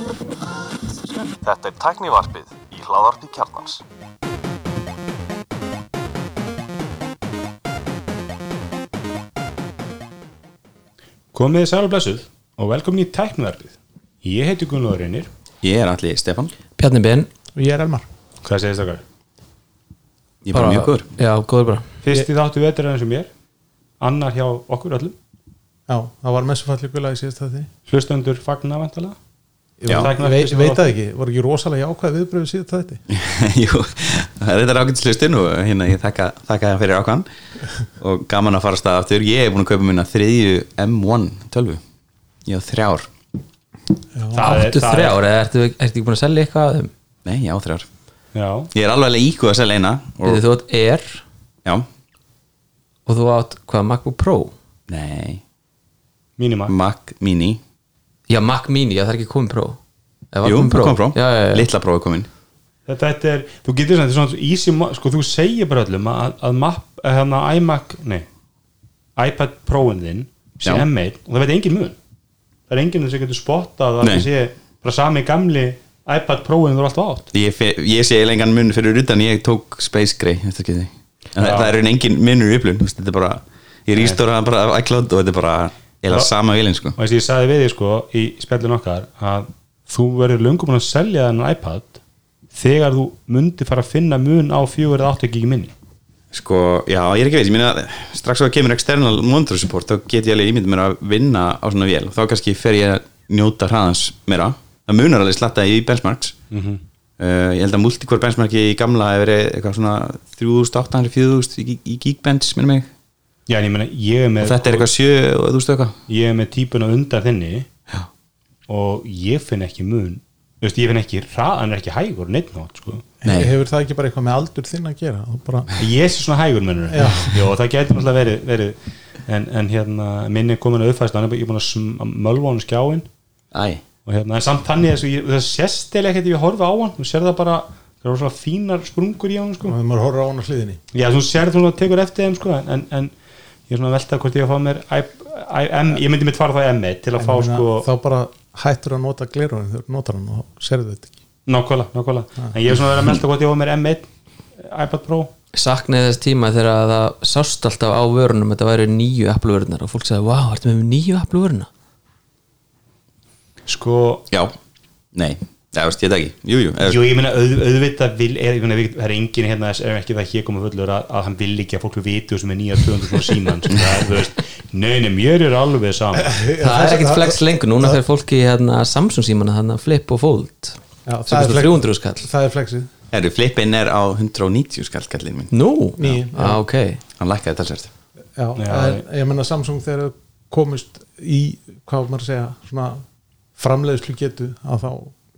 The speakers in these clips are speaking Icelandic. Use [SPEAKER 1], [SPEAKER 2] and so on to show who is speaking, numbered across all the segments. [SPEAKER 1] Þetta er tæknivarpið í hláðarpi kjarnans.
[SPEAKER 2] Komið þið sæl og blessuð og velkomin í tæknverfið. Ég heiti Gunnlóður Reynir.
[SPEAKER 3] Ég er allir Stefan
[SPEAKER 4] Bjarni Ben
[SPEAKER 5] og ég er Elmar
[SPEAKER 2] Hvað segist það hvað?
[SPEAKER 3] Ég er bara mjög góður
[SPEAKER 4] Já, góður bara
[SPEAKER 2] Fyrst í þáttu vetur enn sem ég er, annar hjá okkur öllum,
[SPEAKER 5] já, það var messufall ykkur lag í síðast þetta
[SPEAKER 2] hlustendur fagna vantalega.
[SPEAKER 5] ég
[SPEAKER 3] Já.
[SPEAKER 5] veit, veit, veit það ekki, voru ekki rosalega jákvæð viðbröðu síðast þetta
[SPEAKER 3] Jú, þetta er ágætslustinn og hérna ég þakka, þakka það fyrir ákvæðan og gaman að fara að staða aftur Ég er búin að kaupa minna þriðju M1 tölvu Ég á þrjár
[SPEAKER 2] Það er-
[SPEAKER 4] Áttu
[SPEAKER 2] það er-
[SPEAKER 4] þrjár, eða ertu, ertu ekki búin að selja eitthvað af þeim?
[SPEAKER 3] Nei, ég á þrjár
[SPEAKER 2] Já,
[SPEAKER 3] Ég er alveg alveg íkúð að selja eina og,
[SPEAKER 4] Byrðu, þú átt Air
[SPEAKER 3] Já,
[SPEAKER 4] og þú átt, hvað, MacBook Pro?
[SPEAKER 3] nei
[SPEAKER 2] mínima.
[SPEAKER 3] Mac Mini
[SPEAKER 4] Já, Mac Mini, já, það er ekki komið Pro Eða var
[SPEAKER 3] Jú,
[SPEAKER 4] komið Pro?
[SPEAKER 3] kom frá
[SPEAKER 4] Já, já, já.
[SPEAKER 3] Litla prófi komin
[SPEAKER 2] Þetta, þetta er, þú getur svona, þetta er svona svo easy, ma- sko þú segir bara öllum að, að map, að hérna iMac, nei, iPad Pro-in þinn sé
[SPEAKER 3] Já.
[SPEAKER 2] M1 og það veit engin mun. Það er enginn sem getur spottað að
[SPEAKER 3] Nei.
[SPEAKER 2] það sé bara sami gamli iPad Pro-in þú er alltaf átt.
[SPEAKER 3] Ég, fe- ég sé lengan mun fyrir utan ég tók Space Gray eftir ekki því en
[SPEAKER 2] Já.
[SPEAKER 3] það, það er raun engin munur í upplun þú veist, þetta er bara, ég rýstóra bara af iCloud og þetta er bara, ég
[SPEAKER 2] Já.
[SPEAKER 3] sama vilin sko.
[SPEAKER 2] og þess að ég sagði við þig sko í spjallin okkar að þú verður löngum að selja þennan iPad þegar þú myndi fara að finna mun á 4 eða 8 gigi minni
[SPEAKER 3] sko, já, ég er ekki veist, ég meina strax og það kemur external monitor support þá get ég alveg ímynd mér að vinna á svona vél og þá kannski fer ég að njóta hraðans meira, það munar alveg slatta í benchmarks uh, ég held að multicore benchmarki í gamla hefur verið eitthvað svona 3800-4000 í, í Geekbench, minna mig
[SPEAKER 2] já en ég meina ég er
[SPEAKER 3] og
[SPEAKER 2] með,
[SPEAKER 3] þetta er eitthvað 7 og þú veist eitthvað
[SPEAKER 2] ég er með típuna undan þinni
[SPEAKER 3] Já.
[SPEAKER 2] og ég finn ekki mun þú veist ég finn ekki hraðan er ekki hægur neitt nátt sko
[SPEAKER 3] Nei.
[SPEAKER 5] hefur það ekki bara eitthvað með aldur þinn að gera Þú bara,
[SPEAKER 2] ég sé svona hægur mennur
[SPEAKER 5] Já.
[SPEAKER 2] Jó, það getur náttúrulega verið, verið en, en hérna minni er komin að uppfæðst hann er bara- ég er búin að sm- mölva hann skjáin
[SPEAKER 3] Æ,
[SPEAKER 2] og hérna, en samt þannig að ég- það sést eða ekkert ef ég horfi á hann, þú sér það bara það eru svona fínar sprungur í hann sko.
[SPEAKER 5] maður horfður á hann á hliðinni
[SPEAKER 2] já, þú sér þú tekur eftir þeim sko, en, en ég er svona að velta hvort ég að fá mér I, I, M, ég myndi mitt fara þá í M1 til að fá
[SPEAKER 5] Ég meina,
[SPEAKER 2] sko,
[SPEAKER 5] þá bara hættur að nota glerun þegar þú notar hann og þá serðu þetta ekki
[SPEAKER 2] nákvæmlega, nákvæmlega
[SPEAKER 5] Ah.
[SPEAKER 2] en ég er svona að vera að melta hvort ég að fá mér M1 iPad Pro,
[SPEAKER 4] Saknaði þess tíma þegar það sást alltaf á vörunum Þetta væri nýju Apple-vörunar og fólk sagði, vá, ertu með nýju Apple-vöruna?
[SPEAKER 2] sko
[SPEAKER 3] já, nei Já, veist, ég veit ekki, jú, jú, eða-
[SPEAKER 2] Jú, ég meina auð, auðvitað vil, er, ég meina, við- það er enginn hérna þess, er ekki það hér komið fullur að, að hann vil ekki að fólk viti sem er nýja 200 svona síman sko, það er, þú veist, nei, nei, mér er alveg saman
[SPEAKER 4] Það er ekkert flex lengur, núna fer fólki í, hérna, Samsung símana, hérna Flip og Fold
[SPEAKER 5] Já,
[SPEAKER 4] Sem
[SPEAKER 5] það, er
[SPEAKER 4] kostar
[SPEAKER 5] flex-
[SPEAKER 4] 300 skall
[SPEAKER 5] það er flexið
[SPEAKER 3] Herru, flippin er á 190 skall kallinn minn
[SPEAKER 4] Nú?
[SPEAKER 5] Nýju,
[SPEAKER 4] Já, ah, ok
[SPEAKER 3] Hann lækkaði talsvert
[SPEAKER 5] já,
[SPEAKER 2] Já,
[SPEAKER 5] það er, ég menna Samsung þegar þau komist í hvað á maður að segja svona framleiðslu getu að þá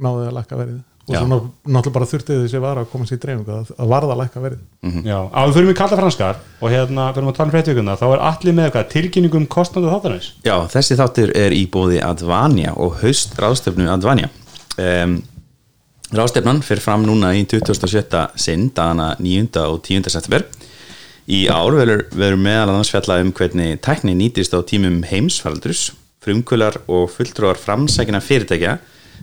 [SPEAKER 5] náðu þau að lækka verið og
[SPEAKER 3] Já.
[SPEAKER 5] svo ná- náttúrulega bara þurftið þessi vara að komast í dreifingu að, að varða að lækka verið
[SPEAKER 2] Já, á við fyrir mig kalla franskar og hérna fyrir mig að tala um fréttvíkuna, þá er allir með eitthvað um tilkynningum kostnanda þáttanins
[SPEAKER 3] Já, þessi þáttur er í bóði Advania og haust ráðstöfnu Advania um, Ráðstöfnan fyrir fram núna í 27. sinn dagana 9. og 10. september Í ár verður, verður meðal annars fjallað um hvernig tækni nýtist á tímum heimsfaldurs, frumkular og fulltrúar framsækina fyrirtækja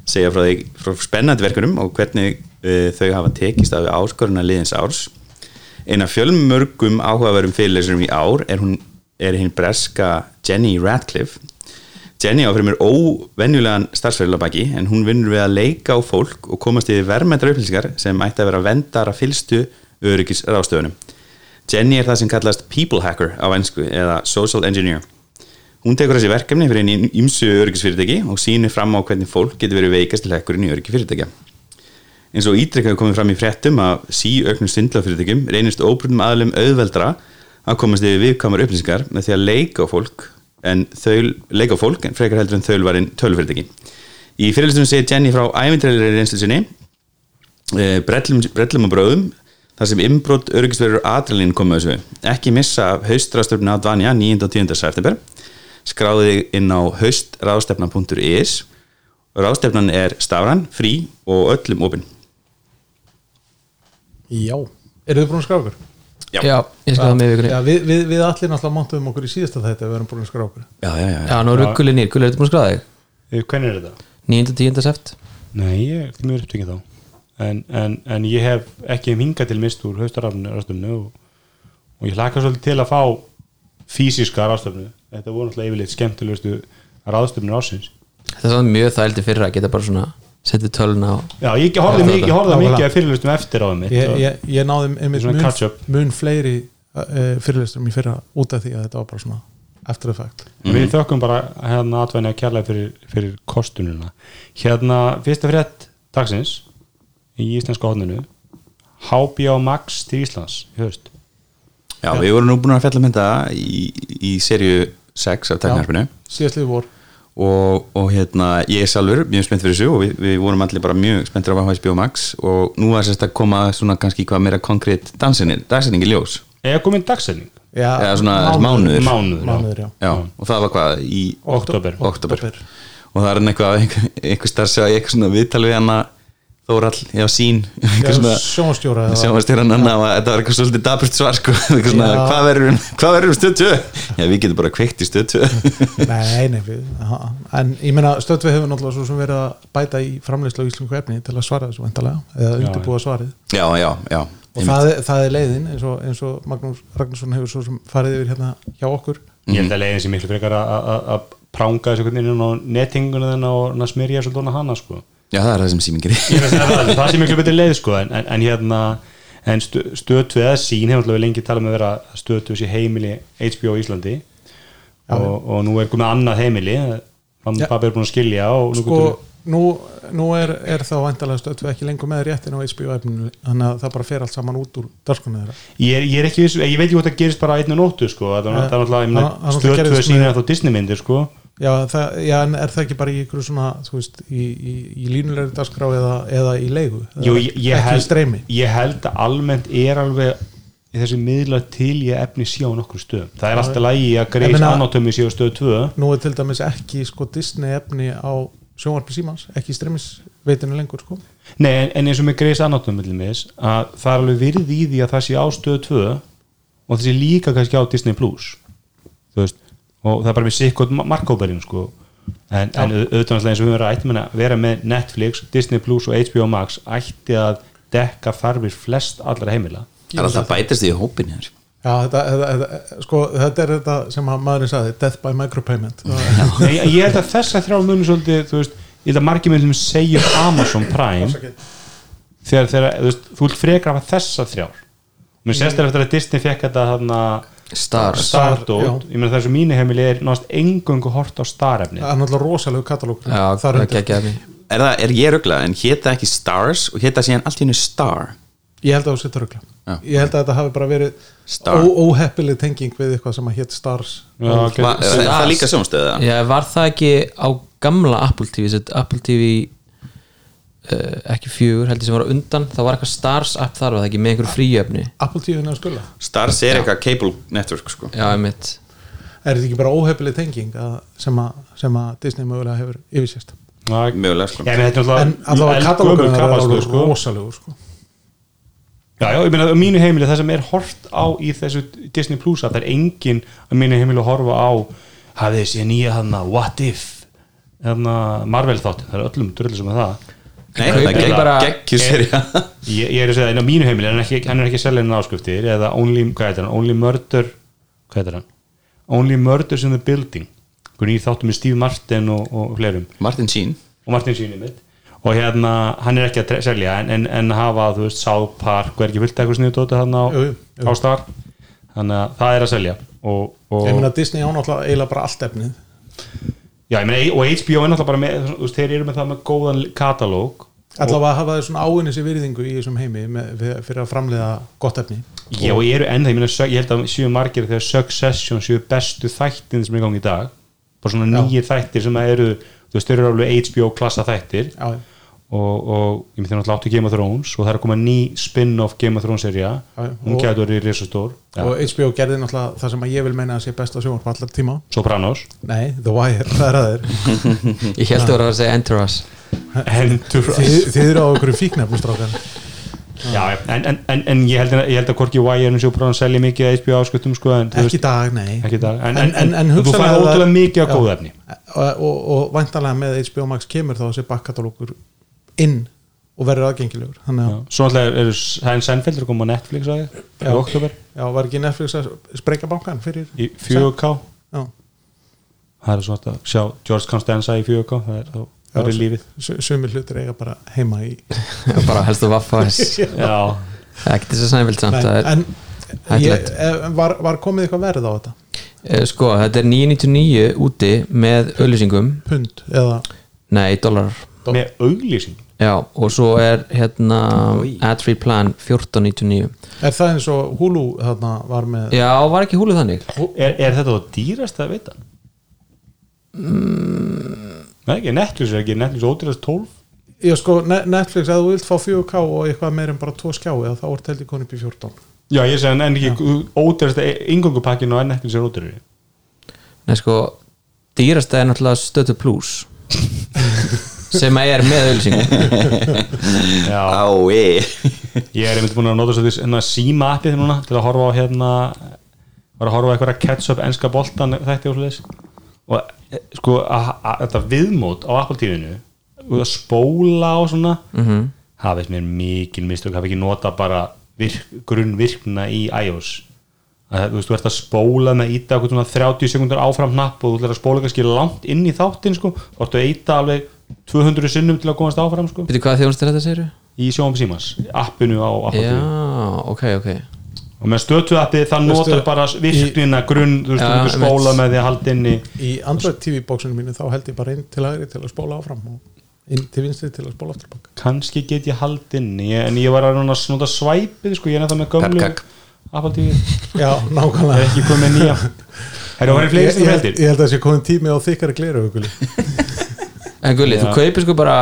[SPEAKER 3] segja frá, því, frá spennandi verkunum og hvernig uh, þau hafa tekist af áskoruna liðins árs. Einn af fjölmörgum áhugaverum fyrirlesurum í ár er hún er hinn breska Jenny Radcliffe Jenny á fyrir mér óvenjulegan starfsfélagabaki en hún vinnur við að leika á fólk og komast yfir verðmættar upplýsingar sem ætti að vera vendar að fylstu öryggis ráðstöfunum. Jenny er það sem kallast people hacker á ennsku eða social engineer. Hún tekur þessi verkefni fyrir einn ímsu öryggisfyrirtæki og sýnir fram á hvernig fólk getur verið veikast til hackurinn í öryggi fyrirtækja. Eins og ítrekkaðu komið fram í fréttum að síauknum svindlafyrirtækjum reynist óbrunum aðlum auðveldra að komast yfir viðkamar upplýsingar með því að leika á fólk en þau, leika á fólk en frekar heldur en þau varinn tölufyrirtæki. Í fyrirlistunum segir Jenny frá ævindræðilegri reynslu sinni eh, brellum, brellum og bröðum þar sem innbrot öryggisverður aðrælinn koma þessu. Ekki missa af haustrástöfna á Dvanja 9. og 10. september skráðu þig inn á haustrástöfna.is Rástefnan er stafran, frí og öllum opinn.
[SPEAKER 5] Já, eru þið búin að skrá okkur?
[SPEAKER 3] Já.
[SPEAKER 4] Já, ég skal það
[SPEAKER 2] um
[SPEAKER 4] með í vikunni
[SPEAKER 5] Já, við, við, við allir náttúrulega montuðum okkur í síðasta þetta við erum búin að skrá okkur
[SPEAKER 3] Já, já, já, já.
[SPEAKER 4] Já, nú eru gullir nýr, gullir, ertu búin að skráða þig?
[SPEAKER 2] Eh, Hvernig er þetta?
[SPEAKER 4] 9. 10. seft
[SPEAKER 2] Nei, ég er því mjög upptökin þá en, en, en ég hef ekki hinga til mist úr haustarafnu rástöfnu og, og ég hlaka svolítið til að fá fysiska rástöfnu þetta voru náttúrulega yfirleitt skemmtilegustu ráðstöfnur ásins
[SPEAKER 4] þetta er svona mjög þældi fyrir að geta bara svona setið töluna á
[SPEAKER 2] Já, ég horfði
[SPEAKER 4] Já,
[SPEAKER 2] mikið, ég horfði
[SPEAKER 5] þetta.
[SPEAKER 2] mikið að fyrirlustum eftir á um mitt
[SPEAKER 5] ég,
[SPEAKER 2] og-
[SPEAKER 5] ég, ég náði einmitt
[SPEAKER 2] Svona catch
[SPEAKER 5] mun,
[SPEAKER 2] up.
[SPEAKER 5] mun fleiri uh, fyrirlisturum í fyrra út af því að þetta var bara svona eftir effekt
[SPEAKER 2] Við þökkum bara hérna atvænja kjærlega fyrir, fyrir kostununa. Hérna, fyrsta frétt dagsins í íslenska hodninu HBO Max til Íslands í haust.
[SPEAKER 3] Já, við vorum nú búin að fjalla um þetta í, í serju 6 af teknarpinu
[SPEAKER 5] síðastlið vor
[SPEAKER 3] og, og hérna, ég er sjálfur mjög spennt fyrir þessu og við, við vorum allir bara mjög spenntir af HBO Max og nú var sérst að koma svona kannski hvað meira konkrétt dansinni, dansinningi ljós
[SPEAKER 2] Eða komin dagsending,
[SPEAKER 5] já,
[SPEAKER 3] eða svona mánuður,
[SPEAKER 2] mánuður,
[SPEAKER 5] mánuður, já.
[SPEAKER 3] Já, og það var hvað í
[SPEAKER 2] oktober.
[SPEAKER 3] oktober og það er enn eitthvað einhver, einhver starf sem ég eitthvað svona viðtal við hana Þórall, já sín
[SPEAKER 5] Já,
[SPEAKER 3] einhver svona
[SPEAKER 5] sjónvarpsstjóra eða-
[SPEAKER 3] sjónvastjóran hann að þetta var eitthvað svolítið dabrist svar sko, eitthvað svona,
[SPEAKER 5] Já.
[SPEAKER 3] hvað verður um- hvað verður um stötu? Já, við getum bara kveikt í stötu
[SPEAKER 5] Nei, nei, við, aha. en ég meina stöðvið hefur náttúrulega svo sem verið að bæta í framleiðslu á íslensku efni til að svara þessu væntalega eða undirbúa svarið
[SPEAKER 3] Já, já, já
[SPEAKER 5] og það er, það er leiðin eins og, eins og Magnús Ragnarsson hefur svo sem farið yfir hérna hjá okkur
[SPEAKER 2] Ég held að leiðin sem miklu frekar að- að að pranga þessu hvernig inn á nettinguna þennan og hérna smyrja svolítið ofan á hana sko.
[SPEAKER 3] Já, það er það sem síminn
[SPEAKER 2] Ég
[SPEAKER 3] gerir
[SPEAKER 2] er að segja það, það sé miklu betur leið sko en, en, en hérna en stö, stötu eða sín hefur allavega lengi talað með að vera stötu sér heimili HBO í Íslandi og, og nú er komið annað heimili mamma
[SPEAKER 5] Já.
[SPEAKER 2] og pappi er búin að skilja og nú
[SPEAKER 5] sko, nú, nú er, er þá væntalega stöðvið ekki lengur með réttin á HBO efninu þannig að það bara fer allt saman út úr dörskunni þeirra
[SPEAKER 2] ég, er, ég er ekki viss, ég veit ekki hvort það gerist bara á einni nóttu sko, það
[SPEAKER 5] Ja.
[SPEAKER 2] er náttúrulega
[SPEAKER 5] Það- það náttúrulega
[SPEAKER 2] stötu eða
[SPEAKER 5] gerðist
[SPEAKER 2] sín
[SPEAKER 5] með-
[SPEAKER 2] er þá Disney myndir sko
[SPEAKER 5] Já, það, já, en er það ekki bara í ykkur svona, þú veist, í, í, í línulegri dagskrá eða, eða í leigu?
[SPEAKER 2] Jú, ég, ég,
[SPEAKER 5] ekki í
[SPEAKER 2] held,
[SPEAKER 5] streymi?
[SPEAKER 2] ég held að almennt er alveg í þessi miðla til ég efni sé á nokkur stöðum það er alltaf lægi að
[SPEAKER 5] Ég
[SPEAKER 2] Grey's
[SPEAKER 5] meina-
[SPEAKER 2] Anatomy sé á stöðu 2
[SPEAKER 5] Nú er til dæmis ekki sko Disney efni á sjónvarpi símans, ekki í streymisveitinu lengur sko.
[SPEAKER 2] Nei, en, en eins og með Grey's Anatomy til dæmis, að það er alveg virði í því að það sé á stöðu 2 og það sé líka kannski á Disney Plus þú veist, og það er bara með sikkot markkóparinn sko en, en au- auðvitað náttúrulega eins og við vera ætti að vera með Netflix, Disney Plus og HBO Max ætti að dekka þarfir flest allra heimila
[SPEAKER 3] Það er alltaf bætist því í hópin hér
[SPEAKER 5] Já, þetta, þetta, þetta, sko, þetta er þetta sem að maðurinn sagði, death by micropayment.
[SPEAKER 2] Nei, ég ég held að þessa þrjá muni svolítið, þú veist, ég held að margir myndum segja um Amazon Prime þegar, þegar þú veist, þú vilt frekar af þessa þrjár Mér sést þér eftir að Disney fekk þetta þarna
[SPEAKER 4] stars
[SPEAKER 5] já.
[SPEAKER 2] Stardót, ég meina þessu mínu heimili er náttúrulega engöngu hort á starefni
[SPEAKER 5] Það er náttúrulega rosalegu katalógur.
[SPEAKER 4] já, það er ekki ekki
[SPEAKER 3] Er, það, er ég röglega, en hétta ekki Stars og hétta síðan allt í hennu Star
[SPEAKER 5] Ég held að það sé törugla.
[SPEAKER 3] Já.
[SPEAKER 5] Ég held að þetta hafi bara verið
[SPEAKER 3] Star.
[SPEAKER 5] ó- óheppileg tenging við eitthvað sem að hétt Stars.
[SPEAKER 2] Já, ok.
[SPEAKER 3] Va, er, er það líka sjónstöða?
[SPEAKER 4] já, var það ekki á gamla Apple TV sem sagt, Apple TV uh, ekki fjögur heldur sem var á undan það var eitthvað stars app þar var það ekki með einhverju fríöfni
[SPEAKER 5] Apple TV-inu að skula.
[SPEAKER 3] Stars er eitthvað cable network sko
[SPEAKER 4] já, einmitt
[SPEAKER 5] Er þetta ekki bara óheppileg tenging að, sem, að, sem að Disney mögulega hefur yfirsést?
[SPEAKER 2] Já, ég
[SPEAKER 3] Mögulega sko
[SPEAKER 2] meina þetta er
[SPEAKER 5] En allavega katalógur
[SPEAKER 2] eldgömul
[SPEAKER 5] er
[SPEAKER 2] kapastöð,
[SPEAKER 5] alveg
[SPEAKER 2] sko.
[SPEAKER 5] rosalegur sko.
[SPEAKER 2] Já, já, ég meina á mínu heimili það sem er hort á í þessu Disney Plus að það er engin á mínu heimili að horfa á hafið þessi nýja hana What If hana Marvel þátt það er öllum drullu sem er það
[SPEAKER 3] Nei, það
[SPEAKER 4] Kaupir
[SPEAKER 3] er
[SPEAKER 4] bara-
[SPEAKER 3] geggjusserja
[SPEAKER 2] ég, ég er að segja, en á mínu heimili hann er ekki, hann er ekki selja henni áskriftir eða Only, hvað heitir hann, Only Murder hvað heitir hann, Only Murders in the Building hvernig ég þáttu með Steve Martin og, og fleirum
[SPEAKER 3] Martin Sheen
[SPEAKER 2] og Martin Sýni mitt og hérna, hann er ekki að tre- selja en, en, en hafa, þú veist, South Park og er ekki fyllt eitthvað sniðu dóti hann á,
[SPEAKER 5] Jú, jú, jú.
[SPEAKER 2] á star þannig að það er að selja og, og,
[SPEAKER 5] Ég meina Disney án alltaf eiginlega bara allt efnið
[SPEAKER 2] já, ég meina, og HBO er náttúrulega bara með, þú veist, þeir eru með það með góðan katalóg
[SPEAKER 5] allavega hafa þau svona áinni sér virðingu í þessum heimi með, við- fyrir að framleiða gott efni
[SPEAKER 2] Já, og ég eru ennþá, ég, meina, Sug- ég held að séu margir þegar Succession séu bestu þættin sem er í gangi í dag bara svona nýjir þættir sem að eru þú veist, þeir eru alveg HBO klassa þættir
[SPEAKER 5] Já, já.
[SPEAKER 2] og, og ég myndi náttúrulega áttu Game of Thrones og það er að koma ný spin-off Game of Thrones serja
[SPEAKER 5] Já, já.
[SPEAKER 2] hún
[SPEAKER 5] Og-
[SPEAKER 2] gætur verið risastór ja.
[SPEAKER 5] og HBO gerði náttúrulega það sem að ég vil meina að sé besta sjónvarp allar tíma
[SPEAKER 2] Sopranos
[SPEAKER 5] Nei, The Wire, það er aðeir
[SPEAKER 4] ég held að það var að segja Enter Us
[SPEAKER 2] Endur
[SPEAKER 5] Þið, þið eru á okkur fíknefnum strákan
[SPEAKER 2] já, já. en, en, en, en ég, held að, ég held að hvorki Wire en Sjóprán selji mikið að HBO áskiptum sko, en, þú
[SPEAKER 5] ekki í dag, nei
[SPEAKER 2] ekki í dag en,
[SPEAKER 5] En-
[SPEAKER 2] en, en,
[SPEAKER 5] en- en
[SPEAKER 2] þú
[SPEAKER 5] hugsanlega
[SPEAKER 2] færði
[SPEAKER 5] það-
[SPEAKER 2] ótrúlega mikið af
[SPEAKER 5] Já.
[SPEAKER 2] góð efni
[SPEAKER 5] og, og, og væntalega með HBO Max kemur þá þessi bakkatalókur inn og verður aðgengilegur þannig að,
[SPEAKER 2] svo náttúrulega eru Sæn Sennfeldur kom á Netflix á þig í
[SPEAKER 5] Já.
[SPEAKER 2] oktober
[SPEAKER 5] já, var ekki Netflix að sprengja bankan fyrir
[SPEAKER 2] í 4K
[SPEAKER 5] já,
[SPEAKER 2] það er svo hægt að sjá George Constanza í 4K það er, þá-
[SPEAKER 5] Já,
[SPEAKER 2] það er
[SPEAKER 5] svo-
[SPEAKER 2] lífið
[SPEAKER 5] su- sumir hlutir eiga bara heima í
[SPEAKER 4] bara helst að vaffa þess
[SPEAKER 2] já,
[SPEAKER 4] ekki þess að sæmvild samt það er,
[SPEAKER 5] en, en ég,
[SPEAKER 4] hættulegt.
[SPEAKER 5] eh, var, var komið eitthvað verð á þetta
[SPEAKER 4] eh, sko, þetta er 999 úti með auðlýsingum
[SPEAKER 5] pund eða
[SPEAKER 4] nei, dólarar
[SPEAKER 2] með auglýsing
[SPEAKER 4] já, og svo er hérna ad-free plan 1499
[SPEAKER 5] er það eins og Hulu þarna var með
[SPEAKER 4] já, var ekki húlið þannig
[SPEAKER 2] er, er þetta þá dýrast að veita? Nei, ekki, Netflix er ekki Netflix ódýrast 12
[SPEAKER 5] ég sko, Ne- Netflix, ef þú vilt fá 4K og eitthvað meir en bara 2 skjá eða þá er teldi konum upp í 14
[SPEAKER 2] já, ég segi en ekki ódýrast yngöngupakkin og Netflix er ódýrari
[SPEAKER 4] Nei sko, dýrasta er náttúrulega stötu plus sem að er með auðlýsingum
[SPEAKER 2] já,
[SPEAKER 3] Ái
[SPEAKER 2] ég er einmitt búin að nota svo því hérna síma appið núna til að horfa á hérna var að horfa á eitthvað ketchup enska boltan þætti og svoleiðis og e, sko að- að- þetta viðmót á Apple tíðinu og að spóla og svona -hmm. hafa þess mér mikil mistök hafa ekki nota bara virk, grunnvirkna í iOS að, þú veist, þú ert að spóla með íta okkur svona 30 sekundar áfram hnapp og þú ert að spóla kannski langt inn í þáttinn sko, þú ert að íta alveg 200 sinnum til að komast áfram sko,
[SPEAKER 4] Veitu hvað þjónust er þetta, segirðu?
[SPEAKER 2] í sjóum símans appinu á Apple
[SPEAKER 4] Já,
[SPEAKER 2] TV
[SPEAKER 4] ok, ok
[SPEAKER 2] og með stötuappið það
[SPEAKER 5] Veistu,
[SPEAKER 2] notar bara virknina grunn, þú veist,
[SPEAKER 4] Já,
[SPEAKER 2] þú getur
[SPEAKER 4] einmitt.
[SPEAKER 2] spóla með því að halda inn í
[SPEAKER 5] í Android TV bóksinu mínu þá held ég bara inn til aðri til að spóla áfram og inn til vinstri til að spóla aftur baka
[SPEAKER 2] kannski get ég hald inn í en ég var að reyna að snúta svæpið sko, ég er ennþá með gömlu
[SPEAKER 3] Kakk, kakk.
[SPEAKER 2] Apple TV, ég
[SPEAKER 5] já,
[SPEAKER 2] er
[SPEAKER 5] nákvæmlega
[SPEAKER 2] ekki komið með nýja Herra, það er
[SPEAKER 5] ég,
[SPEAKER 2] fleiri
[SPEAKER 5] ég,
[SPEAKER 2] sem
[SPEAKER 5] held,
[SPEAKER 2] heldir
[SPEAKER 5] ég held að það sé komin tími á þykkari gleru já,
[SPEAKER 4] En Gulli, þú kaupir sko bara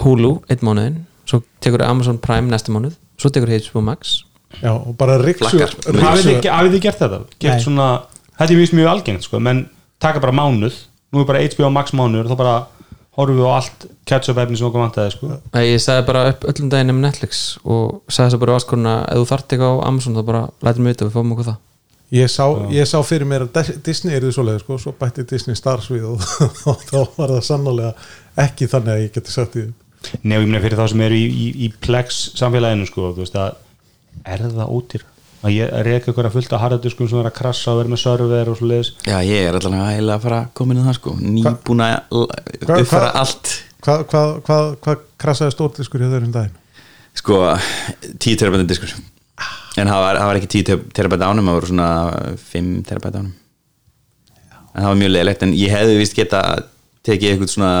[SPEAKER 4] Hulu, einn mánuðin svo tekur Amazon Prime næsta mánuð svo tekur HBO Max
[SPEAKER 5] og bara riksu
[SPEAKER 3] Flakkar.
[SPEAKER 2] hafið þið hafið þið gert þetta?
[SPEAKER 5] Nei.
[SPEAKER 2] Gert svona, þetta er mjög mjög algengt sko, menn taka bara mánuð nú er bara HBO Max mánuður, þá bara horfum við á allt catch-up efni sem okkur vantaði sko.
[SPEAKER 4] Nei, Ég sagði bara upp öllum daginn um Netflix og sagði þess að bara áskoruna ef þú þart eitthvað á Amazon þá bara lætum við vita við fáum okkur það
[SPEAKER 5] ég sá, ég sá fyrir mér að Dis- Disney er því svoleið sko, svo bætti Disney Stars við og, og þá var það sannlega ekki þannig að ég geti sagt því
[SPEAKER 2] Nei, og ég meina fyrir þá sem eru í, í, í plex samfélaginu sko, þú veist að er það ódýr að ég reyka ykkur að fullta harðardiskum sem er að krassa og vera með server og svo leiðis
[SPEAKER 3] Já, ég er allavega heila að fara að koma inn í það sko Nýbúin að
[SPEAKER 5] Hva-
[SPEAKER 3] l- uppfæra
[SPEAKER 5] hva-
[SPEAKER 3] allt
[SPEAKER 5] hvað hva, hva, hva krasaði stórdiskur hjá þeirrum daginn
[SPEAKER 3] Sko, 10 terabæta diskur En það var, það var ekki 10 terabæta ánum Það voru svona 5 terabæta ánum En það var mjög leðilegt En ég hefði vist geta tekið eitthvað svona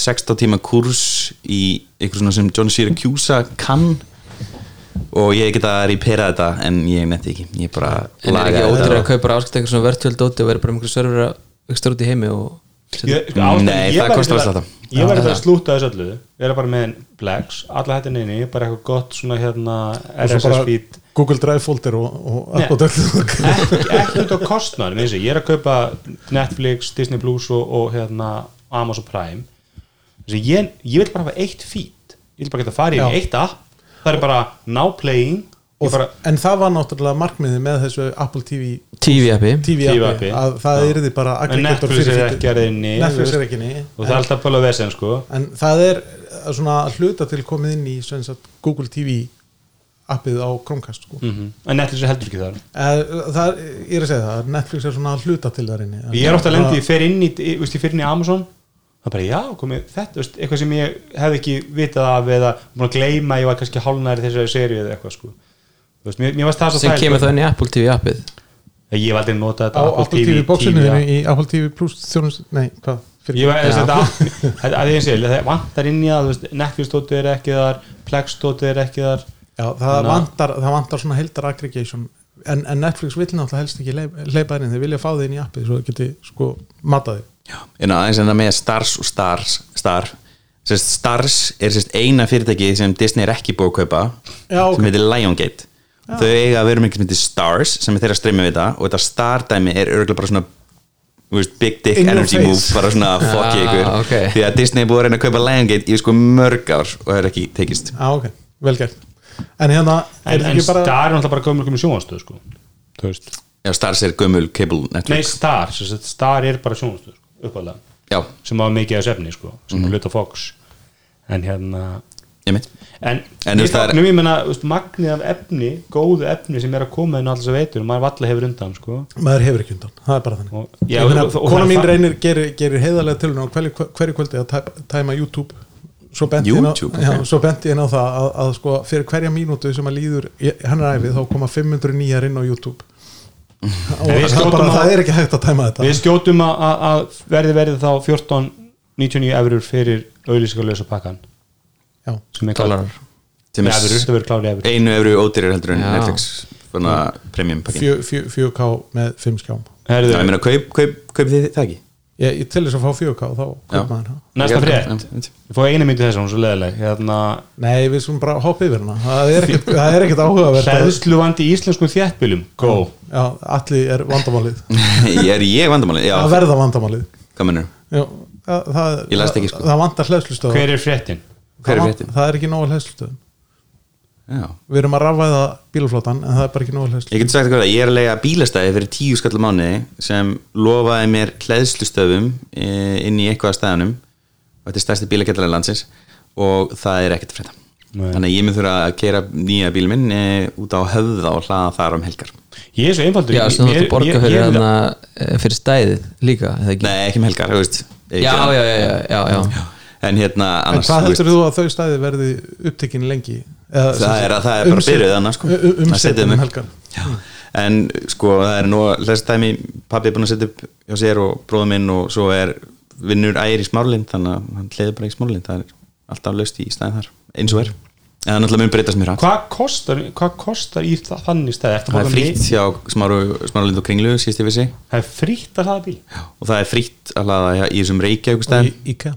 [SPEAKER 3] 16 tíma kurs Í eitthvað svona sem John Syracuse kann Og ég hef geta repera þetta En ég netti ekki Ég bara
[SPEAKER 4] En er ekki
[SPEAKER 3] lagaði
[SPEAKER 4] ótrúið að
[SPEAKER 3] þetta.
[SPEAKER 4] kaupa bara áskipta eitthvað svona virtual dóti og vera bara um einhverju server að ekki stóra út í heimi og
[SPEAKER 3] Nei, það kostar allt þetta.
[SPEAKER 2] Ég verði að slúta þessu öllu vera bara með plex, alla hættin inni bara eitthvað gott svona hérna
[SPEAKER 5] og svo
[SPEAKER 2] RSS
[SPEAKER 5] bara
[SPEAKER 2] feed
[SPEAKER 5] Google Drive folder og, og
[SPEAKER 2] Nei.
[SPEAKER 5] allt og dörð
[SPEAKER 2] ekki, ekki út á kostnar ég er að kaupa Netflix, Disney Plus og, og hérna, Amazon Prime Þessi, ég, ég vil bara hafa eitt feed ég vil bara geta farið inn í
[SPEAKER 5] Já.
[SPEAKER 2] eitt app það er bara now playing
[SPEAKER 5] Og-
[SPEAKER 2] og bara
[SPEAKER 5] en það var náttúrulega markmiðið með þessu Apple TV,
[SPEAKER 4] TV-appi
[SPEAKER 5] TV,
[SPEAKER 2] TV
[SPEAKER 5] appi,
[SPEAKER 2] appi.
[SPEAKER 5] að það yrði bara
[SPEAKER 2] en Netflix
[SPEAKER 5] aggregator fyrir
[SPEAKER 2] er
[SPEAKER 5] feedið.
[SPEAKER 2] ekki að reyni
[SPEAKER 5] Netflix er ekki ný
[SPEAKER 2] og það er alltaf bara vesen sko
[SPEAKER 5] en það er eh, svona að hluta til komið inn í sem sagt, Google TV appið á Chromecast sko.
[SPEAKER 2] mm en Netflix er heldur ekki þar
[SPEAKER 5] Eh, það, er- ég er að segja það, Netflix er svona að hluta til þar inni
[SPEAKER 2] ég er ofta að lendi, ég fer inn í, í, veist, ég fer inn í Amazon það er bara já, komið þetta veist, eitthvað sem ég hef ekki vitað af eða búin að gleyma, ég var kannski hálnæri þessari serið eða eitthvað sko Þú veist, mér, mér varst það svo
[SPEAKER 4] sem
[SPEAKER 2] þægilegt.
[SPEAKER 4] kemur þá inn í Apple TV-appið
[SPEAKER 2] Ég hef aldrei notað
[SPEAKER 5] á
[SPEAKER 2] þetta
[SPEAKER 5] Apple TV bóksinu
[SPEAKER 2] já.
[SPEAKER 5] í Apple TV Plus þjónust, nei, hvað fyrir-
[SPEAKER 2] Ég var þess
[SPEAKER 4] Já.
[SPEAKER 2] að þetta að- að ég sé, það vantar inn í það þú veist, Netflix-dótið er ekki þar Plex-dótið er ekki þar
[SPEAKER 5] Já, það,
[SPEAKER 2] Þannig að-
[SPEAKER 5] vantar, það vantar svona heldar aggregation en, en Netflix vil náttúrulega helst ekki leipa inn, þeir vilja fá þið inn í appið svo þau geti sko matað þig
[SPEAKER 3] en aðeins en það með stars og stars star sest, stars er sest, eina fyrirtæki sem Disney er ekki búið að kaupa
[SPEAKER 5] Já, ok.
[SPEAKER 3] sem heitir Liongate þau eiga að vera með sem heitir stars sem er þeirra að streyma við það og þetta star dæmi er örgulega bara svona þú veist, big dick
[SPEAKER 5] In your
[SPEAKER 3] energy
[SPEAKER 5] face.
[SPEAKER 3] move bara svona fokki
[SPEAKER 4] Ah,
[SPEAKER 3] ykkur
[SPEAKER 4] ok.
[SPEAKER 3] því að Disney er búið að reyna að kaupa Liongate í sko mörg ár og það er ekki tekist
[SPEAKER 5] Já, ok, vel gert en hérna, er
[SPEAKER 2] en,
[SPEAKER 5] þetta
[SPEAKER 2] en
[SPEAKER 5] ekki bara
[SPEAKER 2] Star er náttúrulega bara gömur komið sjónvarstöð sko. þú veist
[SPEAKER 3] Já, Stars er gömul cable
[SPEAKER 2] nei
[SPEAKER 3] network
[SPEAKER 2] Star, sem sagt, Star er bara sjónvarstöð sko, uppalega,
[SPEAKER 3] Já,
[SPEAKER 2] sem var mikið af sefni sko, sem
[SPEAKER 5] Mhm.
[SPEAKER 2] mm. hluta Fox en hérna
[SPEAKER 3] ég mitt
[SPEAKER 2] en,
[SPEAKER 3] En þú veist, það er-
[SPEAKER 2] nú ég menna, magnið af efni góðu efni sem er að koma inn á alls að veitur og maður valla hefur undan sko.
[SPEAKER 5] maður hefur ekki undan, það er bara þannig
[SPEAKER 2] Og-
[SPEAKER 5] og,
[SPEAKER 2] já,
[SPEAKER 5] meina,
[SPEAKER 2] og- og- og-
[SPEAKER 5] kona mín
[SPEAKER 2] það-
[SPEAKER 5] reynir gerir, gerir heiðarlega til hún á hverju, hverju kvöldi að tæpa, tæma YouTube svo benti ég inn á-
[SPEAKER 3] YouTube,
[SPEAKER 5] já,
[SPEAKER 3] ok.
[SPEAKER 5] svo benti ég inn á það að, að sko, fyrir hverja mínútu sem að líður í- hennar æfið þá koma 500 nýjar inn á YouTube og
[SPEAKER 2] En við
[SPEAKER 5] það,
[SPEAKER 2] skjótum
[SPEAKER 5] bara,
[SPEAKER 2] á-
[SPEAKER 5] það er ekki hægt að tæma þetta
[SPEAKER 2] við skjótum að- að að verði verði þá 14.99 eurur fyrir auðlýsingarlösa pakkan
[SPEAKER 5] já,
[SPEAKER 2] sem er
[SPEAKER 4] Dollarar.
[SPEAKER 3] Sem er
[SPEAKER 2] Efur, þetta verður klárið efur
[SPEAKER 3] einu efru ódýrir heldur en
[SPEAKER 4] Já.
[SPEAKER 3] Netflix Svona premium pakkin
[SPEAKER 5] 4K með 5 skjám
[SPEAKER 3] Já, ég
[SPEAKER 2] Herðu,
[SPEAKER 3] meina, kaup, kaup, kaup þið það ekki?
[SPEAKER 5] ég, ég til þess að fá 4K þá
[SPEAKER 3] Já.
[SPEAKER 5] kaup maður það
[SPEAKER 2] næsta
[SPEAKER 3] Ég-
[SPEAKER 2] frétt
[SPEAKER 3] Já, veit.
[SPEAKER 2] Ég fóði einu myndi þess að hún er svo leðileg hérna,
[SPEAKER 5] Nei, við skulum bara hoppa yfir hana Það er ekkert, það er ekkert áhugavert að-
[SPEAKER 2] Hleðsluvandi í íslenskum þjættbílum Go
[SPEAKER 5] Já, allir er vandamálið
[SPEAKER 3] Er ég vandamálið? Já,
[SPEAKER 5] Að verða vandamálið
[SPEAKER 3] hvað mennur?
[SPEAKER 5] Já, það, það,
[SPEAKER 3] Ég las þetta ekki, sko.
[SPEAKER 5] Það vantar hlæðslustöð
[SPEAKER 2] Hver er fréttin?
[SPEAKER 3] hver er
[SPEAKER 5] það,
[SPEAKER 3] fréttin?
[SPEAKER 5] það er ekki nóg hlæðslustöð
[SPEAKER 3] Já
[SPEAKER 5] Við erum að rafæða bílflotan En það er bara ekki nóg
[SPEAKER 3] Ég
[SPEAKER 5] hlæðslustöð
[SPEAKER 3] get sagt eitthvað að ég er að lega bílastæði fyrir tíu skall á mánuði sem lofaði mér hleðslustöfum eh, inn í eitthvað af stæðanum og þetta er stærsti bílakettarlega landsins og það er ekkert að frétta
[SPEAKER 2] Nei.
[SPEAKER 3] Þannig að ég mun þurfa að keira nýja bíl minn e, út á höfða og hlaða þar um helgar
[SPEAKER 2] Ég er svo einfaldur
[SPEAKER 4] já,
[SPEAKER 2] ég-
[SPEAKER 4] sem þú
[SPEAKER 2] ég-
[SPEAKER 4] ert að borga
[SPEAKER 2] ég-
[SPEAKER 4] fyrir,
[SPEAKER 2] ég-
[SPEAKER 4] hana, eh, fyrir stæðið líka eða ekki?
[SPEAKER 3] Nei, ekki um helgar, þú veist Ég
[SPEAKER 4] já,
[SPEAKER 3] gera-
[SPEAKER 4] já, já, já, já, já.
[SPEAKER 3] En hérna,
[SPEAKER 5] En
[SPEAKER 3] annars,
[SPEAKER 5] hvað
[SPEAKER 3] þú veist,
[SPEAKER 5] heldur þú að þau stæði verði upptekin lengi? Eða,
[SPEAKER 3] það er, það er bara byrjuð annars sko. Það setið
[SPEAKER 5] Umsettum
[SPEAKER 3] mig.
[SPEAKER 5] um helgar
[SPEAKER 3] Já, en sko það er nú hlest dæmi, pappi er búin að setja upp hjá sér og bróðu minn og svo er vinnur ægir í smárlind þannig að hann hliður bara í smárlind það er alltaf löst í stæðin þar eins og er en það er náttúrulega mun breytast mér hratt
[SPEAKER 2] Hvað kostar, hvað kostar í þa- þannig stæði? Ertu að
[SPEAKER 3] það
[SPEAKER 2] borga
[SPEAKER 3] er frítt
[SPEAKER 2] mi-
[SPEAKER 3] hjá smáru, smárlind og kringlu síst ég vissi
[SPEAKER 2] Það er frítt að hlaða bíl
[SPEAKER 3] og það er frítt að hlaða hjá- í þessum reykja
[SPEAKER 5] Og
[SPEAKER 3] og,
[SPEAKER 5] í- Íka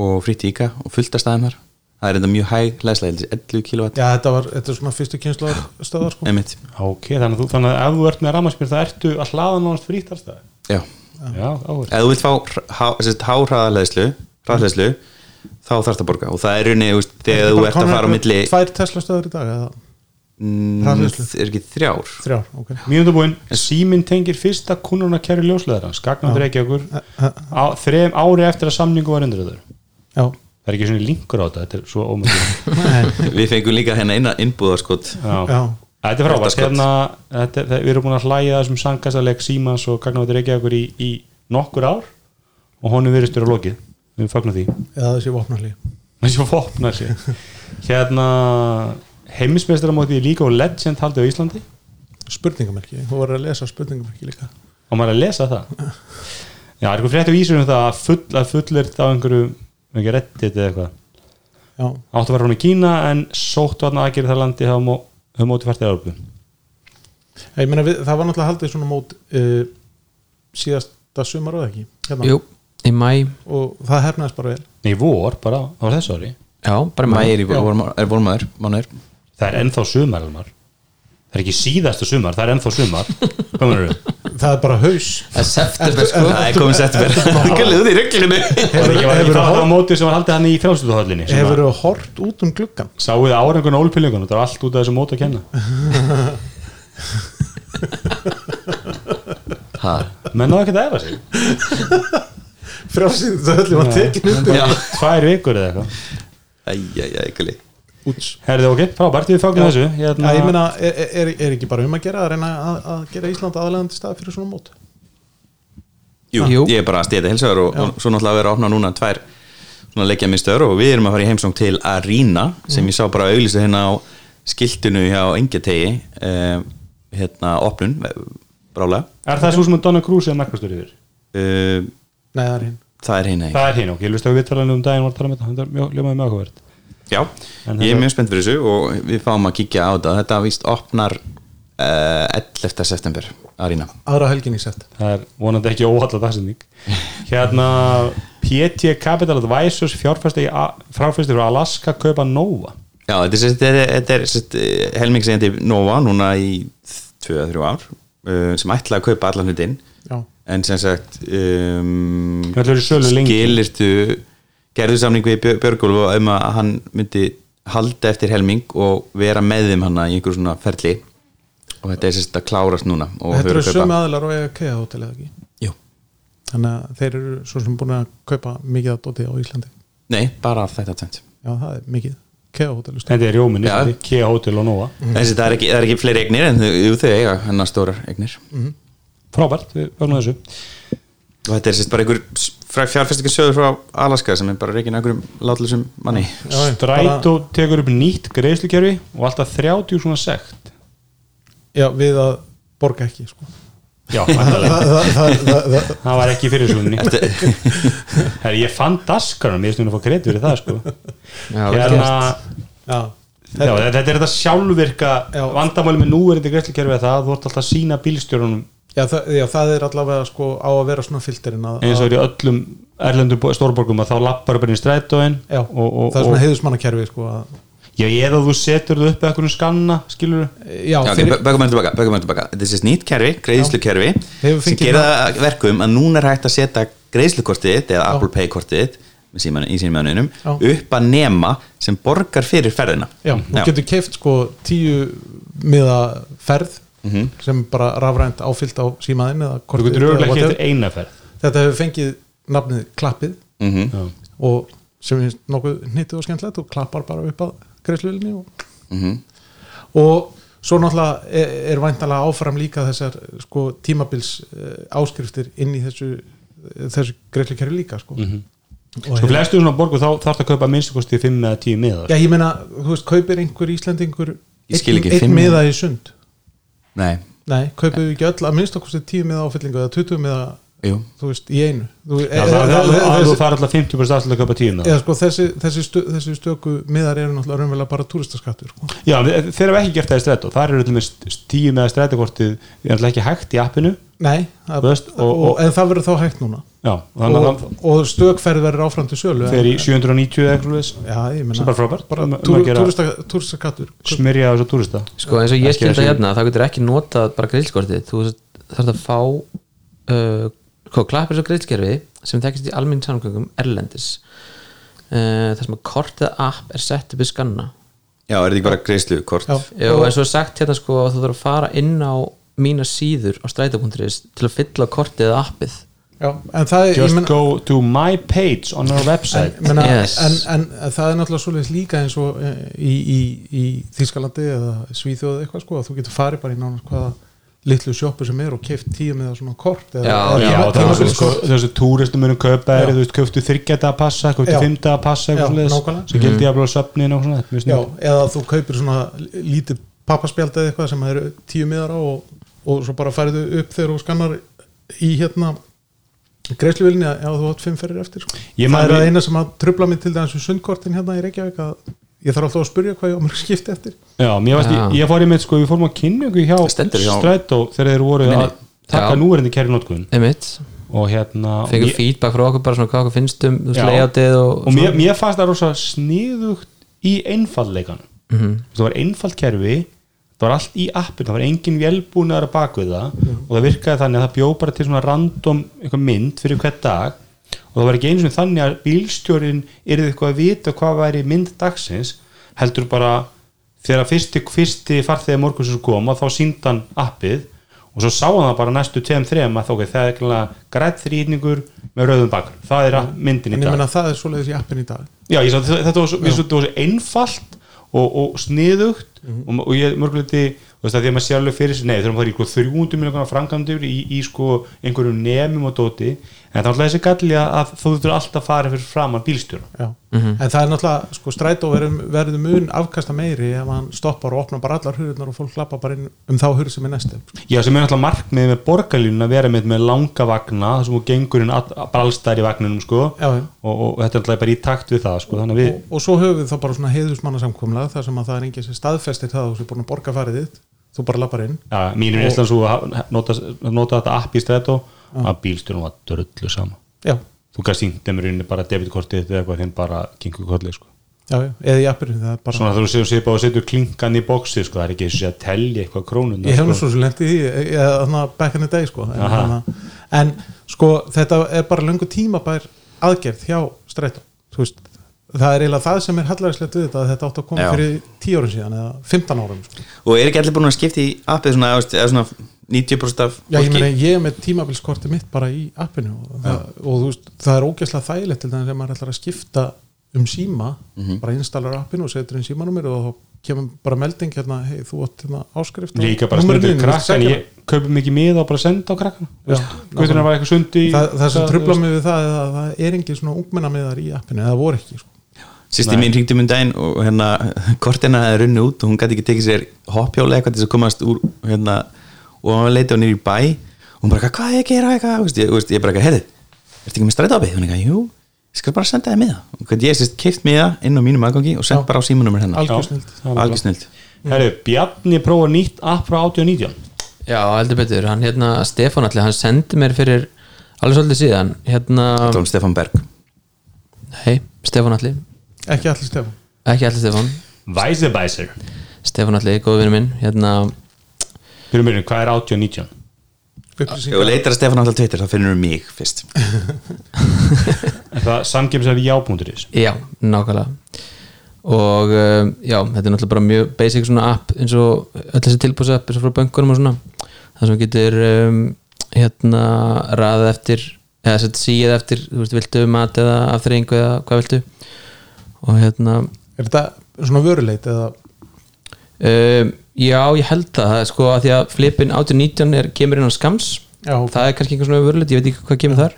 [SPEAKER 3] og frítt í íka og fullt af stæðin þar það er enda mjög hæg hlæðslega 11 kW
[SPEAKER 5] Já, þetta var, þetta er svona fyrstu kynslu stöðar sko
[SPEAKER 3] emitt
[SPEAKER 2] Ok, þannig að, þú, þannig að ef þú ert með rammarspil það ertu að hlaða nánast frítt að stæði
[SPEAKER 3] já
[SPEAKER 2] Já, áhverð
[SPEAKER 3] ef þú vilt fá háhraðarleðslu hraðleðslu þá þarf það að borga og það er runni veist, þegar þú ert að fara á milli
[SPEAKER 5] Tvær Tesla stöðar í dag eða
[SPEAKER 3] mm,
[SPEAKER 5] hraðhleðslu.
[SPEAKER 3] er ekki þrjár
[SPEAKER 5] þrjár, ok
[SPEAKER 2] Mínundabúinn, síminn tengir fyrsta kunnuna kæri ljósleðarans, gagnandur ekki okkur þrem ári eftir að samningu var undir
[SPEAKER 5] Já,
[SPEAKER 2] Það er ekki svona linkur á þetta, þetta er svo ómögulegt
[SPEAKER 3] við fengum líka hérna eina innbúðarskot
[SPEAKER 2] Já.
[SPEAKER 5] Já.
[SPEAKER 2] Þetta er frábært
[SPEAKER 3] Hjartaskot.
[SPEAKER 2] hérna, þetta, það, Við erum búin að hlæja að þessum sangastaleg Símans og Gagnavættir Reykjavíkur í, í nokkur ár og honum virðist vera lokið við fagnum því
[SPEAKER 5] eða þessi vopnarlí
[SPEAKER 2] þessi vopnar sér hérna heimismestaramótið er líka og legend haldið á Íslandi
[SPEAKER 5] Spurningamerki, þú voru að lesa spurningamerki líka
[SPEAKER 2] og maður er að lesa það Já, er eitthvað frétt á Ísur um það að full, að full er það einhverju einhverju reddit eða eitthvað
[SPEAKER 5] Já,
[SPEAKER 2] áttu að vera hún í Kína en sóttu hann að gera það landi hafa mó- hafa mótið fært í Európu
[SPEAKER 5] ég meina við, það var náttúrulega haldið svona mót uh, síðasta sumar og ekki hérna.
[SPEAKER 4] Jú, í mæ
[SPEAKER 5] og það hernaðist bara vel
[SPEAKER 2] Nei, í vor bara, það var þessu ári
[SPEAKER 4] já, bara í mæ
[SPEAKER 3] mæri er vormaður mánuður
[SPEAKER 2] Það er ennþá sumar, Elmar Það er ekki síðasta sumar, það er ennþá sumar Hvað mennur þú?
[SPEAKER 5] Það er bara haus
[SPEAKER 4] Það er september sko
[SPEAKER 3] það er komin sett verið það er í reglunum
[SPEAKER 2] Það er ekki var ekki
[SPEAKER 5] Hefurðu
[SPEAKER 2] það
[SPEAKER 5] horft-
[SPEAKER 2] mótið sem var haldið hann í frjálslutuhöllinni
[SPEAKER 5] Hefur þú hort út um gluggan?
[SPEAKER 2] Sáu þið árangun og ólpillingun Það er allt út af þessu móti að kenna Menn náðu ekki að efa sig
[SPEAKER 5] Frjálsýðu það öllum að tekin upp
[SPEAKER 3] já
[SPEAKER 2] Tvær vikur eða eitthvað
[SPEAKER 3] æjæjæj ekki
[SPEAKER 5] Úts
[SPEAKER 2] Herðið ok, frábært, við fákum þessu
[SPEAKER 5] Já,
[SPEAKER 2] hérna,
[SPEAKER 5] ég meina, er, er, er ekki bara um að gera að reyna að, að gera Ísland aðalegandi stað fyrir svona mót?
[SPEAKER 3] Jú,
[SPEAKER 4] Jú.
[SPEAKER 3] ég er bara að stéta hilsaður og, og svo náttúrulega að vera að opna núna tvær svona leikja minnstöður og við erum að fara í heimsóng til Arena sem ég sá bara að auglýsa hérna á skiltinu hjá Engjategi eh, hérna opnun eh, brálega
[SPEAKER 2] Er það svo sem að Donna Cruz er markastur yfir?
[SPEAKER 3] eh,
[SPEAKER 5] Nei, það er hinn
[SPEAKER 3] það er hérna ekki
[SPEAKER 2] Það er hinn ok, ég lust að við talanum um daginn var að tala með það Það er mjög- ljómaði mjög áhugavert
[SPEAKER 3] Já,
[SPEAKER 2] En
[SPEAKER 3] ég er
[SPEAKER 2] þetta-
[SPEAKER 3] mjög spennt fyrir þessu og við fáum að kíkja á þetta þetta víst opnar eh, 11. september Arena
[SPEAKER 5] Aðra helgin í sett
[SPEAKER 2] það er vonandi ekki óhalla dagsetning hérna PT Capital Advisors fjárfæsti fráfæsti frá Alaska kaupa Nova
[SPEAKER 3] Já, þetta er, þetta er, þetta er, þetta er helmingsegjandi Nova núna í 2-3 ár eh, sem ætla að kaupa allan hlut inn
[SPEAKER 5] Já,
[SPEAKER 3] en sem sagt um,
[SPEAKER 2] Þetta verður í sölu lengi.
[SPEAKER 3] skilirtu gerðu samning við Björ- Björgólf um að hann myndi halda eftir helming og vera með þeim hana í einhver svona ferli og þetta er sérst að klárast núna og
[SPEAKER 5] Þetta eru
[SPEAKER 3] þau
[SPEAKER 5] sömu aðilar og IKEA hótel eða ekki
[SPEAKER 3] Jú.
[SPEAKER 5] Þannig að þeir eru svo sem búin að kaupa mikið að dóti á Íslandi
[SPEAKER 3] Nei, bara af þetta tæmt
[SPEAKER 5] Já, það er mikið IKEA hótel sko. er stórt.
[SPEAKER 2] Þetta er Jómin
[SPEAKER 3] Já.
[SPEAKER 2] Íslandi, Kea Hotel og Nova
[SPEAKER 5] Mhm.
[SPEAKER 3] Þessi, það, er ekki, það er ekki fleiri eignir en þau, jú, þau eiga hennar stórar eignir
[SPEAKER 5] Mhm.
[SPEAKER 2] Frábært, við varum að þessu
[SPEAKER 3] og þetta er sérst bara einhver fjárfestingar sögur frá Alaska sem er bara reikin einhverjum látlusum manni
[SPEAKER 5] Já, já,
[SPEAKER 2] Strætó tekur upp nýtt greiðslukerfi og alltaf 30 svona sekt
[SPEAKER 5] Já, við að borga ekki sko.
[SPEAKER 2] Já, væntanlega.
[SPEAKER 5] það, það, það, það, það,
[SPEAKER 2] það var ekki fyrir svona Herri, ég fann daskarunum, ég snurði að fá kredit fyrir það sko
[SPEAKER 4] Já, vel
[SPEAKER 2] Hérna,
[SPEAKER 4] gert.
[SPEAKER 5] Já,
[SPEAKER 2] já, þetta er þetta sjálfvirka
[SPEAKER 5] Já.
[SPEAKER 2] vandamáli með núverindi greiðslukerfi að það, þú ert alltaf að sína bílstjórunum
[SPEAKER 5] já, það, já, það er allavega sko, á að vera svona filterinn að,
[SPEAKER 2] eins og
[SPEAKER 5] að,
[SPEAKER 2] er í öllum erlendum bo- stórborgum að þá lappar upp inn í strætóin
[SPEAKER 5] já,
[SPEAKER 2] og, og,
[SPEAKER 5] það er svona
[SPEAKER 2] og
[SPEAKER 5] heiðismannakerfi sko, að,
[SPEAKER 2] já, eða þú setur þau upp eitthvað skanna, skilur
[SPEAKER 5] Já,
[SPEAKER 3] Já, ok,
[SPEAKER 5] þeir,
[SPEAKER 3] bökum við tilbaka, bökum við tilbaka Þetta er sérst nýtt kerfi, greiðslukerfi
[SPEAKER 5] Hefur
[SPEAKER 3] sem
[SPEAKER 5] fengið
[SPEAKER 3] gera það að verkum að núna er hægt að setja greiðslukortið þitt eða Apple Pay kortið þitt með síman, í sínumjönunum
[SPEAKER 5] Já.
[SPEAKER 3] upp að nema sem borgar fyrir ferðina
[SPEAKER 5] já, þú getur keift sko tíu miða ferð sem bara rafrænt áfyllt á símaðin eða
[SPEAKER 2] þú
[SPEAKER 5] kortið
[SPEAKER 2] getur
[SPEAKER 5] eða
[SPEAKER 2] örgulega ekki
[SPEAKER 5] whatever.
[SPEAKER 2] eftir eina ferð
[SPEAKER 5] þetta hefur fengið nafnið klappið
[SPEAKER 3] mm -hmm.
[SPEAKER 2] já.
[SPEAKER 5] og sem finnst nokkuð nýttið og skemmtilegt og klappar bara upp að greiðsluðinni og,
[SPEAKER 3] Mhm.
[SPEAKER 5] og svo náttúrulega er, er væntalega áfram líka þessar sko, tímabils uh, áskriftir inn í þessu, eh, þessu greiðslukerfi líka sko. og hérna-
[SPEAKER 2] sko flestu svona borgu þá þarf það að kaupa minnstakosti 5 eða 10 miðar
[SPEAKER 5] já, ég meina, þú veist, kaupir einhver Íslendingur
[SPEAKER 3] Ég skil ekki,
[SPEAKER 5] einn
[SPEAKER 3] fimm-
[SPEAKER 5] miða í sund
[SPEAKER 3] Nei,
[SPEAKER 5] nei, kaupir við ekki öll að minnst okkur tíu miða áfyllingu eða 20 miða
[SPEAKER 3] jú
[SPEAKER 5] þú veist, í einu þú, e-
[SPEAKER 2] Já, það, það, það, það, þú fara alltaf 50% afslut að kaupa 10 miðar
[SPEAKER 5] eða sko þessi, þessi, stu, þessi stöku miðar eru náttúrulega raunverulega bara túristaskattur sko.
[SPEAKER 2] Já, við- þeir hafa ekki gert það í strætó þar eru til dæmis 10 miðar strætókortið er alltaf ekki hægt í appinu
[SPEAKER 5] nei, það,
[SPEAKER 2] Þú veist, og-
[SPEAKER 5] og,
[SPEAKER 2] og-
[SPEAKER 5] en það verður þá hægt núna
[SPEAKER 2] já, og þannig að
[SPEAKER 5] og, og stökferð verður áfram til sölu
[SPEAKER 2] það
[SPEAKER 5] en-
[SPEAKER 2] fer í 790 eða eitthvað svoleiðis.
[SPEAKER 5] já, ég
[SPEAKER 2] sem
[SPEAKER 5] meina,
[SPEAKER 2] bara frábært
[SPEAKER 5] bara
[SPEAKER 2] um- um
[SPEAKER 5] túr,
[SPEAKER 2] að gera-
[SPEAKER 5] túrista- túristaskattur
[SPEAKER 2] smyrja þessu túrista
[SPEAKER 4] sko eins og ég
[SPEAKER 2] Ekki
[SPEAKER 4] skil
[SPEAKER 2] þessu-
[SPEAKER 4] það hérna þá getur ekki notað bara grillskortið þú þarf að fá uh, hvað, klappir svo grillskerfi sem tekist í almenn samgöngum erlendis uh, þar sem að kort eða app er sett upp í skanna
[SPEAKER 3] Já, er þetta ekki bara greiðslukort?
[SPEAKER 5] Já.
[SPEAKER 4] og eins og er sagt hérna sko að þú þarf að fara inn á mína síður á stræta.is til að fylla kortið eða appið
[SPEAKER 5] já, en það er, ég
[SPEAKER 2] just
[SPEAKER 5] meina,
[SPEAKER 2] go to my page on our website
[SPEAKER 5] en, meina,
[SPEAKER 4] Yes.
[SPEAKER 5] en, en það er náttúrulega svoleiðis líka eins og eh, í, í, í Þískalandi eða Svíþjóð eða eitthvað sko að þú getur farið bara í nánast hvaða litlu sjoppu sem er og keift tíu með svona kort eða,
[SPEAKER 4] Já,
[SPEAKER 5] eða
[SPEAKER 2] Já,
[SPEAKER 5] tíma-
[SPEAKER 2] það var svona
[SPEAKER 5] tímabils
[SPEAKER 2] sko,
[SPEAKER 5] kort.
[SPEAKER 2] þessu túristum munum kaupa er,
[SPEAKER 5] Já.
[SPEAKER 2] þú veist, kauftu þryggjata að passa kauftu
[SPEAKER 5] Já.
[SPEAKER 2] fymta að passa,
[SPEAKER 5] Já,
[SPEAKER 2] eitthvað svoleiðis
[SPEAKER 5] nákvæmlega.
[SPEAKER 2] svo
[SPEAKER 4] Mhm.
[SPEAKER 2] gildi jafnvel á söfnin og svona þetta er mjög
[SPEAKER 5] Já,
[SPEAKER 2] sniðugt.
[SPEAKER 5] eða þú kaupir svona lítið pappaspjald eða eitthvað sem eru tíu miðar á og, og svo bara færðu upp þegar þú skannar í hérna greiðsluvilni að já, þú átt fimm ferðir eftir sko.
[SPEAKER 2] Ég
[SPEAKER 5] það
[SPEAKER 2] man
[SPEAKER 5] er að
[SPEAKER 2] við-
[SPEAKER 5] eina sem að trubla mig til dæmis um sundkortin hérna í Reykjavík að ég þarf alltaf að spyrja hvað ég á mörg skipti eftir
[SPEAKER 2] Já, mér varst,
[SPEAKER 4] Já.
[SPEAKER 2] ég, ég fór í mitt sko, við fórum á kynningu hjá
[SPEAKER 3] Stendur hjá-
[SPEAKER 2] Strætó þegar þeir voru
[SPEAKER 3] Nei, nei.
[SPEAKER 2] að taka
[SPEAKER 4] Já.
[SPEAKER 2] núverindi kæri notkun
[SPEAKER 4] einmitt,
[SPEAKER 2] og hérna og,
[SPEAKER 4] fengið
[SPEAKER 2] ég,
[SPEAKER 4] feedback frá okkur bara svona hvað okkur finnst um þú veist,
[SPEAKER 2] Já.
[SPEAKER 4] layoutið og,
[SPEAKER 2] og mér, mér fannst það rosa sniðugt í einfaldleikan það var einfald kerfi það var allt í appinu, það var engin velbúnaðar að bak við það
[SPEAKER 5] Mhm.
[SPEAKER 2] og það virkaði þannig að það bjó bara til svona random einhver mynd fyrir hver dag og það var ekki eins og þannig að bílstjórin yrði eitthvað að vita hvað væri mynd dagsins heldur bara þegar fyrsti, fyrsti farþegi morgunsins kom og þá síndi hann appið og svo sá hann það bara næstu tveim þreim að þá ok, það er ekki grætt þrýningur með rauðum bakgrunn, það er app- myndin í
[SPEAKER 5] en
[SPEAKER 2] dag
[SPEAKER 5] ég meina það er svoleiðis í appin í dag
[SPEAKER 2] Já, ég sá, þetta þetta var svo, mér svo, þetta var svo einfalt og, og sniðugt
[SPEAKER 5] Mhm.
[SPEAKER 2] og, og ég mörguleiti, þú veist að því að maður sér alveg fyrir sér, nei, þurfum að fara í sko, eitthvað 300 miljonar framkvæmdur í, í sko einhverjum nefnum og dóti, en það er alltaf þessi galli að, að þú þurftur alltaf að fara fyrir framan bílstjóra. Mhm.
[SPEAKER 5] en það er náttúrulega sko, strætó verður- verður mun afkasta meiri ef hann stoppar og opnar bara allar hurðunar og fólk lappa bara inn um þá hurð sem er næstu
[SPEAKER 2] Já, sem er alltaf markmið með borgarlínuna að vera með, með langa vagna, þar sem þú gengur inn all- bara alls allstæðar í vagninum, sko
[SPEAKER 5] Já, já.
[SPEAKER 2] Og, og þetta er alltaf bara í takt við það, sko, þannig að við
[SPEAKER 5] og, og svo höfum við þá bara svona heiðusmannasamkomlega þar sem að það er enginn sem staðfestir það og þú er búin að borga farið þitt, þú bara lappar inn
[SPEAKER 2] Já, mínum er Íslands og nota, nota þetta app í strætó að bílstjórum var drullu sama
[SPEAKER 5] já,
[SPEAKER 2] þú gæst sýnt þeim í rauninni bara debitkortið þitt eða eitthvað þeim bara kingu kolli sko.
[SPEAKER 5] já, já, eða í appirinn það er bara,
[SPEAKER 2] svona þegar þú séu bara og setur klinkan í boxið sko, það er ekki eins og sé að telja eitthvað krónun
[SPEAKER 5] ég hef nú
[SPEAKER 2] sko.
[SPEAKER 5] svo sem lent í því eða þannig að back in the day sko en,
[SPEAKER 2] Aha.
[SPEAKER 5] þannig, að- en sko þetta er bara löngu tímabær aðgerð hjá strætó, þú veist það er eiginlega það sem er hallaræslegt við þetta að þetta átt að koma
[SPEAKER 3] Já.
[SPEAKER 5] fyrir 10 árum síðan eða 15 árum sko.
[SPEAKER 3] og er ekki allir búin að skipta í appið svona, eða, eða svona 90% af
[SPEAKER 5] Já, ég
[SPEAKER 3] fólki?
[SPEAKER 5] meina, ég er með tímabilskorti mitt bara í appinu og, það, og þú veist, það er ógeðslega þægilegt til þannig að maður ætlar að skipta um síma bara installar appinu og setur inn símanúmer og þá kemur bara melding hérna, hei, þú átt hérna áskrift á
[SPEAKER 2] líka bara
[SPEAKER 5] númerinu
[SPEAKER 2] stundir
[SPEAKER 5] þínu,
[SPEAKER 2] krakkan
[SPEAKER 5] sækja það."
[SPEAKER 2] ég kaupi mikið miða og bara senda á krakkan
[SPEAKER 5] Já,
[SPEAKER 2] hvernig það var eitthvað sundi
[SPEAKER 5] það, það sem trubla mig við það er að það er engin svona ungmennamiðar í appinu, eða voru ekki sko.
[SPEAKER 3] Sýsti mín ringdi um daginn og hérna kortina hefði runni út og hún gæti ekki tekið sér hoppjóla eitthvað til þess að komast úr hérna, og hann leiti á nýri bæ og hún bara, eitthvað, hvað er ég að gera eitthvað Vist, ég, veist, ég bara, eitthvað, heyrðu, ertu ekki með strætópi hún eitthvað, jú, ég skal bara senda þér miða og hvað ég sérst keift miða inn á mínum aðgangi og sent bara á símanumur hennar
[SPEAKER 5] Algjör snilld.
[SPEAKER 3] algjör snilt
[SPEAKER 2] Herru, Bjarni prófa nýtt app frá 80 og 90
[SPEAKER 4] Já, heldur betur, hann hérna Stefán allir, hann sendi mér fyrir alveg svolítið síðan, hérna
[SPEAKER 3] Tón Stefán Berg
[SPEAKER 4] hei, Stefán allir,
[SPEAKER 5] ekki allir stefum
[SPEAKER 4] ekki allir Stefán
[SPEAKER 2] Væsebæsir
[SPEAKER 4] Stefán allir, góðu vinnu minn hérna,
[SPEAKER 2] Fyrir mér, hvað er 80 og 90?
[SPEAKER 3] og leitar að Stefán alltaf Twitter, þá finnur við mig fyrst
[SPEAKER 2] Er það samgefis af já.is?
[SPEAKER 4] já, nákvæmlega og um, já, þetta er náttúrulega bara mjög basic svona app eins og öll þessi tilbúsa app eins og frá bönkunum og svona það sem getur um, hérna raðið eftir eða sett síð eftir, þú veist, viltu mat eða afþreyingu eða hvað viltu og hérna
[SPEAKER 5] er þetta svona vöruleit eða
[SPEAKER 4] um, já, ég held það, það er sko að því að flipin 18-19 er, kemur inn á skams
[SPEAKER 5] Já, ok.
[SPEAKER 4] það er kannski einhver svona vörulegt, ég veit ekki hvað kemur þar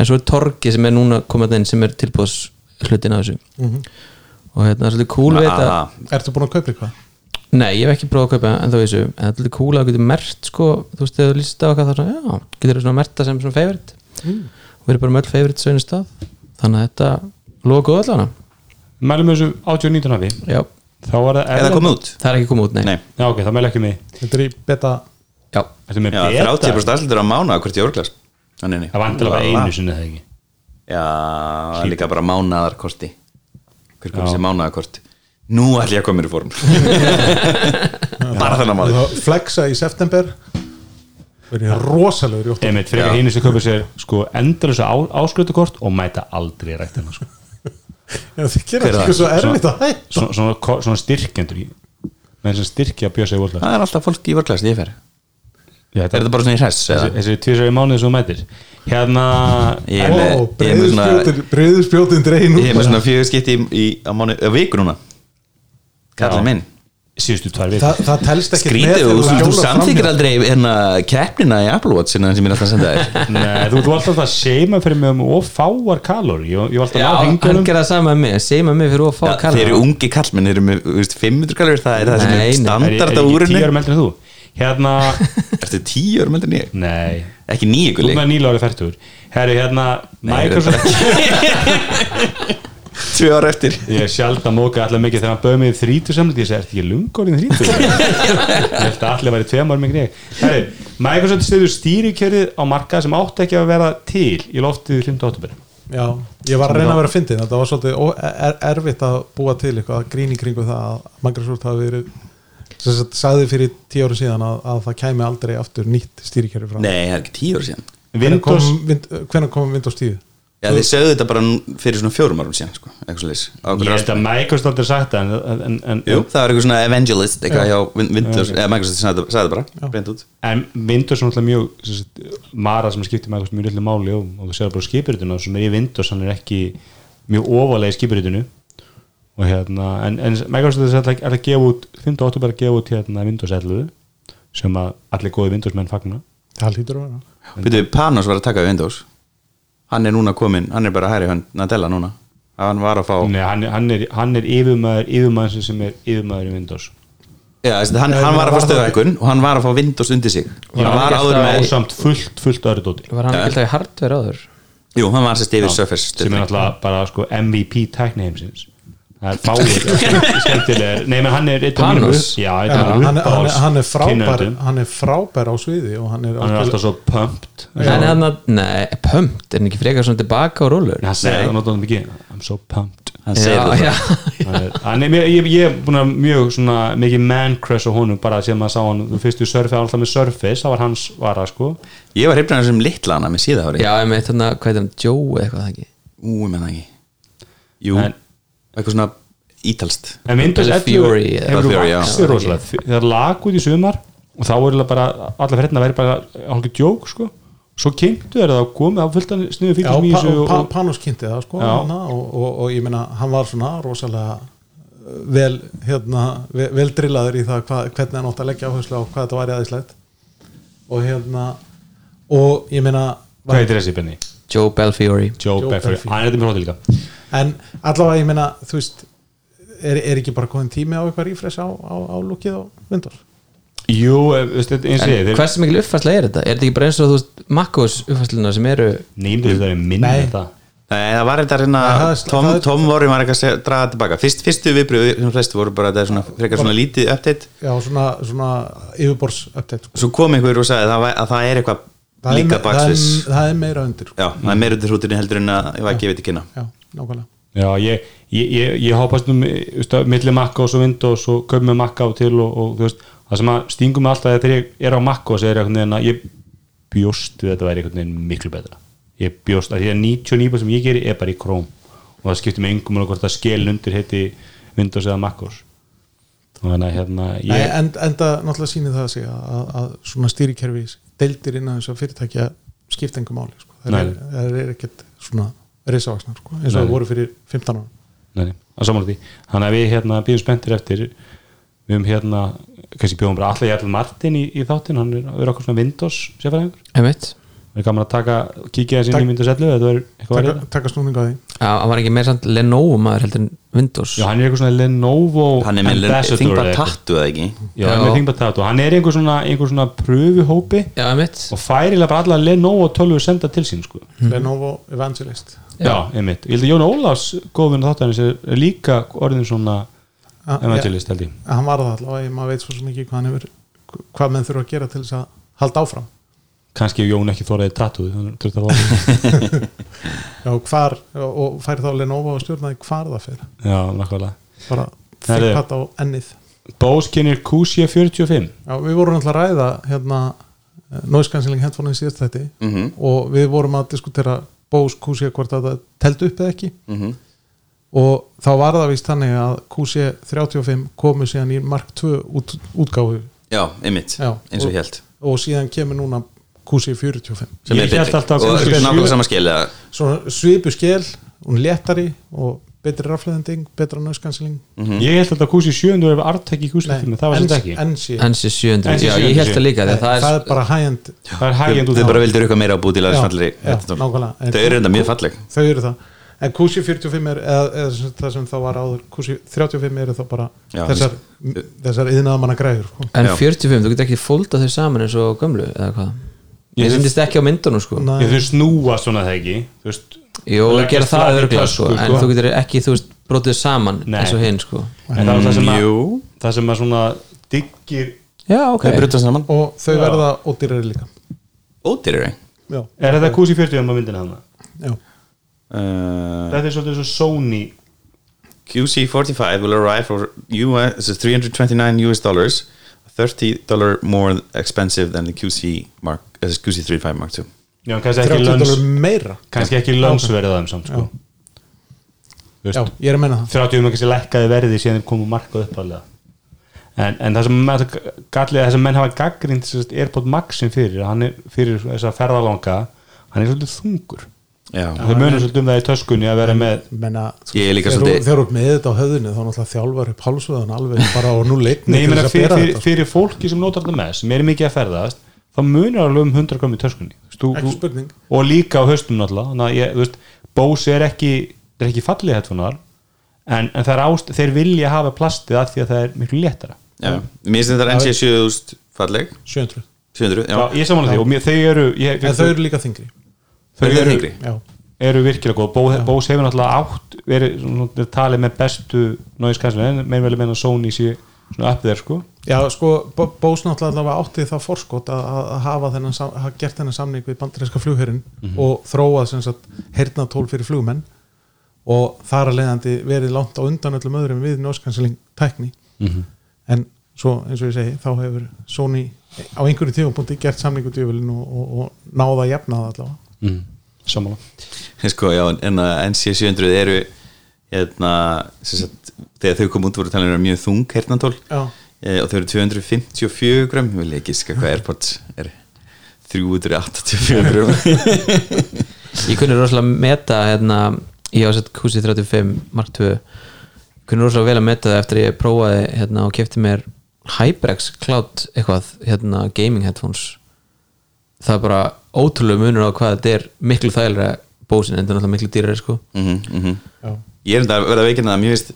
[SPEAKER 4] en svo er torgið sem er núna komað inn sem er tilbúðs hlutin af þessu
[SPEAKER 5] Mhm.
[SPEAKER 4] og hérna það er svolítið cool við þetta
[SPEAKER 3] Ah,
[SPEAKER 5] ertu búin að kaupa eitthvað?
[SPEAKER 4] nei, ég hef ekki prófað að kaupa en þá þessu en það er svolítið cool að þú getur mert sko, þú veist, ef þú líst á eitthvað þá svona, já, getur þú svona merta sem svona favorite
[SPEAKER 5] Mm.
[SPEAKER 4] og verður bara með öll favorite svo einu stað þannig að þetta lokuðu allana
[SPEAKER 2] Mælum við þessu 80 og 90 hafi
[SPEAKER 4] já,
[SPEAKER 2] Þá var það
[SPEAKER 3] eða
[SPEAKER 2] erlend-
[SPEAKER 3] komið út?
[SPEAKER 4] það er ekki komið út, nei,
[SPEAKER 3] Nei,
[SPEAKER 2] Já, ok, það mæl ekki mig
[SPEAKER 5] þetta er í beta
[SPEAKER 4] já,
[SPEAKER 2] Þetta með
[SPEAKER 3] Já,
[SPEAKER 2] beta
[SPEAKER 3] 30% afslutur á mánuða hvert í orglas Þannig
[SPEAKER 2] Það var endilega bara einu sinni eða ekki
[SPEAKER 3] Já, það er líka bara mánaðarkorti Hver komið sér mánaðarkort Nú ætlum ég að koma mér í form Bara þennan maður
[SPEAKER 5] Það flexa í september verið rosalegur í óttum
[SPEAKER 2] Einmitt, frekar
[SPEAKER 3] Já.
[SPEAKER 2] hinn sem köpa sér sko endalösa áskrötukort og mæta aldrei í ræktina sko.
[SPEAKER 3] Hver
[SPEAKER 5] það
[SPEAKER 3] er
[SPEAKER 5] gerir ekki
[SPEAKER 3] það?
[SPEAKER 5] svo erfitt að hæ
[SPEAKER 2] svona, svona, ko- svona styrkendur í menn sem styrkja bjösa í vóla
[SPEAKER 3] Það er alltaf fólk í vörklaðs, ég fer Er þetta bara svona í hress?
[SPEAKER 2] þessi,
[SPEAKER 3] eða?
[SPEAKER 2] þessi tvisar í mánuði sem þú mætir hérna
[SPEAKER 3] Ég er með, ég er með svona
[SPEAKER 5] breyður spjótin dregin
[SPEAKER 3] Ég er með svona fjögur skipti í, í á mánu, á viku núna Kallið minn
[SPEAKER 2] síðustu tvær
[SPEAKER 5] Þa,
[SPEAKER 2] vikur
[SPEAKER 5] það telst ekki
[SPEAKER 3] Skrítið, þú, þú, þú samþykir aldrei hérna keppnina í Apple Watch hérna sem ég er alltaf að senda þér
[SPEAKER 2] Nei, eh, þú, þú alltaf að seima fyrir mig um of fáar kalori ég, ég var alltaf
[SPEAKER 4] já
[SPEAKER 2] að ná
[SPEAKER 4] hann
[SPEAKER 2] hengunum
[SPEAKER 4] gerði það sama með mig segir maður mig fyrir of að fá
[SPEAKER 3] Já, Þeir eru ungi kallmenn, þeir eru með þú veist, 500 kalur Það er það sem er
[SPEAKER 4] Nei, nei.
[SPEAKER 2] er, er
[SPEAKER 3] standard á
[SPEAKER 2] ekki tíu
[SPEAKER 3] úrinu
[SPEAKER 2] árum eldri en þú hérna,
[SPEAKER 3] Ertu 10 árum heldur en ég?
[SPEAKER 2] nei
[SPEAKER 3] Ekki nýju
[SPEAKER 2] þú
[SPEAKER 3] gulig
[SPEAKER 2] með nýla árið færtur herru, hérna, Microsoft
[SPEAKER 3] Tvö ára eftir
[SPEAKER 2] Ég er sjálf að móka allar mikið þegar hann bauð mig þrítu samlega, ég segi, ertu ekki lungorinn þrítu? ég held að allir væri tveim árum yngri en ég. Herri, Microsoft stöður stýrikjörið á markað sem átti ekki að vera til í loftið 5. oktober.
[SPEAKER 5] Já, ég var að reyna að vera að fyndið þetta var svolítið ó- er, erfitt að búa til eitthvað grín í kringu það að Microsoft hafi verið sem sagt, sagði fyrir tíu ára síðan að, að það kæmi aldrei aftur nýtt stýrikerfi fram
[SPEAKER 3] Nei, það er ekki 10 ára síðan
[SPEAKER 5] Hvenær kom,
[SPEAKER 2] Windows,
[SPEAKER 5] vind, hvenær kom Windows 10?
[SPEAKER 3] Já, þið sögðu þetta bara nú- fyrir svona fjórum árum síðan sko, eitthvað svoleiðis.
[SPEAKER 2] ég
[SPEAKER 3] Á einhverju
[SPEAKER 2] held að
[SPEAKER 3] ráðstefnu.
[SPEAKER 2] Microsoft aldrei sagt það, en, en, en,
[SPEAKER 3] Jú, það var eitthvað svona evangelist eitthvað hjá Win- Windows, eða Microsoft sagði þetta- sagði þetta bara, breynd út
[SPEAKER 2] en Windows er náttúrulega mjög sem sagt, mara sem skiptir Microsoft mjög lilla máli og, og þú sér bara skipuritinu og sem er í Windows, hann er ekki mjög ofalega í skipuritinu og hérna, en, en Microsoft er að, er að gefa út, 5. oktober er að gefa út hérna Windows 11 sem að allir góði Windows menn fagna
[SPEAKER 5] Það hlýtur að vera
[SPEAKER 3] Býtu, Panos var að taka við Windows Hann er núna kominn, hann er bara hæri hann Nadella núna, hann var að fá
[SPEAKER 2] Nei, hann, er- hann, er, hann er yfirmaður yfirmaður sem er yfirmaður í Windows
[SPEAKER 3] Já, þessi, hann, hann var að fá stöðhækun og hann var að fá Windows undir sig Hann var
[SPEAKER 4] gert
[SPEAKER 3] áður
[SPEAKER 4] það
[SPEAKER 3] með,
[SPEAKER 2] ásamt fullt, fullt öðru dóti
[SPEAKER 4] var hann ekki alltaf í hardware áður
[SPEAKER 3] jú, hann var sérst yfir Surface
[SPEAKER 2] sem er
[SPEAKER 3] stöðhækun.
[SPEAKER 2] náttúrulega bara sko MVP tækni heimsins það er fáið skemmtilegur, nei menn hann er einn af mínum
[SPEAKER 4] Panos?
[SPEAKER 2] upp- já, einn af
[SPEAKER 5] hann,
[SPEAKER 2] mínum
[SPEAKER 5] hann, hann,
[SPEAKER 2] uppáhalds
[SPEAKER 5] hann, er frábær,
[SPEAKER 2] kynjendum.
[SPEAKER 5] hann er frábær á sviði og hann er,
[SPEAKER 2] hann er alltaf svo pumped
[SPEAKER 4] Nei, hann, nei, pumped, er hann ekki frekar svona tilbaka og rólur?
[SPEAKER 2] Nei, hann segir það náttúrulega mikið I'm so pumped
[SPEAKER 3] Hann segir
[SPEAKER 4] já,
[SPEAKER 3] þetta.
[SPEAKER 4] já,
[SPEAKER 2] Hann er- hann er, mér- ég, ég er búin að mjög svona mikið man crush á honum bara sem maður sá hann þú fyrstu surfi, hann var alltaf með surface það var hans vara sko
[SPEAKER 3] Ég var hefnir hann sem litla hana með síðahóri
[SPEAKER 4] já, ég meitt hann að hvað er það, Joe eða eitthvað það ekki
[SPEAKER 3] Ú, ég menna ekki Jú,
[SPEAKER 2] en,
[SPEAKER 3] eitthvað svona ítalst
[SPEAKER 2] en Windows
[SPEAKER 4] Eða
[SPEAKER 2] 11
[SPEAKER 4] Fury eða-
[SPEAKER 2] hefur
[SPEAKER 3] Fury, já.
[SPEAKER 2] vaksið rosalega Því- það lag út í sumar og þá er bara allar fréttina væri bara hálfur djók sko svo kynntu er það að koma á fulltan sniðu
[SPEAKER 5] Já,
[SPEAKER 2] fylgjum í
[SPEAKER 5] pa,
[SPEAKER 2] þessu
[SPEAKER 5] og,
[SPEAKER 2] og,
[SPEAKER 5] pa, Panos kynnti það sko
[SPEAKER 2] Já.
[SPEAKER 5] hana, og, og, og ég meina, hann var svona rosalega uh, vel, hérna, vel, vel drillaður í það hva, hvernig hann átt að leggja áherslu á hvað þetta var í aðeinslegt og hérna og ég meina
[SPEAKER 2] hvað heitir þessi Benny?
[SPEAKER 4] Joe Belfiore
[SPEAKER 2] Joe,
[SPEAKER 5] Joe
[SPEAKER 2] Beffer,
[SPEAKER 5] Beffer.
[SPEAKER 2] hann er þetta með hóti líka
[SPEAKER 5] en allavega ég meina, þú veist er, er ekki bara komin tími á eitthvað rífres á, á, á lúkið á Windows
[SPEAKER 2] jú, eh, veistu, eins og ég
[SPEAKER 4] En
[SPEAKER 2] þeir-
[SPEAKER 4] hversu mikil uppfærsla er þetta? Er þetta ekki bara eins og þú veist Makkos uppfærsluna sem eru
[SPEAKER 2] Nei, ég myndi þetta er minna
[SPEAKER 5] Nei.
[SPEAKER 2] þetta
[SPEAKER 3] Nei, það var þetta
[SPEAKER 5] Nei, það
[SPEAKER 3] reyna
[SPEAKER 5] er-
[SPEAKER 3] Tom,
[SPEAKER 5] það er-
[SPEAKER 3] Tom Vorri var eitthvað að segja- draga það tilbaka Fyrst, fyrstu viðbröðu sem flest voru bara að þetta er svona, frekar svona lítið update
[SPEAKER 5] já, svona, svona yfirborðs update sko.
[SPEAKER 3] Svo kom einhver og sagði að það, væ- að það er eitthvað
[SPEAKER 5] það, er,
[SPEAKER 3] líka
[SPEAKER 5] me- það,
[SPEAKER 3] baksvis
[SPEAKER 5] er, það er meira undir sko.
[SPEAKER 3] Já, það er meira út í hrútinni heldur en að ég var ekki veit ekki kynna
[SPEAKER 5] já, nákvæmlega
[SPEAKER 2] Já, ég, ég, ég, ég hoppast um milli Makkos og Windows og köp með Makka og til og, og þú veist, það sem að stingum mig alltaf er þegar ég er á Makkos er einhvern veginn að ég bjóst við að þetta væri einhvern veginn miklu betra ég bjóst að því að 99 sem ég geri er bara í Chrome og það skiptir mig engum alveg hvort það skel undir heiti Windows eða Makkos og þannig að hérna
[SPEAKER 5] Nei,
[SPEAKER 2] ég,
[SPEAKER 5] en, enda náttúrulega sýnir það sig að, að, að svona stýrikerfi deildir innan þess að fyrirtækja skipta engu máli sko. það, er,
[SPEAKER 2] Nei.
[SPEAKER 5] það er ekkert svona risavaksnar sko, eins og
[SPEAKER 2] Nei.
[SPEAKER 5] það voru fyrir 15 ára
[SPEAKER 2] nei, nei, að samanlega því þannig að við hérna býðum spenntir eftir við höfum hérna, kannski bjóðum bara allir Jarl Martin í, í þáttin, hann er, er okkur svona Windows sérfæðingur
[SPEAKER 4] Emitt
[SPEAKER 2] Það er gaman að taka, kíkja þess inn í
[SPEAKER 5] Takk.
[SPEAKER 2] myndu sellu eða það er eitthvað
[SPEAKER 5] taka,
[SPEAKER 2] verið
[SPEAKER 5] taka snúninga því
[SPEAKER 4] Já, hann var ekki meira samt Lenovo maður heldur en Windows
[SPEAKER 2] Já, hann er eitthvað svona Lenovo
[SPEAKER 3] Hann er með
[SPEAKER 2] ambassador
[SPEAKER 3] þingbar
[SPEAKER 2] eða eitthvað.
[SPEAKER 3] tattu eða ekki
[SPEAKER 2] Já, hann er með
[SPEAKER 4] Já.
[SPEAKER 2] þingbar tattu Hann er einhver svona, einhver svona pröfuhópi
[SPEAKER 4] Já emitt
[SPEAKER 2] og færilega bara alla Lenovo tölvu senda til sín sko.
[SPEAKER 5] Lenovo Evangelist
[SPEAKER 2] Já, einmitt Ég held að Jón Ólafs góðvinn þáttanins er er líka orðin svona
[SPEAKER 5] A,
[SPEAKER 2] evangelist held ég
[SPEAKER 5] ja, hann var það allavega, ég- maður veit svo sem ekki hvað hann hefur hvað menn þurfa að gera til þess að halda áfram
[SPEAKER 2] Kannski ef Jón ekki þóraði tattu þannig þurfti að fá-
[SPEAKER 5] Já, hvar, og og fær þá Lenovo að stjórna því hvar það fyrir
[SPEAKER 2] Já, nákvæmlega
[SPEAKER 5] bara
[SPEAKER 2] Herðu.
[SPEAKER 5] fyrir á ennið
[SPEAKER 2] Bose kynir QC45
[SPEAKER 5] Já, við vorum alltaf að ræða hérna nóiskansiling headphone-in síðast þetta
[SPEAKER 3] Mhm.
[SPEAKER 5] og við vorum að diskutera Bose QC hvort að það telt upp eða ekki
[SPEAKER 3] Mhm.
[SPEAKER 5] og þá var það víst þannig að QC 35 komu síðan í Mark 2 út, útgáfu
[SPEAKER 3] Já, einmitt,
[SPEAKER 5] Já.
[SPEAKER 3] eins og ég held
[SPEAKER 5] og síðan kemur núna QC 45
[SPEAKER 3] Sem
[SPEAKER 2] Ég
[SPEAKER 3] er
[SPEAKER 2] hélt
[SPEAKER 3] betri.
[SPEAKER 2] alltaf að-
[SPEAKER 3] Og nákvæmlega sama skil eða-
[SPEAKER 5] Svo svipu skell, hún er léttari og betri rafleðending, betra nóiskansiling
[SPEAKER 3] Mm. Mhm.
[SPEAKER 2] Ég held að QC7 er artæki QC45 það var sem ekki
[SPEAKER 5] NC,
[SPEAKER 4] NC 700
[SPEAKER 2] NC
[SPEAKER 4] Já, ég held það líka því að það
[SPEAKER 5] það
[SPEAKER 4] er
[SPEAKER 5] er bara high-end
[SPEAKER 2] Það er
[SPEAKER 3] Þau
[SPEAKER 2] hægjandi
[SPEAKER 3] þau bara vildur eitthvað meira á bútilega
[SPEAKER 5] Já,
[SPEAKER 3] smalleri
[SPEAKER 5] já, nákvæmlega. En-
[SPEAKER 3] Þau eru enda mjög falleg
[SPEAKER 5] þau eru það en QC 45 er eða, eða sem sagt það sem þá var áður QC 35 eru þá bara
[SPEAKER 3] Já,
[SPEAKER 5] þessar, þessar yðnaðamanna græður sko.
[SPEAKER 4] En
[SPEAKER 3] Já.
[SPEAKER 4] 45, þú getur ekki fólda þau saman eins og gömlu eða hvað
[SPEAKER 2] Ég-
[SPEAKER 4] Ég syndist ekki á myndunum sko
[SPEAKER 5] Nei.
[SPEAKER 2] Ég þau snúa svona það ekki Þú veist
[SPEAKER 4] Jó, það
[SPEAKER 2] leggjast
[SPEAKER 4] gera það
[SPEAKER 2] flat í
[SPEAKER 4] örgla
[SPEAKER 2] tösku,
[SPEAKER 4] sko En
[SPEAKER 2] sko.
[SPEAKER 4] þú getur ekki, þú veist, brotið saman
[SPEAKER 2] Nei.
[SPEAKER 4] eins og hinn sko
[SPEAKER 2] En það er það sem að
[SPEAKER 3] Jú.
[SPEAKER 2] Það sem að svona diggir
[SPEAKER 4] Já, ok
[SPEAKER 3] Þau brutast saman
[SPEAKER 5] og þau verða ódýrari líka
[SPEAKER 3] Ódýrari
[SPEAKER 5] já,
[SPEAKER 2] Er þetta QC40 um að myndina hana?
[SPEAKER 5] já.
[SPEAKER 3] Uh,
[SPEAKER 2] Þetta er svolítið svo Sony
[SPEAKER 3] QC45 will arrive for US, this is 329 US dollars 30 dollar more expensive than the QC mark, uh, QC35 mark II
[SPEAKER 2] Já, kannski ekki
[SPEAKER 5] 30
[SPEAKER 2] löns
[SPEAKER 5] dólar meira
[SPEAKER 2] Kannski ekki löns verið það um samt sko Þú
[SPEAKER 5] já,
[SPEAKER 2] veist,
[SPEAKER 5] ég er að menna það
[SPEAKER 2] 30 um að kannski lækkaði verði síðan þeir komu markað uppalega En, en það sem menn, gallið, það sem menn hafa gaggrind AirPod Maxin fyrir, hann er fyrir þessa ferðalanga, hann er svolítið þungur
[SPEAKER 3] Já,
[SPEAKER 2] þau munum svolítið um það í töskunni að vera með
[SPEAKER 5] Menna,
[SPEAKER 3] Ég er líka
[SPEAKER 5] sko, þegar
[SPEAKER 3] svolítið-
[SPEAKER 5] þú- þegar þú ert með þetta á höfðinu þá náttúrulega þjálfar upp hálsvöðan alveg bara á núleik
[SPEAKER 2] Nei, ég meina fyrir, fyrir,
[SPEAKER 5] sko.
[SPEAKER 2] fyrir fólki sem notar þetta mest sem er mikið að ferðast, þá munur alveg um 100 gram í töskunni Þú veist, þú-
[SPEAKER 5] Ekki
[SPEAKER 2] þú-
[SPEAKER 5] spurning.
[SPEAKER 2] og líka á höstum náttúrulega þannig að ég, þú veist, Bose er ekki er ekki fallið hættfunar en, en það er ást, þeir vilja hafa plastið að því að það er miklu léttara
[SPEAKER 3] já Mér finnst þetta NC 7000 falleg
[SPEAKER 5] 700
[SPEAKER 3] 700, já,
[SPEAKER 2] Já, ég samanlega því og mér, þau eru ég,
[SPEAKER 5] en þau eru líka þingri
[SPEAKER 2] þau
[SPEAKER 3] Eru þau
[SPEAKER 2] eru,
[SPEAKER 3] þyngri?
[SPEAKER 5] já,
[SPEAKER 2] eru virkilega góð Bo- Bose hefur náttúrulega átt verið svona, svona, talið með bestu náðiskanslega, meðan vel meina Sony sé svona upp þeir sko
[SPEAKER 5] já sko Bós náttúrulega allavega átti það forskot að, að að hafa þennan sam- hafa gert þennan samning við bandarinska flugherrin
[SPEAKER 3] Mhm.
[SPEAKER 5] og þróað sem sagt hernatól fyrir flugmenn og þar að leiðandi verið langt á undan öllum öðrum við norskansiling tækni
[SPEAKER 3] Mhm.
[SPEAKER 5] en svo eins og ég segi þá hefur Sony á einhverju tífupunkti gert samningu djöfulinn og, og, og náða að jafna það allavega
[SPEAKER 2] mm. samanlega
[SPEAKER 3] uh, sko, já En að NC 700 eru hérna, sem sagt, þegar þau kom út voru talin um mjög þung hernatól
[SPEAKER 5] Já.
[SPEAKER 3] Eh, og þau eru 254 gram vil ég gíska hvað Airpods er 384 gram
[SPEAKER 4] ég kunni rosalega að meta hérna, ég á sett QC35 Mark 2 kunni rosalega vel að meta það eftir að ég prófaði hérna, og kefti mér HyperX Cloud eitthvað, hérna, gaming headphones það er bara ótrúlega munur á hvað þetta er miklu þægilega bósin en þetta er náttúrulega miklu dýrari sko
[SPEAKER 3] Mhm, mhm.
[SPEAKER 5] Já.
[SPEAKER 3] ég er enda að verða veikinn að mér finnst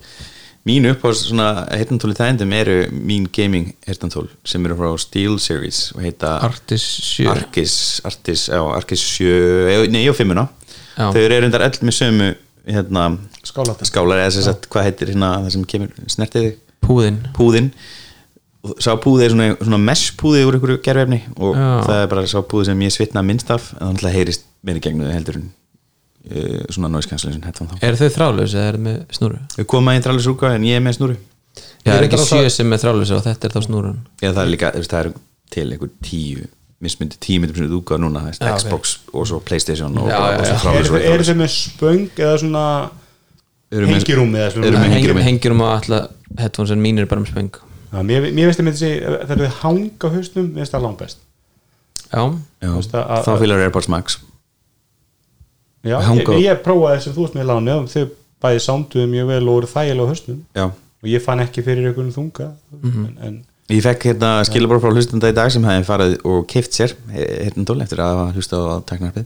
[SPEAKER 3] mín uppáðs svona hertantóli þægindum eru mín gaming hertantól sem eru frá Steel Series og heita
[SPEAKER 4] Artis 7
[SPEAKER 3] Arkis, Artis, já, Arkis 7 nei, og 5
[SPEAKER 4] Já.
[SPEAKER 3] þau eru reyndar öll með sömu hérna,
[SPEAKER 5] Skálarnar.
[SPEAKER 3] skálar eða sem sagt, hvað heitir hérna það sem kemur, snertið þig,
[SPEAKER 4] púðin
[SPEAKER 3] púðin Og sá púði er svona, svona messpúði úr einhverju gerfefni og
[SPEAKER 4] Já.
[SPEAKER 3] það er bara sá púði sem ég svitna minnst af en þannig að heyrist meira í gegnum þau heldur en uh, svona noise cancellation headphone þá
[SPEAKER 4] er þau þrálaus eða er þau með snúru?
[SPEAKER 3] Þau koma í trallis rúka en ég er með snúru
[SPEAKER 4] Já,
[SPEAKER 5] Ég
[SPEAKER 4] það er
[SPEAKER 5] reyndar
[SPEAKER 4] ekki
[SPEAKER 5] á það-
[SPEAKER 4] sjö sem er þrálaus og þetta er þá snúrun
[SPEAKER 3] Já, það er líka, þú veist, það er til einhver tíu mismyndi, tíu myndir sem þú útgáð núna þú veist,
[SPEAKER 5] Já, ok.
[SPEAKER 3] Xbox og svo Playstation og,
[SPEAKER 4] Já,
[SPEAKER 3] og, og
[SPEAKER 4] já,
[SPEAKER 3] svo
[SPEAKER 4] já.
[SPEAKER 2] Eru
[SPEAKER 3] trallis
[SPEAKER 2] þau- eru þau með spöng eða svona
[SPEAKER 3] Eru með-
[SPEAKER 2] hengirúmi eða svona-
[SPEAKER 3] eru með hengirúmi.
[SPEAKER 4] hengirum á alla um headphones en mín er bara með spöng
[SPEAKER 2] Já, mér, mér veist að myndi segja það eru hang á hausnum, mér veist það langbest
[SPEAKER 4] já,
[SPEAKER 3] Já,
[SPEAKER 2] Þú veist að- að-
[SPEAKER 3] þá fylgur Airpods Max
[SPEAKER 2] Já,
[SPEAKER 3] Hang
[SPEAKER 2] ég,
[SPEAKER 3] á-
[SPEAKER 2] ég prófaði sem þú veist með láni og þau bæði sánduðu mjög vel og voru þægilega á hausnum
[SPEAKER 3] Já.
[SPEAKER 2] og ég fann ekki fyrir einhvern þunga
[SPEAKER 3] Mhm.
[SPEAKER 2] en,
[SPEAKER 3] Ég fekk hérna skilabór frá hlustanda í dag sem hefði farið og keift sér eh, hérna dól eftir að hafa hlustað á teknarpið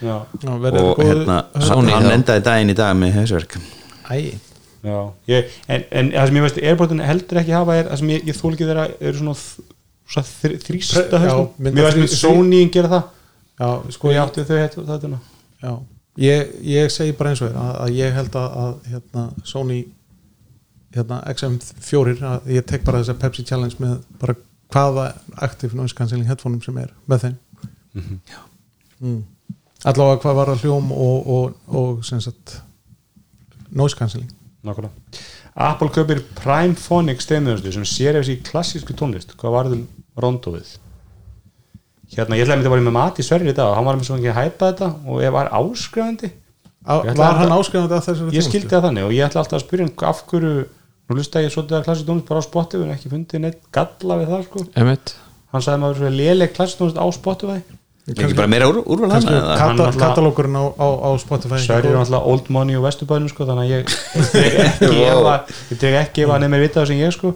[SPEAKER 2] en já,
[SPEAKER 5] Já, verður
[SPEAKER 3] og
[SPEAKER 5] góð-
[SPEAKER 3] hérna
[SPEAKER 4] Sony
[SPEAKER 3] hann, hann
[SPEAKER 4] þá.
[SPEAKER 3] endaði daginn í dag með hausverk
[SPEAKER 5] Æ,
[SPEAKER 2] já ég, en, en það sem ég veist Airportin heldur ekki hafa er það sem ég, ég þól ekki þeirra eru svona, þ- svona þr, þrýsta
[SPEAKER 5] Já,
[SPEAKER 2] hausnum
[SPEAKER 5] mynda
[SPEAKER 2] mér veist
[SPEAKER 5] þrý-
[SPEAKER 2] með Sonyin gera það
[SPEAKER 5] já,
[SPEAKER 2] og
[SPEAKER 5] sko
[SPEAKER 2] ég
[SPEAKER 5] ég,
[SPEAKER 2] átti þau hérna- hættu þetta
[SPEAKER 5] já, ég, ég segi bara eins og þér að, að ég held að, að hérna, Sony hérna, XM4 að ég tek bara þessa Pepsi Challenge með bara hvaða active noise cancelling headphoneum sem er með þeim
[SPEAKER 2] Mhm.
[SPEAKER 5] mm. allavega hvað var að hljóm og, og, og sem sagt noise cancelling
[SPEAKER 2] Nákvæmlega. Apple kaupir Prime Phonic steinmiðustu sem sér eftir í klassísku tónlist hvað var þeim rondóið hérna, ég ætlaði að þetta var með Mati Sverri í dag og hann var með svona ekki að hæpa þetta og ég var áskrifandi
[SPEAKER 5] A,
[SPEAKER 2] Ég ætla
[SPEAKER 5] var
[SPEAKER 2] að-
[SPEAKER 5] hann áskrifandi að þessari
[SPEAKER 2] ég
[SPEAKER 5] þjónustu?
[SPEAKER 2] skildi það þannig og ég ætla alltaf að spyrja hann af hverju, nú lusta ég svolítið að klassísk tónlist bara á Spotify en ekki fundið neitt galla við það sko,
[SPEAKER 4] emitt
[SPEAKER 2] hann sagði maður svo léleg klassísk tónlist á Spotify
[SPEAKER 3] ekki bara meira úr, úrval hann
[SPEAKER 5] Kannski
[SPEAKER 3] eða?
[SPEAKER 2] hann
[SPEAKER 5] kata-
[SPEAKER 2] náttúrulega-
[SPEAKER 5] katalógurinn á, á, á Spotify
[SPEAKER 2] Sverri er náttúrulega old money og vesturbænum sko, þannig að ég ég dreg ekki efa ég dreg ekki efa nefnir vita það sem ég sko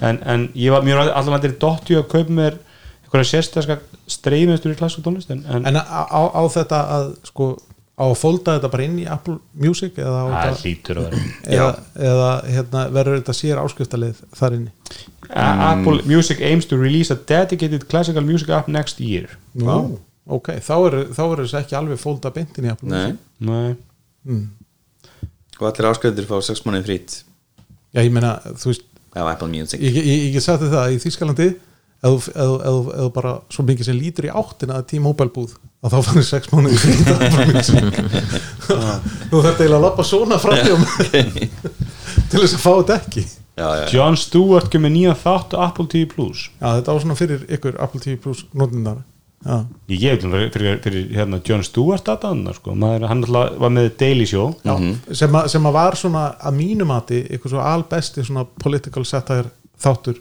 [SPEAKER 2] en, en ég var, mér var allan að þetta er dotti að kaupa mér einhverja sérstæðska streymistur í klassísk tónlist en, en
[SPEAKER 5] En á, á, á þetta að sko á að folda þetta bara inn í Apple Music eða, á
[SPEAKER 2] það
[SPEAKER 5] þetta,
[SPEAKER 2] hlýtur að vera
[SPEAKER 5] eða, eða hérna, verður þetta sér áskriftalið þar inni
[SPEAKER 2] A- Apple Music aims to release a dedicated classical music app next year
[SPEAKER 5] Nú, ok, þá eru þá eru þessi ekki alveg folda beint inn í Apple
[SPEAKER 3] Nei.
[SPEAKER 5] Music
[SPEAKER 2] Nei.
[SPEAKER 3] og allir áskrifundur fá 6 mánuði frýtt
[SPEAKER 5] Já, ég meina, þú veist,
[SPEAKER 3] á Apple Music
[SPEAKER 5] ég, ég, ég sagði það að í Þýskalandi eða þú- eða þú- eða þú- eða þú bara svo mikið sem lítur í áttina að T-Mobile búð að þá fannir sex mánuði í Apple Music Nú þetta eiginlega að lappa svona framjum til þess að fá þetta ekki
[SPEAKER 3] já, já, já.
[SPEAKER 2] John Stewart kemur nýjan þátt á Apple TV Plus
[SPEAKER 5] Já, þetta var svona fyrir ykkur Apple TV Plus notindar Já,
[SPEAKER 2] ég gefið fyrir, fyrir, fyrir hérna, John Stewart að annað sko, Maður, hann alltaf var með Daily Show
[SPEAKER 5] já. Sem, að, sem að var svona að mínu mati ykkur svo albesti svona political satire þáttur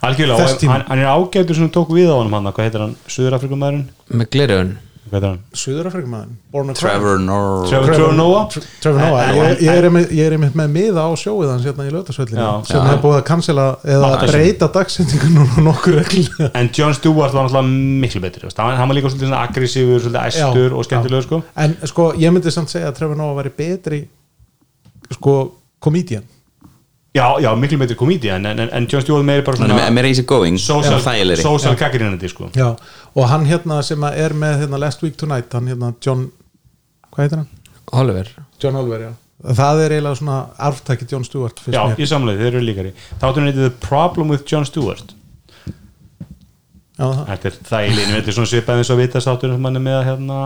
[SPEAKER 2] algjörlega,
[SPEAKER 5] Þess
[SPEAKER 2] og
[SPEAKER 5] tíma.
[SPEAKER 2] hann, hann er ágætur sem tók við á honum hann, hvað heitir hann, Suðurafrikumæðurinn
[SPEAKER 4] með gleraun
[SPEAKER 2] hvað heitir hann,
[SPEAKER 5] Suðurafrikumæðin
[SPEAKER 3] Trevor Noah
[SPEAKER 2] Trevor, Trevor Noah
[SPEAKER 5] Trevor Noah, ég, ég, er einmitt, ég er einmitt með miða á sjóið hans hérna í
[SPEAKER 2] Já.
[SPEAKER 5] lötasvöllinu sem
[SPEAKER 4] Já.
[SPEAKER 5] er búið að cancela eða
[SPEAKER 2] Átta sinnum.
[SPEAKER 5] breyta dagsendingunum og nokkur reglulega
[SPEAKER 2] en John Stewart var náttúrulega miklu betri veist, hann, hann var líka svolítið svona aggressífur, svolítið æstur og skemmtilegur sko
[SPEAKER 5] En sko, ég myndi samt segja að Trevor Noah væri betri sko, komedian
[SPEAKER 2] já, já, miklu betri komídi en, en, en John Stewart meiri bara
[SPEAKER 3] hann er
[SPEAKER 2] svona
[SPEAKER 3] me- meira easy going
[SPEAKER 2] social,
[SPEAKER 3] þægilegri.
[SPEAKER 2] social gaggrinandi sko
[SPEAKER 5] Já, og hann hérna sem að er með hérna Last Week Tonight, hann hérna John hvað heitir hann?
[SPEAKER 4] Oliver
[SPEAKER 5] John Oliver, já Það er eiginlega svona arftæki John Stewart fyrst
[SPEAKER 2] já,
[SPEAKER 5] mér
[SPEAKER 2] ég samlega, þeir eru líkari þá áttu hann eitthvað The Problem with John Stewart
[SPEAKER 5] já, það.
[SPEAKER 2] þetta er þægilegin, þetta er svona svipað eins og vitast áttur sem hann er með hérna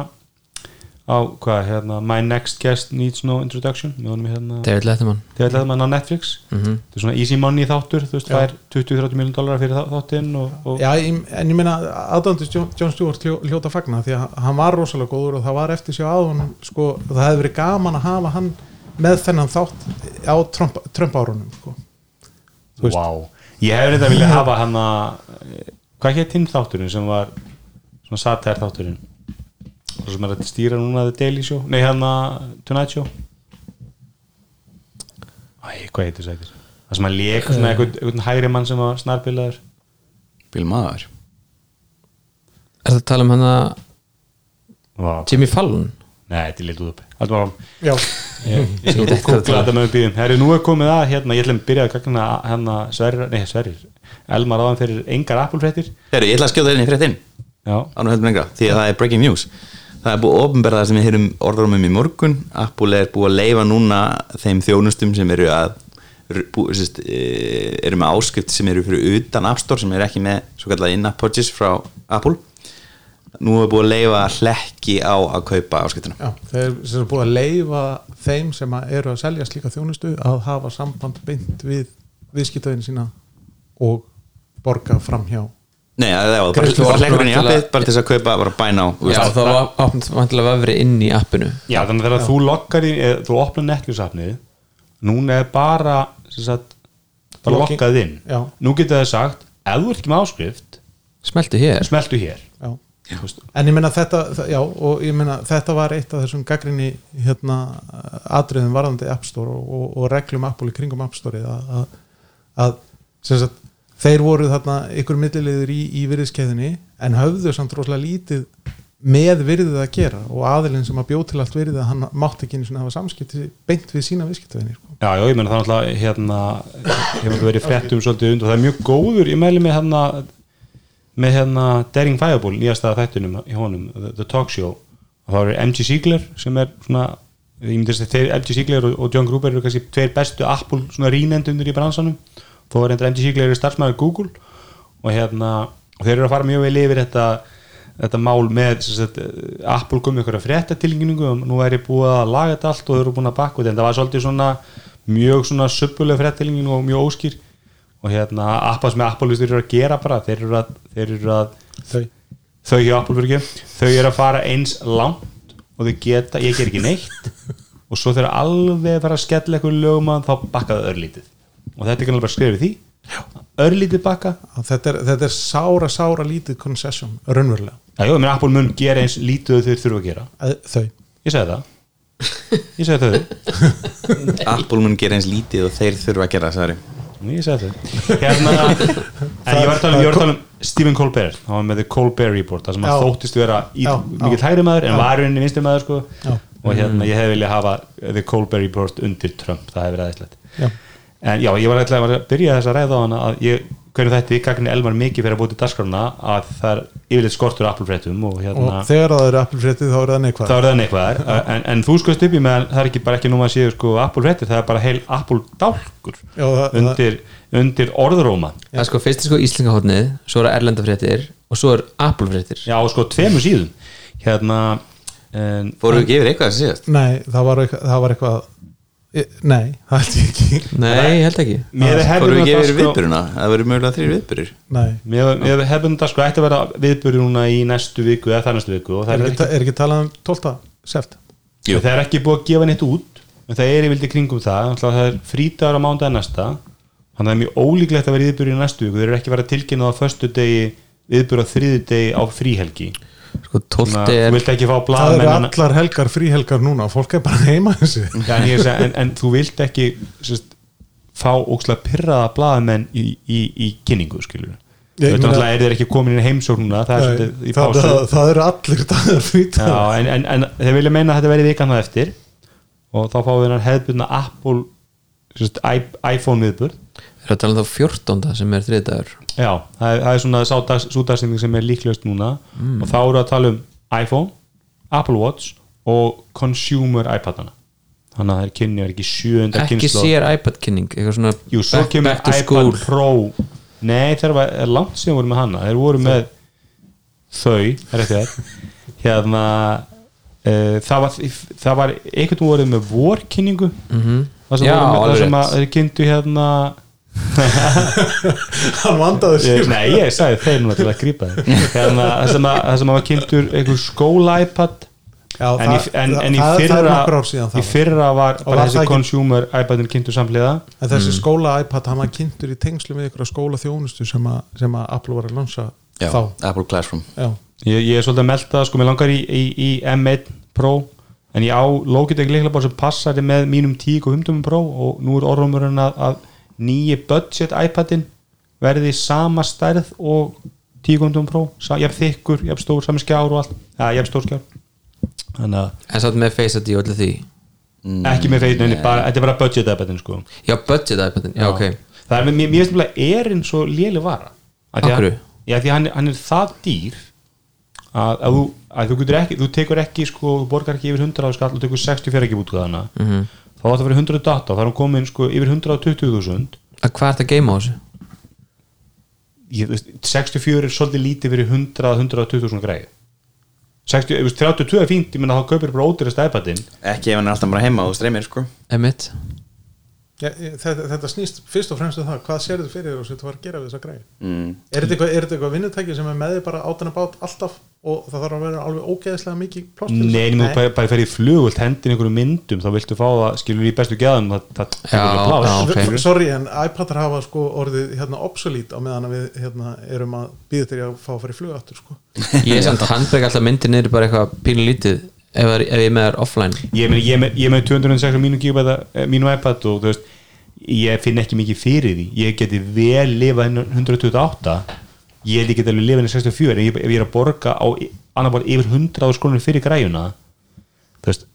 [SPEAKER 2] á, hvað, hérna, My Next Guest Needs No Introduction með honum í, hérna,
[SPEAKER 4] David Letterman
[SPEAKER 2] þegar ætlaði mann á Netflix þetta er svona easy money þáttur þú veist, það er 20-30 miljón dólarar fyrir þá- þáttinn og, og
[SPEAKER 5] já, ég- en ég meina aðdóndis John, John Stewart hljó, hljóta fagna því að hann var rosalega góður og það var eftir sér að hann sko, það hefði verið gaman að hafa hann með þennan þátt á Trump, Trump árunum sko.
[SPEAKER 2] Vá, ég hefði þetta vilja hafa hann að hvað hétt hinn þátturinn sem var svona satær þátturinn og sem er að stýra núna The Daily Show nei hann að Tonight Show Æ, hvað heitir sættir það sem að leik svona einhvern, einhvern hægri mann sem var snarbilaður
[SPEAKER 3] Bill Maher
[SPEAKER 4] Er það að tala um hann að
[SPEAKER 2] Vá.
[SPEAKER 4] Jimmy Fallon?
[SPEAKER 2] nei, þetta er litið upp Haldum áfram.
[SPEAKER 5] já,
[SPEAKER 2] ég ég skal
[SPEAKER 4] Þetta
[SPEAKER 2] googla
[SPEAKER 4] var-
[SPEAKER 2] þetta með býðum það er nú er komið að hérna, ég ætlum að byrja að gagna hérna Sverrir, nei Sverrir Elmar áðan fyrir engar appulfrettir
[SPEAKER 3] Heri, ég ætla að skjóta þér inn í fréttin
[SPEAKER 2] já,
[SPEAKER 3] ánum heldur lengra, því að það er breaking news það er búið ofnberða sem við heyrum orðrumum í morgun, Apple er búið að leifa núna þeim þjónustum sem eru að bú, sérst, eh, eru með áskrift sem eru fyrir utan App Store sem eru ekki með svo kallar in-app purchase frá Apple nú er búið að leifa hlekki á að kaupa áskriftina
[SPEAKER 5] já, þeir sem er búið að leifa þeim sem að eru að selja slíka þjónustu að hafa samband beint við viðskiptaðin sína og borga framhjá
[SPEAKER 3] Nei, það var bara,
[SPEAKER 4] Greiðslu-
[SPEAKER 3] bara hlekkurinn í
[SPEAKER 4] til að-
[SPEAKER 3] appið bara til þess að kaupa, bara bæna á þú
[SPEAKER 4] Já,
[SPEAKER 3] veist.
[SPEAKER 4] það var opnum vantilega vefri inn í appinu
[SPEAKER 2] Já, þannig að þegar þú loggar í, eða, þú opnar Netflix-afnið núna er bara sem sagt, bara
[SPEAKER 5] Logging.
[SPEAKER 2] loggað inn
[SPEAKER 5] Já.
[SPEAKER 2] nú getur það sagt, ef þú ert ekki með áskrift
[SPEAKER 4] Smeltu hér
[SPEAKER 2] smeltu hér
[SPEAKER 5] já. en ég meina þetta þa- já, og ég meina þetta var eitt af þessum gaggrinni hérna atriðum varðandi App Store og, og, og reglum Apple í kringum App Store að, að, að sem sagt þeir voru þarna ykkur millilegður í, í virðiskeiðinni en höfðu samt rosalega lítið með virðið að gera og aðilinn sem að bjó til allt virðið hann mátti ekki einu sinni hafa samskipti beint við sína viðskiptavinni sko.
[SPEAKER 2] Já, já, ég menna þannig að hérna hefur þetta verið fréttum svolítið und og það er mjög góður, ég mæli með hérna með hérna Daring Fireball nýjasta þættunum í honum, The, the Talk Show og þá er MG Siegler sem er svona, ég myndi að segja þeir MG Siegler og, og John Gruber eru kannski tveir bestu Apple svona rínendundur í bransanum þó er endur MG Siegler er starfsmæður Google og hérna, og þeir eru að fara mjög vel yfir þetta þetta mál með sem sagt, eh, Apple kom ykkur að frétta tilgjöningu og um nú er ég búið að laga þetta allt og þau eru búin að bakka þetta en það var svolítið svona mjög svona söpuleg frétta tilgjöningu og mjög óskýr og hérna appa sem Apple þeir eru að gera bara þeir eru að, þeir eru að
[SPEAKER 5] þau
[SPEAKER 2] þau hjá Apple fyrir ekki þau eru að fara eins langt og þau geta, ég ger ekki neitt og svo þeir eru alveg að fara að skella eitthvað lögum að þá bakkaðu örlítið og þetta er kannski bara skrifið því örlítið bakka
[SPEAKER 5] að þetta er, þetta er sára sára lítið concession, raunverulega
[SPEAKER 2] Já, jú, ég meina Apple mun gera eins lítið og þau þurfa að gera
[SPEAKER 5] að, þau,
[SPEAKER 2] Ég sagði það Ég sagði þau
[SPEAKER 3] Apple mun gera eins lítið og þeir þurfa að gera sagði.
[SPEAKER 2] Ég sagði þau Hérna En ég var að tala um, ég var að tala um Stephen Colbert Hann var með The Colbert Report Það sem hann
[SPEAKER 5] Já.
[SPEAKER 2] þóttist vera í,
[SPEAKER 5] Já,
[SPEAKER 2] mikill
[SPEAKER 5] já.
[SPEAKER 2] hægri maður En var henni vinstri maður sko
[SPEAKER 5] Já. Mm.
[SPEAKER 2] Og hérna ég hefði viljað hafa The Colbert Report undir Trump Það hefði verið aðeinslegt
[SPEAKER 5] já,
[SPEAKER 2] En já, ég var ætlaði að byrja þess að ræða á hana að ég, hvernig þetta ég gagni Elmar mikið fyrir að búti dasgrana að það er yfirleitt skortur á Apple-fréttum og
[SPEAKER 5] og
[SPEAKER 2] hérna
[SPEAKER 5] þegar það eru Apple fréttið þá eru það neikvæð
[SPEAKER 2] þá er það neikvæðar en, en þú skoðst upp í meðan það er ekki bara ekki núma að séu sko Apple réttir, það er bara heil Apple dálkur
[SPEAKER 5] Já, það-
[SPEAKER 2] undir, undir orðróma
[SPEAKER 4] Það er sko fyrst er sko Íslingahotnið Svo er erlenda fréttir Og svo er Apple fréttir
[SPEAKER 2] já og sko tveimur síðum hérna en,
[SPEAKER 3] fóruðu ekki yfir eitthvað sem síðast
[SPEAKER 5] Nei, það var eitthvað, það var eitthvað e- Nei, það held ég ekki
[SPEAKER 4] Nei, ég held ekki
[SPEAKER 2] mér er
[SPEAKER 3] fóruðu
[SPEAKER 2] hefðin
[SPEAKER 3] ekki
[SPEAKER 2] að
[SPEAKER 3] yfir
[SPEAKER 2] sko
[SPEAKER 3] viðbyrjuna, það verður mögulega þrýr viðbyrjur
[SPEAKER 5] Nei,
[SPEAKER 2] mér mér er hefðin að sko ætti að vera viðbyrjur núna í næstu viku eða þar næstu viku og
[SPEAKER 5] er
[SPEAKER 2] það er
[SPEAKER 5] ekki,
[SPEAKER 2] ekki,
[SPEAKER 5] er ekki talað um 12. sept
[SPEAKER 3] Jú.
[SPEAKER 2] það er ekki búið að gefa neitt út en það er yfirleitt í kringum það Þannig að það er frítagur á mándaði næsta þannig að það er mjög ólíklegt að vera viðbyrjur í næstu viku þeir eru ekki að vera tilkynnað á föstu degi viðbyrjur á þriðu degi á fríhelgi
[SPEAKER 4] Sko 12
[SPEAKER 2] Svona,
[SPEAKER 4] er
[SPEAKER 2] þú vilt ekki fá
[SPEAKER 5] Það eru
[SPEAKER 2] blaðmennina
[SPEAKER 5] allar helgar, fríhelgar núna Fólk er bara heima þessi
[SPEAKER 2] Já, en, ég er að segja, en, en þú vilt ekki sérst, fá ókslega pyrraða blaðmenn í, í, í kynningu skilur
[SPEAKER 5] Ég
[SPEAKER 2] þú veist
[SPEAKER 5] meina-
[SPEAKER 2] náttúrulega er þeir ekki komin í heimsóknuna það er
[SPEAKER 5] Nei,
[SPEAKER 2] svolítið í
[SPEAKER 5] það,
[SPEAKER 2] pásu
[SPEAKER 5] það, það eru allir dagar
[SPEAKER 2] Já,
[SPEAKER 5] frítagar
[SPEAKER 2] en, en, en þeir vilja meina að þetta verði vikan það eftir og þá fáum við hennar hefðbundna Apple sérst, i- iPhone viðburð
[SPEAKER 4] Er að tala um þá 14 sem er þriðdagur
[SPEAKER 2] Já, það er, það er svona sádags- sú dagsetning sem er líklegast núna
[SPEAKER 4] Mm.
[SPEAKER 2] og þá eru að tala um iPhone, Apple Watch og consumer iPadana þannig að það er kynni er ekki sjöunda
[SPEAKER 4] Ekki
[SPEAKER 2] kynslóð.
[SPEAKER 4] sér iPad kynning Eitthvað svona
[SPEAKER 2] Jú, svo
[SPEAKER 4] back-
[SPEAKER 2] kemur
[SPEAKER 4] back to
[SPEAKER 2] iPad
[SPEAKER 4] school.
[SPEAKER 2] Pro Nei, þeir var er langt síðan voru með hana Þeir voru með þau, er ekki það Hérna uh, það, var, það var einhvern voru með vorkynningu mm -hmm. Það sem,
[SPEAKER 4] Mhm. Já,
[SPEAKER 2] voru með, það
[SPEAKER 4] alveg
[SPEAKER 2] sem
[SPEAKER 4] rétt.
[SPEAKER 2] að, þeir kynntu hérna
[SPEAKER 5] Hann vandaði
[SPEAKER 2] ég,
[SPEAKER 5] sér
[SPEAKER 2] Nei, ég sagði þeir núna til að grípa þeir hérna, Það sem að, það sem að var kynntur einhver skóla iPad
[SPEAKER 5] Já,
[SPEAKER 2] en, í,
[SPEAKER 5] það-
[SPEAKER 2] en,
[SPEAKER 5] það-
[SPEAKER 2] en í
[SPEAKER 5] það- það er
[SPEAKER 2] fyrra
[SPEAKER 5] nokkur ár síðan það
[SPEAKER 2] í fyrra var
[SPEAKER 5] var
[SPEAKER 2] bara
[SPEAKER 5] það
[SPEAKER 2] þessi
[SPEAKER 5] ekki-
[SPEAKER 2] consumer iPadin kynntu samhliða
[SPEAKER 5] en þessi
[SPEAKER 2] Mm.
[SPEAKER 5] skóla iPad hann var kynntur í tengslu með ykkur skóla þjónustu sem að, sem að Apple var að lansa
[SPEAKER 3] já,
[SPEAKER 5] þá
[SPEAKER 3] Apple Classroom
[SPEAKER 5] já.
[SPEAKER 2] ég, ég er svolítið að melta, sko, mér langar í, í, í M1 Pro en ég á Logitech líklega sem passar með mínum 10 og 15 Pro og nú er orðumurinn að, að nýji budget iPadin verði sama stærð og 10 og 15 Pro, Sa- jafn þykkur jafn stór, sami skjár og allt, ja, jafn stór skjár þannig að
[SPEAKER 4] en satt með Face ID og öllu því
[SPEAKER 2] Mm. ekki með feitinu, bara, þetta er bara budget iPadin sko
[SPEAKER 4] já, budget iPadin, já, ok
[SPEAKER 2] það er mér, mér finnst nefnilega erinn svo léli vara Af því
[SPEAKER 4] Af
[SPEAKER 2] að-
[SPEAKER 4] hverju?
[SPEAKER 2] já því að hann, er- hann er það dýr að, að, þú, að þú getur ekki þú tekur ekki sko, þú borgar ekki yfir 100 á skall og tekur 64 ekki útgáðana mm
[SPEAKER 4] Mhm.
[SPEAKER 2] -hmm. þá átt að vera 100 data, þá er hann komin sko, yfir 120.000
[SPEAKER 4] að hvað er þetta að geima á þessu?
[SPEAKER 2] Ég, þú veist, 64 er svolítið lítið fyrir 100-120.000 greið 60, ef þú veist, 32 er fínt, ég menna þá kaupir bara ódýrast iPadin
[SPEAKER 3] ekki ef hann er alltaf bara heima og streymir sko.
[SPEAKER 4] Emitt
[SPEAKER 5] Já, ég- þetta, þetta snýst fyrst og fremst um það hvað sérðu fyrir þér og sér þú var að gera við þessa græði
[SPEAKER 3] mm.
[SPEAKER 5] er þetta eitthvað, er þetta eitthvað vinnutæki sem er með þig bara átan að bát alltaf og það þarf að vera alveg ógeðislega mikið pláss til þess að-
[SPEAKER 2] Nei, nema þú bara, bara fer í flugult hendin einhverjum myndum, þá viltu fá það skilur í bestu geðum, það, það
[SPEAKER 4] Já,
[SPEAKER 2] alveg pláss.
[SPEAKER 4] já, ok.
[SPEAKER 5] S- Sorry, en iPadar hafa sko orðið hérna obsolete á meðan að við hérna erum að býða til að fá að fara í flug aftur sko.
[SPEAKER 4] ég er samt handbrek alltaf myndir niður í bara eitthvað pínu lítið ef, er- ef ég er með þær offline
[SPEAKER 2] ég meina, ég er með, ég er með 206 mínu, gigabæta, eh, mínu iPad og þú veist ég finn ekki mikið fyrir því ég geti vel lifað inn á 128 ég held ég geti alveg lifað inn á 64 en ég, ef ég er að borga á annabar yfir 100 skrónir fyrir græjuna þú veist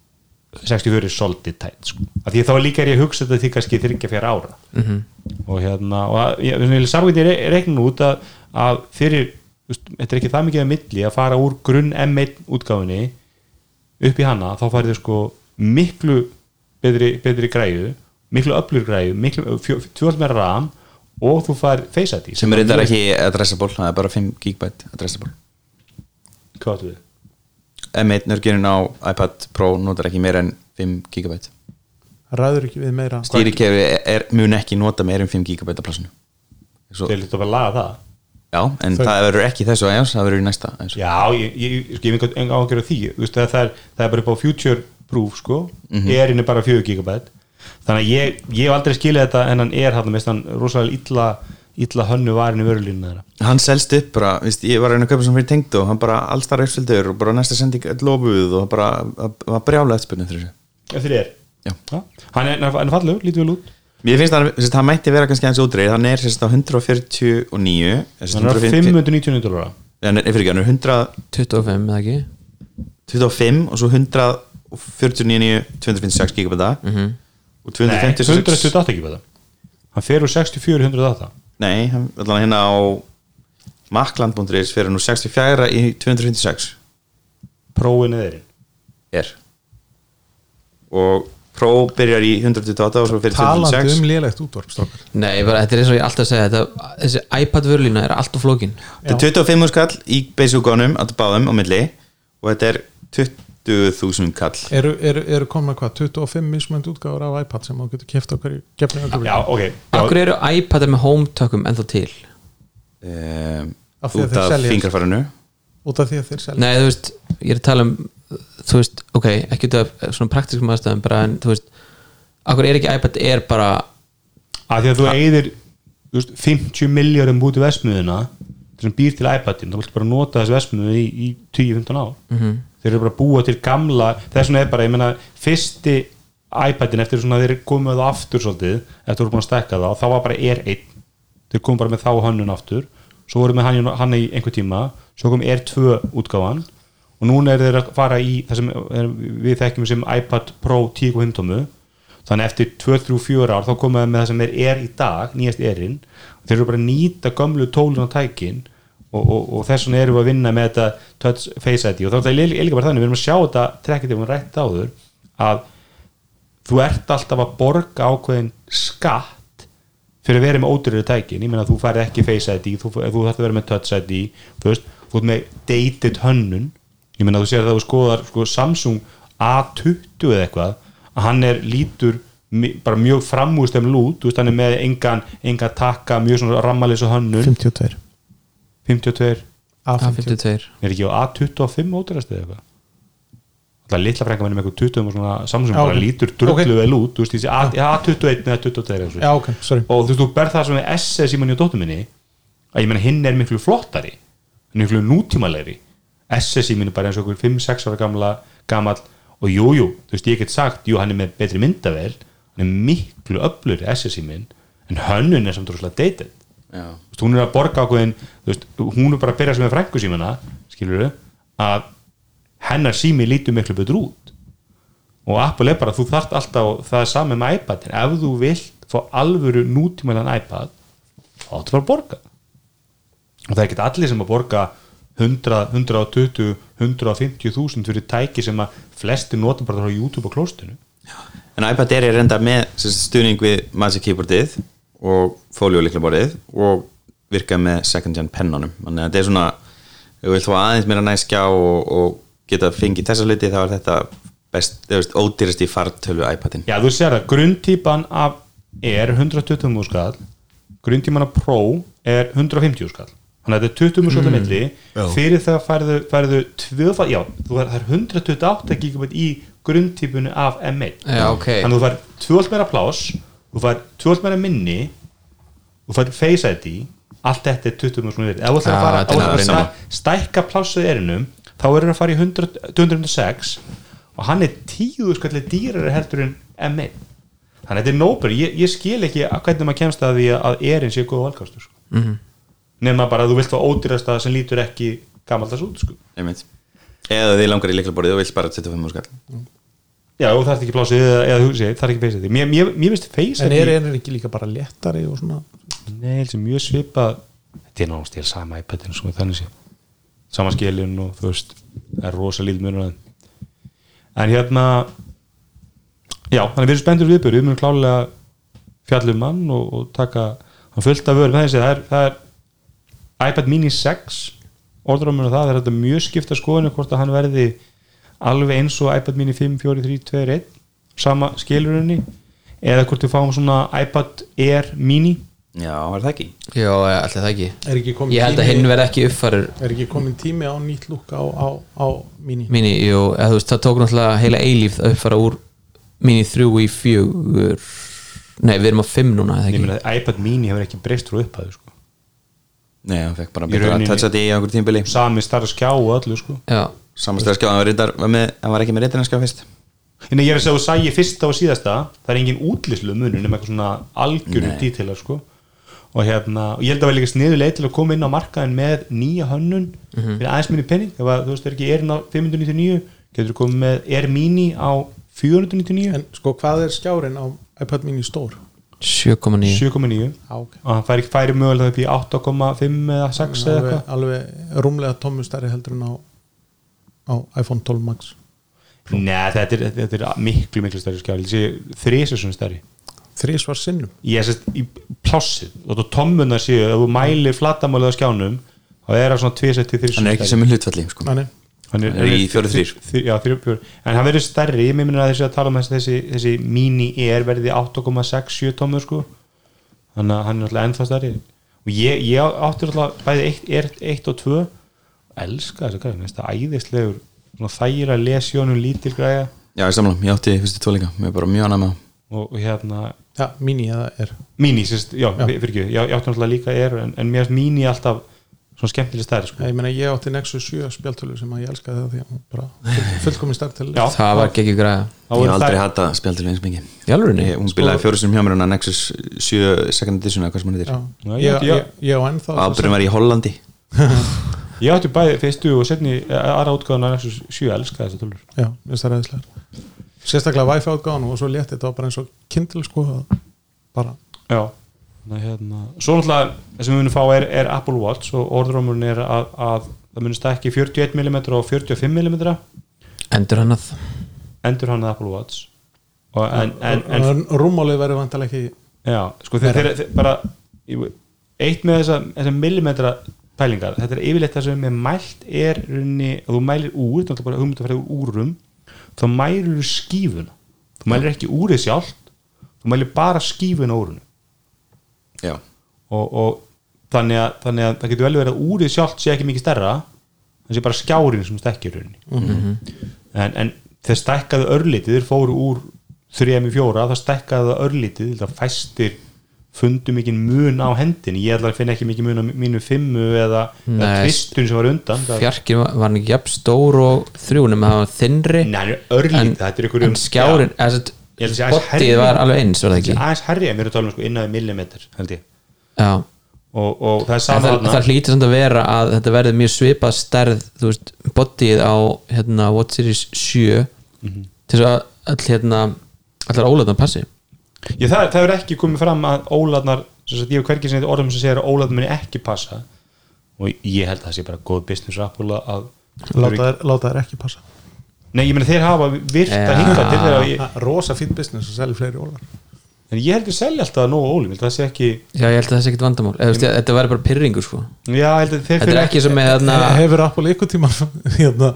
[SPEAKER 2] 64 er svolítið tætt sko. af því þá líka er ég að hugsa þetta því kannski þryggja fjara ára
[SPEAKER 3] Mhm.
[SPEAKER 2] -hmm. og hérna og að, ég, ég, samkvæmt ég reiknum út að, að fyrir, þú veist, þetta er ekki það mikið að milli að fara úr grunn M1 útgáfunni upp í hana þá færðu sko miklu betri, betri græju miklu öflur græju, miklu tvöld með RAM og þú fær Face ID
[SPEAKER 3] sem er reyndar ekki addressable það er bara 5 gigabyte addressable
[SPEAKER 2] Hvað áttu við?
[SPEAKER 3] M1 nörgirinn á iPad Pro notar ekki meira en 5 gigabyte
[SPEAKER 5] ræður ekki við meira
[SPEAKER 3] stýrikerfi er, mun ekki nota meira en 5 gigabyte af plassinu Svo,
[SPEAKER 2] Þeir lítið að bara laga það
[SPEAKER 3] já, en það verður ekki í þessu aðeins, það verður í næsta aðeins.
[SPEAKER 2] Já, ég, ég, ég, sko, ég hef enga ágjör á því þú veist, það, það, er, það er bara upp á future proof sko,
[SPEAKER 3] Mhm.
[SPEAKER 2] erinn er bara 4 gigabyte þannig að ég, ég hef aldrei skilið þetta en hann er hann mest hann rosalega illa, illa hönnu varin í vörulínu þeirra
[SPEAKER 3] hann selst upp bara, víst, ég var að reyna að kaupa sem fyrir tengd og hann bara allstar uppseldur og bara næsta sending öll lofuð og bara það var brjála eftirspunni þér
[SPEAKER 2] Eftir þér?
[SPEAKER 3] Já.
[SPEAKER 2] Hann er, hann er fallegur, lítið vel út
[SPEAKER 3] Mér finnst að hann, hann mætti vera kannski aðeins útreið hann er sérst á 149 sérst,
[SPEAKER 2] Hann er á 599 dólar
[SPEAKER 3] hann er, fyrir, hann er 125
[SPEAKER 4] 25 eða ekki
[SPEAKER 3] og svo 149 256 gigabæta -hmm. og
[SPEAKER 2] Nei,
[SPEAKER 3] 256
[SPEAKER 2] 128 ekki bara Hann fer úr 64 í 108
[SPEAKER 3] Nei, hann- allan hérna á makland.is fyrir nú 64 í 256
[SPEAKER 2] Próin eða erinn
[SPEAKER 3] er og Pro byrjar í 128 og svo fyrir
[SPEAKER 5] talandi
[SPEAKER 3] 256
[SPEAKER 5] um lélegt útvarp strókar.
[SPEAKER 4] nei, bara, þetta er eins og ég alltaf segja þetta, þessi iPad vörlína er alltaf flókin
[SPEAKER 3] þetta er 25 skall í beisúkónum að báðum á milli og þetta er 20.000 kall
[SPEAKER 5] eru, eru, eru komna hvað, 25 mismönd útgáður af iPad sem þú getur keft okkur í gefni okkur
[SPEAKER 2] Já, ok
[SPEAKER 4] akkur eru iPadar með home tökum ennþá til
[SPEAKER 3] um,
[SPEAKER 5] Af því að
[SPEAKER 3] út
[SPEAKER 5] þeir
[SPEAKER 3] af
[SPEAKER 5] seljast.
[SPEAKER 3] fingarfarinu
[SPEAKER 5] út af því að þeir selja
[SPEAKER 4] nei, þú veist, ég er að tala um þú veist, ok, ekki út af svona praktiskum aðstæðum bara en þú veist akkur er ekki iPad er bara
[SPEAKER 2] Af því að þú eigðir 50 miljórum út í vesmiðuna sem býr til iPadin, þá viltu bara nota þessi vesmiðu í, í 10-15 ár -hmm. Þeir eru bara að búa til gamla þess vegna er bara, ég meina, fyrsti iPadin eftir svona að þeir komu með það aftur svolítið, eftir voru búin að stekka það og þá var bara R1, þeir komu bara með þá hönnun aftur, svo voru með hann, hann í einhver tíma, svo kom R2 útgáfan og núna er þeir að fara í það sem er, við þekkjum sem iPad Pro 10.5 tomu þannig eftir 2-3-4 ár þá komaði með það sem er er í dag, nýjast erinn þeir eru bara að nýta gömlu tólun og tækin og, og, og þess vegna erum við að vinna með þetta touch face ID og þá er það líka- líka bara þannig, við erum að sjá þetta trekkið ef hún rætt áður að þú ert alltaf að borga ákveðin skatt fyrir að vera með ódurri tækin, ég meina þú færð ekki Face ID, þú, þú þarf að vera með Touch ID þú veist, þú ert með dated hönnun, ég meina þú sér það að þú skoðar sko, Samsung A20 eða eitthvað, að hann er lítur mi- bara mjög framústem lút þú veist, hann er með engan, engan takka mjög svona rammalis og hönnun
[SPEAKER 5] 52
[SPEAKER 2] 52,
[SPEAKER 5] A52
[SPEAKER 4] A52
[SPEAKER 2] er ekki á A25 ódurrasti eða eitthvað alltaf litla frænka minni með eitthvað 20 og svona samsum bara
[SPEAKER 5] ok.
[SPEAKER 2] lítur drullu
[SPEAKER 5] Ok.
[SPEAKER 2] vel út þú veist, þessi A- ja, 21 eða 22 eða svo.
[SPEAKER 5] já ok, sorry
[SPEAKER 2] og þú veist, þú berð það sem við SS í manni og dóttu minni að ég meina hinn er miklu flottari hann er miklu nútímalegri SS í minni bara eins og okkur 5-6 ára gamla gamall og jújú, jú, þú veist, ég get sagt jú, hann er með betri myndavel hann er miklu öflur SS í minn en hönnun er samt rússlega dated
[SPEAKER 3] já,
[SPEAKER 2] Þú veist, hún er að borga ákveðin þú veist, hún er bara að byrja sem er frængu símana skilur að hennar sími lítur miklu betur út og Apple er bara, þú þarft alltaf það er sami með iPad, en ef þú vilt fá alvöru nútímælan iPad þá áttu bara að borga og það er ekki allir sem að borga 100, 120, 150.000 fyrir tæki sem að flesti nota bara frá YouTube og klóstinu
[SPEAKER 3] en iPad Air er reynda með sem sagt, stuðning við Magic Keyboardið og Folio líklaborðið og virka með second gen pennanum þannig að þetta er svona ef við viljum aðeins meira næskjá og, og geta fengið þessa hluti þá er þetta best, þú veist, ódýrasti fartölu iPadin
[SPEAKER 2] Já, þú sér það, grunntýpan af er 120 múl skall grunntýpan af Pro er 150 skall þannig að þetta er 20 múl skall milli fyrir það færðu, færðu tvöfald, já, þú er, það er 128 gigabit í grunntýpunni af M1
[SPEAKER 4] Já, ok.
[SPEAKER 2] þannig að þú fær tvöfald meira pláss þú fær tvöfald meira minni þú fær Face ID allt þetta er 20 múl skall milli ef þú ætlar
[SPEAKER 4] Já,
[SPEAKER 2] að fara-
[SPEAKER 4] þetta
[SPEAKER 2] ef
[SPEAKER 4] er
[SPEAKER 2] þú ætlar að
[SPEAKER 3] náttúrulega
[SPEAKER 2] stæ- stækka plássuð erinum þá er hann að fara í 100, 206 og hann er 10 skallir dýrari heldur en M1 þannig að þetta er nóbur, ég, ég skil ekki að hvernig maður kemst að því að erin sé góð valkastur sko. mm
[SPEAKER 4] Mhm.
[SPEAKER 2] -hmm. nema bara að þú vilt fá ódýrast að sem lítur ekki gamaldags út sko.
[SPEAKER 3] einmitt eða þið langar í líklaborðið og vilt bara 25 skall
[SPEAKER 2] já, og það er ekki plásið eða, eða hugsi, það er ekki feysið mér, mér, mér finnst feysið
[SPEAKER 5] en er einir ekki líka bara léttari og svona
[SPEAKER 2] Nei, sem mjög svipað Þetta er náttúrulega stil sama iPadin sem þannig sé Samaskilin og þú veist Það er rosa lítið munur á þeim. En hérna Já, þannig við erum spenntur viðbjörð Við munum klálega fjallum hann og, og taka hann fullt af vörum þessi, það, er, það er iPad mini 6 orðrámur og það, það er þetta mjög skipta skoðinu hvort að hann verði alveg eins og iPad mini 5, 4, 3, 2, 1 sama skilurinni eða hvort við fáum svona iPad Air mini
[SPEAKER 3] já, er það ekki?
[SPEAKER 4] já, alltaf það ekki
[SPEAKER 5] er ekki komin
[SPEAKER 4] ég held að hinn verð ekki uppfarur
[SPEAKER 5] er ekki komin tími á nýtt lúk á, á, á mini
[SPEAKER 4] Mini, jú, eða þú veist, það tók náttúrulega heila eilíf að uppfara úr Mini 3 í 4 Nei, við erum á 5 núna, eða
[SPEAKER 2] Ég
[SPEAKER 4] ekki
[SPEAKER 2] meina að iPad mini hefur ekki breyst frá upphæðu sko.
[SPEAKER 3] Nei, hann fekk bara
[SPEAKER 2] Í
[SPEAKER 3] betra
[SPEAKER 2] rauninni-
[SPEAKER 3] touch að í okkur tímbili
[SPEAKER 2] Sami starra skjá og öllu sko.
[SPEAKER 4] Já,
[SPEAKER 3] Samastæðarskjá, hann var, reyndar, var, með, hann var ekki með reyndinarskjá fyrst
[SPEAKER 2] En ég er að segja að sæja fyrsta og síðasta Það er engin útlýslu munur nema eitthvað svona algjörum
[SPEAKER 3] Nei.
[SPEAKER 2] dítilar sko. og, hérna, og ég held að vera líka sniðuleg til að koma inn á markaðin með nýja hönnun fyrir aðeins minni penning ef að, þú veist er ekki erinn á 599 getur komið með Air Mini á 499
[SPEAKER 5] en sko hvað er skjárin á iPad mini stór
[SPEAKER 4] 7,9
[SPEAKER 2] 7,9
[SPEAKER 5] á, ok
[SPEAKER 2] og hann færi, færi mögulega upp í 8,5 eða 6 eða eitthvað
[SPEAKER 5] alveg, alveg rúmlega tómmu stærri heldur en á, á iPhone 12 Max
[SPEAKER 2] Nei, þetta er, þetta er miklu, miklu stærri skjál þrísa svona stærri
[SPEAKER 5] þrísvar sinnum
[SPEAKER 2] ég sést í plássið og þú tommunar séu, ef þú mælir flatamálið á skjánum, þá er það svona tvisetti þrisvar
[SPEAKER 3] Hann er ekki sem hlutfalli sko.
[SPEAKER 5] Nei, nei.
[SPEAKER 2] hann
[SPEAKER 3] hann er í fjóra þrír.
[SPEAKER 2] þrír- já, fjóra, fjóra. en hann verður stærri, ég meina að þessi að tala um þessi, þessi, þessi mini er verði 8,67 tommur sko þannig að hann er alltaf ennþá stærri og ég, ég átti alltaf bæði 1 og 2 elska þessu græði, minnst það æðislegur svona þægir að lesi honum lítil græða
[SPEAKER 3] Já, ég samla, ég átti fyrstu tvo líka Mér er bara mjög annað með það.
[SPEAKER 2] og, og hérna
[SPEAKER 5] ja, mini eða er
[SPEAKER 2] Mini, sérst, já,
[SPEAKER 5] Já.
[SPEAKER 2] já. fyrir ekki, já, ég átti náttúrulega líka er en, en mér finnst Mini alltaf svona skemmtileg stærri, sko.
[SPEAKER 5] Nei, ég meina ég átti Nexus 7 spjaltölu sem að ég elskaði það því að hún bara fullkomin stærk til
[SPEAKER 2] Já.
[SPEAKER 4] Það var ekki græða
[SPEAKER 2] Þá
[SPEAKER 3] Ég
[SPEAKER 2] eru
[SPEAKER 3] hef aldrei
[SPEAKER 2] þær-
[SPEAKER 3] hætta spjaldur eins mikið
[SPEAKER 4] Í alvörunni?
[SPEAKER 3] Ég- Hún
[SPEAKER 2] sko-
[SPEAKER 3] spilaði fjóru sinum hjá mér hann að Nexus 7 second edition eða hvað sem hann heitir
[SPEAKER 2] Já,
[SPEAKER 5] ég,
[SPEAKER 2] ég-
[SPEAKER 5] ég, ég, ég á ennþá
[SPEAKER 3] Ábyrðin var í Hollandi
[SPEAKER 2] Ég átti bæði fyrstu og setni aðra útgáðan að Nexus 7 elska þessar tölur.
[SPEAKER 5] Já, minnst það ræðislegar Sérstaklega Wi-Fi átgáðan og svo létt þetta var bara eins og kindle sko að bara
[SPEAKER 2] Já. Ná, hérna. Svo náttúrulega, það sem við munum fá er, er Apple Watch og orðrómurinn er að, að það munum stækki 41mm og 45mm
[SPEAKER 4] Endur hann að
[SPEAKER 2] endur hann að Apple Watch og en, en, en,
[SPEAKER 5] en rúmmálið verður vantilega ekki
[SPEAKER 2] Já, sko þeir, þeir, þeir bara ég- eitt með þessa, þessa millimetra pælingar, þetta er yfirleitt það sem er mælt er runni, að þú mælir úr þetta er bara hugmynd að fara úr úrum þá mælur þú skífuna þú mælir ekki úrið sjálft þú mælir bara skífuna úr húnu
[SPEAKER 3] Já,
[SPEAKER 2] og, og þannig, að, þannig að það getur vel verið að úrið
[SPEAKER 4] Mhm.
[SPEAKER 2] sjálft sé ekki mikið stærra það sé bara skjárin sem stekkir runni mm en, en þeir stækkaðu örlítið, þeir fóru úr 3 í 4, það stækkaðu það örlítið það fæstir fundu mikið mun á hendin, ég ætla að finna ekki mikið mun á mínu fimmu eða, eða
[SPEAKER 4] Nei,
[SPEAKER 2] tvistun sem var undan það,
[SPEAKER 4] fjarkinn var, var hann ekki jafn stór og þrjúnum það var þinnri
[SPEAKER 2] Nei, hann er örlítið, þetta er ykkur um-
[SPEAKER 4] en skjárin, eða sett,
[SPEAKER 2] Ég held að sé aðeins
[SPEAKER 4] botið
[SPEAKER 2] hærri.
[SPEAKER 4] var alveg eins var það ekki
[SPEAKER 2] aðeins herri en við erum að tala um sko innan við millimetr held ég
[SPEAKER 4] já
[SPEAKER 2] og, og það er
[SPEAKER 4] En
[SPEAKER 2] sama
[SPEAKER 4] það,
[SPEAKER 2] þarna.
[SPEAKER 4] það hlýtur samt að vera að þetta verði mjög svipað stærð þú veist, bodyið á hérna, What Series 7 til þess að all, hérna, allar ólega passi
[SPEAKER 2] Ég, það, það er ekki komið fram að óladnar sem sagt, ég hef hvergi sem þetta orðum sem segir að óladnar muni ekki passa og ég held að það sé bara góð business rappula að
[SPEAKER 5] láta þær- láta þær ekki passa
[SPEAKER 2] Nei, ég meina þeir hafa virta ja.
[SPEAKER 4] Ja.
[SPEAKER 2] hinga til þegar ég,
[SPEAKER 5] Það er ah, rosa fínt business að selja fleiri ólar
[SPEAKER 2] en ég held að selja alltaf nógu ólum, það sé ekki
[SPEAKER 4] já ég held að það sé ekkit vandamál Eða, veist, þetta verði bara pyrringur sko
[SPEAKER 2] Já, ég held að þeir
[SPEAKER 4] þetta er
[SPEAKER 2] fyrir
[SPEAKER 4] ekki sem með hérna, þarna
[SPEAKER 5] hefur Apple ykkur tíma hérna,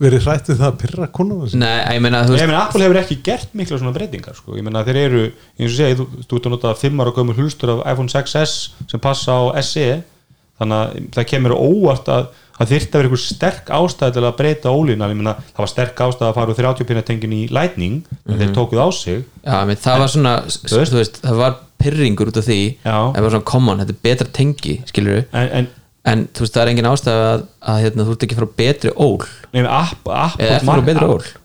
[SPEAKER 5] verið hrætt við það að pyrra konum
[SPEAKER 4] nei, ég meina þú
[SPEAKER 2] Nei, ég
[SPEAKER 4] veist
[SPEAKER 2] meina, Apple hefur ekki gert mikla svona breytingar sko. ég meina, þeir eru, eins og segja þú, þú ert að nota 5 ára gömur hulstur af iPhone 6s sem passa á SE þannig að það kemur óvart að það þyrfti að vera einhver sterk ástæð til að breyta ólíðina, ég meina, það var sterk ástæð að fara úr 30 pinna tengin í Lightning mm
[SPEAKER 4] Mhm.
[SPEAKER 2] þeir tókuð á sig
[SPEAKER 4] já, ég meina, það var svona þú
[SPEAKER 2] veist-
[SPEAKER 4] veist, það var pyrringur út af því
[SPEAKER 2] Já.
[SPEAKER 4] það var svona common, þetta er betra tengi skilur við,
[SPEAKER 2] en, en
[SPEAKER 4] en þú veist það er engin ástæða að, að hérna, þú ert ekki að fara á betri ól
[SPEAKER 2] Nei, men app, app,
[SPEAKER 4] eða er það frá betri ól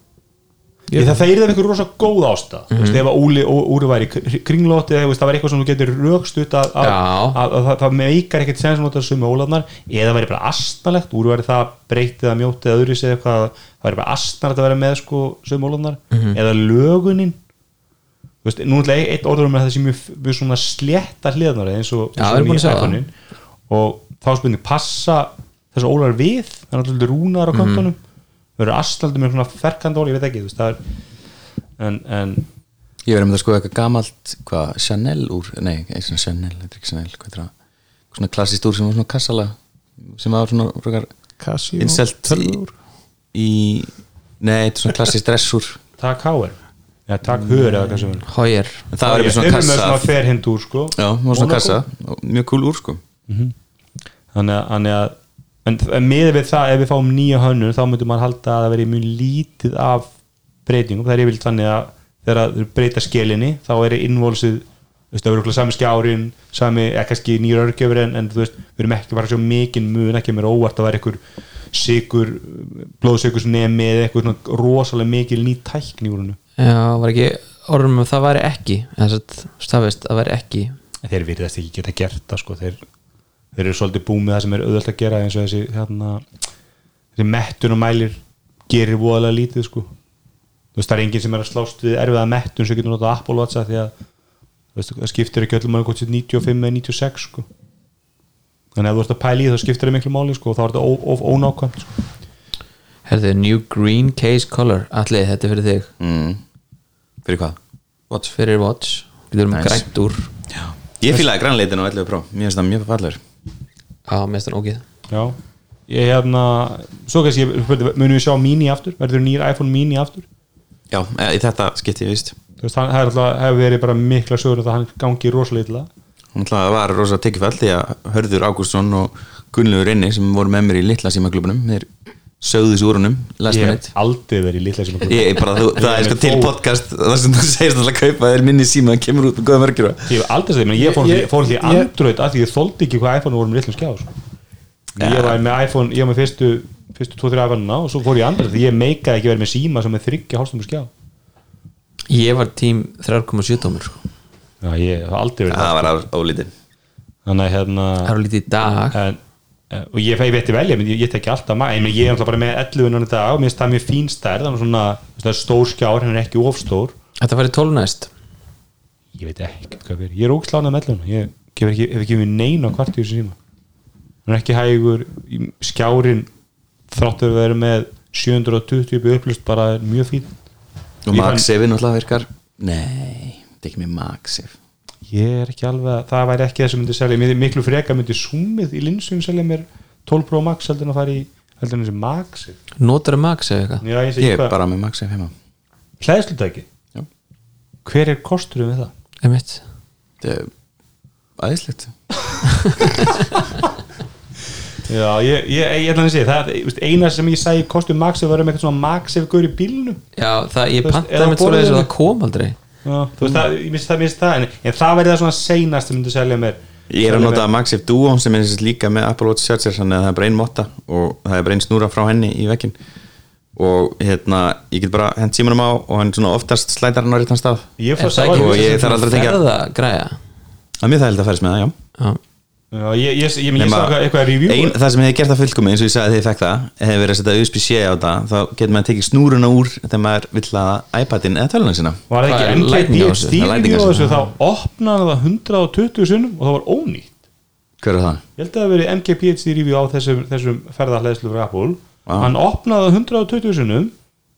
[SPEAKER 2] Ég, það þeirði af einhver rosa góð ásta mm -hmm. ef að Úli- Ú- úri væri kringlóti eða þú veist, það var eitthvað sem þú getur rögstutt að, að,
[SPEAKER 4] Já.
[SPEAKER 2] að, að, það, það meikar ekkert sem sem þetta sumi ólarnar eða væri bara astnalegt úri væri það breytið að mjótið eða öðru sér eitthvað það væri bara astnalegt að vera með sko, sumi ólarnar eða lögunin Þú veist, nú ætla ég eitt orður um að það sé mjög, mjög svona slétta hliðanar eins og,
[SPEAKER 4] Já,
[SPEAKER 2] eins
[SPEAKER 4] við
[SPEAKER 2] og
[SPEAKER 4] erum búin að sjá það.
[SPEAKER 2] iPhone-in. og þá er spurning passa þessar ólar við það er náttúrulega rúnar á kontunum það eru astaldi með svona ferkandi ól, ég veit ekki þú veist, það er en, en
[SPEAKER 3] Ég verið með að skoða eitthvað gamalt hvað, Chanel úr, nei, eitthvað svona Chanel þetta er ekki Chanel, hvað er það eitthvað svona klassist úr sem var svona kassala sem var svona frökar
[SPEAKER 5] Casio
[SPEAKER 3] inselt í,
[SPEAKER 5] tölvur
[SPEAKER 3] í nei, eitthvað svona klassist dressur
[SPEAKER 2] takk háir eða takk hör eða hvað sem er
[SPEAKER 4] hóger
[SPEAKER 3] en það var
[SPEAKER 2] Ég- þeir
[SPEAKER 3] eitthvað svona
[SPEAKER 2] eru með
[SPEAKER 3] kassa
[SPEAKER 2] svona ferhind úr sko
[SPEAKER 3] já, það var svona
[SPEAKER 2] Monaco.
[SPEAKER 3] kassa, og mjög kúl úr sko
[SPEAKER 2] þannig að, þannig að en, en miður við það, ef við fáum nýja hönnun þá myndum maður halda að það veri mjög lítið af breytingum, það er yfirleitt þannig að þegar þau breyta skelinni þá er innvolsið, þú veist, það verður örugglega sami skjárin sami, eða kannski nýra örgjöfur en, en þú veist, við erum ekki bara svo mikinn mun ekki mér óvart að vera einhver sigur, blóðsigur nemi eða eitthvað svona rosalega mikil ný tækni úr hennu,
[SPEAKER 4] Já, var ekki orðum um að það væri ekki eða stafist að væri ekki
[SPEAKER 2] en þeir virðast ekki geta gert það sko, þeir, þeir eru svolítið búmið það sem er auðvöld að gera eins og þessi hérna, þessi mettun og mælir gerir voðalega lítið sko þú veist það er enginn sem er að slást við erfiða mettun sem getur notað Apple Watch að því að þú veist, það skiptir ekki öllum að hvort sér 95 eða 96 sko þannig að ef þú ert að pæla í því, þá skiptir það miklu máli sko og þá er þetta ó- of ónákvæmt sko.
[SPEAKER 4] Herðu, New Green Case Color Alli, þetta er fyrir þig
[SPEAKER 3] mm. fyrir hvað?
[SPEAKER 4] Watch fyrir Watch Við erum
[SPEAKER 3] Nice.
[SPEAKER 4] nice. grænt úr
[SPEAKER 3] Já. ég fílaði grannleitin á 11 pró, mér finnst það mjög fallegur
[SPEAKER 4] á mestan ógið
[SPEAKER 2] já ég hérna, svo kannski ég- munum við sjá mini aftur, verður nýr iPhone mini aftur
[SPEAKER 3] já, e, í þetta skipti ég vist
[SPEAKER 2] þú veist, hann, það er alltaf, hefur verið bara mikla sögur að hann gangi rosalega illa
[SPEAKER 3] hún ætlaði að var rosa tekjufall því að Hörður Ágústsson og Gunnlaugur Inni sem voru með mér í litla símaklubunum þeir sögðu þessu úr honum last
[SPEAKER 2] ég
[SPEAKER 3] minute
[SPEAKER 2] hef aldrei verið í litla sem
[SPEAKER 3] Ég er bara, þú, það er sko til podcast þar sem þú segist alltaf að kaupa þér minni síma að kemur út með góða mörgjur
[SPEAKER 2] ég hef aldrei segið, menn ég fór
[SPEAKER 5] Ég-
[SPEAKER 2] ég, fór því
[SPEAKER 5] ég-
[SPEAKER 2] Android af því ég þóldi ekki hvað iPhone voru með litlum skjá sko. ég var með iPhone, ég var með fyrstu fyrstu 2-3 iPhone-una og svo fór ég í Android því ég meikaði ekki verið með síma sem er þryggja hálstum skjá
[SPEAKER 4] Ég var tím 3,7 tómur sko.
[SPEAKER 2] já, ég hef aldrei verið
[SPEAKER 3] Það var á- álítið
[SPEAKER 2] það þannig að hérna
[SPEAKER 4] Það eru lítið í dag
[SPEAKER 2] en, eh, og ég, ég veit ég velja, menn ég, ég tekki alltaf ma- en ég er alltaf bara með 11 núna í dag og mér finnst það mjög fín stærð, hann er svona þú veist, það er stór skjár, hann er ekki ofstór
[SPEAKER 4] Þetta færi 12 næst
[SPEAKER 2] ég veit ekki hvað fyrir, ég er ógslánað með elluna ég hef ekki, hef ekki við neina kvart í þessu síma hann er ekki hægur í- skjárin þráttur að vera með 720 upp í upplust bara er mjög fín
[SPEAKER 3] Og
[SPEAKER 2] Ég
[SPEAKER 3] MagSafe náttúrulega virkar Nei, þetta er ekki með MagSafe
[SPEAKER 2] ég er ekki alveg, að- það væri ekki það sem myndi selja mér miklu freka myndi sumið í linsun selja mér 12 Pro Max heldur en að fara í heldur en þessi Max
[SPEAKER 4] Notar að max eða eitthvað
[SPEAKER 2] já, ég segi
[SPEAKER 3] Ég er
[SPEAKER 2] hvað,
[SPEAKER 3] bara með MagSafe heima
[SPEAKER 2] hlæðslutæki
[SPEAKER 3] Já.
[SPEAKER 2] hver er kosturum við það?
[SPEAKER 4] Einmitt.
[SPEAKER 3] Þetta er æðislegt
[SPEAKER 2] Já, ég, ég, ég ætla að segja, það er, veist, eina sem ég sagði kostum Maxi var um eitthvað svona Maxi við gaur í bílnu
[SPEAKER 4] Já, það, ég
[SPEAKER 2] Þú veist,
[SPEAKER 4] pantaði
[SPEAKER 2] eða á
[SPEAKER 4] með svoleiðis og
[SPEAKER 2] borðinu.
[SPEAKER 4] það kom aldrei
[SPEAKER 2] Já, þú veist, það, ég misti það, misti það en, en það verði það svona seinast sem myndi selja mér
[SPEAKER 3] Ég er að
[SPEAKER 2] selja
[SPEAKER 3] nota Maxif Duo sem er sem sagt líka með Apple Watch Charger þannig að það er bara ein motta og það er bara ein snúra frá henni í vekkin og hérna, ég get bara hent símanum á og hann svona oftast slætar hann á réttan stað
[SPEAKER 2] mér. Ég
[SPEAKER 4] Er
[SPEAKER 2] fór
[SPEAKER 4] það
[SPEAKER 2] að
[SPEAKER 4] ekki
[SPEAKER 3] Og ég þarf aldrei að tengja-
[SPEAKER 4] ferða græja
[SPEAKER 3] Það er mjög þægild að færis með það, já
[SPEAKER 4] Já,
[SPEAKER 2] Já, ég, ég, ég, ég, ég
[SPEAKER 3] Nema-
[SPEAKER 2] sá eitthvað- eitthvað review
[SPEAKER 3] ein, Það sem hefði gert það fullkomi eins og ég sagði þegar ég fekk það hefði verið að setja USB-C á það þá getur maður tekið snúruna úr þegar maður vill að iPadin eða töluna sína
[SPEAKER 2] Var það
[SPEAKER 4] Hvað er
[SPEAKER 2] ekki
[SPEAKER 4] lightning á þessu?
[SPEAKER 2] NKD
[SPEAKER 3] Það er lightning
[SPEAKER 2] stýringu
[SPEAKER 3] á
[SPEAKER 2] á
[SPEAKER 3] þessu.
[SPEAKER 2] þessu þá opnaði það 120 sinnum og það var ónýtt
[SPEAKER 3] Hver er það?
[SPEAKER 2] Ég held að það hafi verið MKPHD review á þessum, þessum ferðarhleðslu frá Apple
[SPEAKER 3] Vá.
[SPEAKER 2] Hann opnaði það 120 sinnum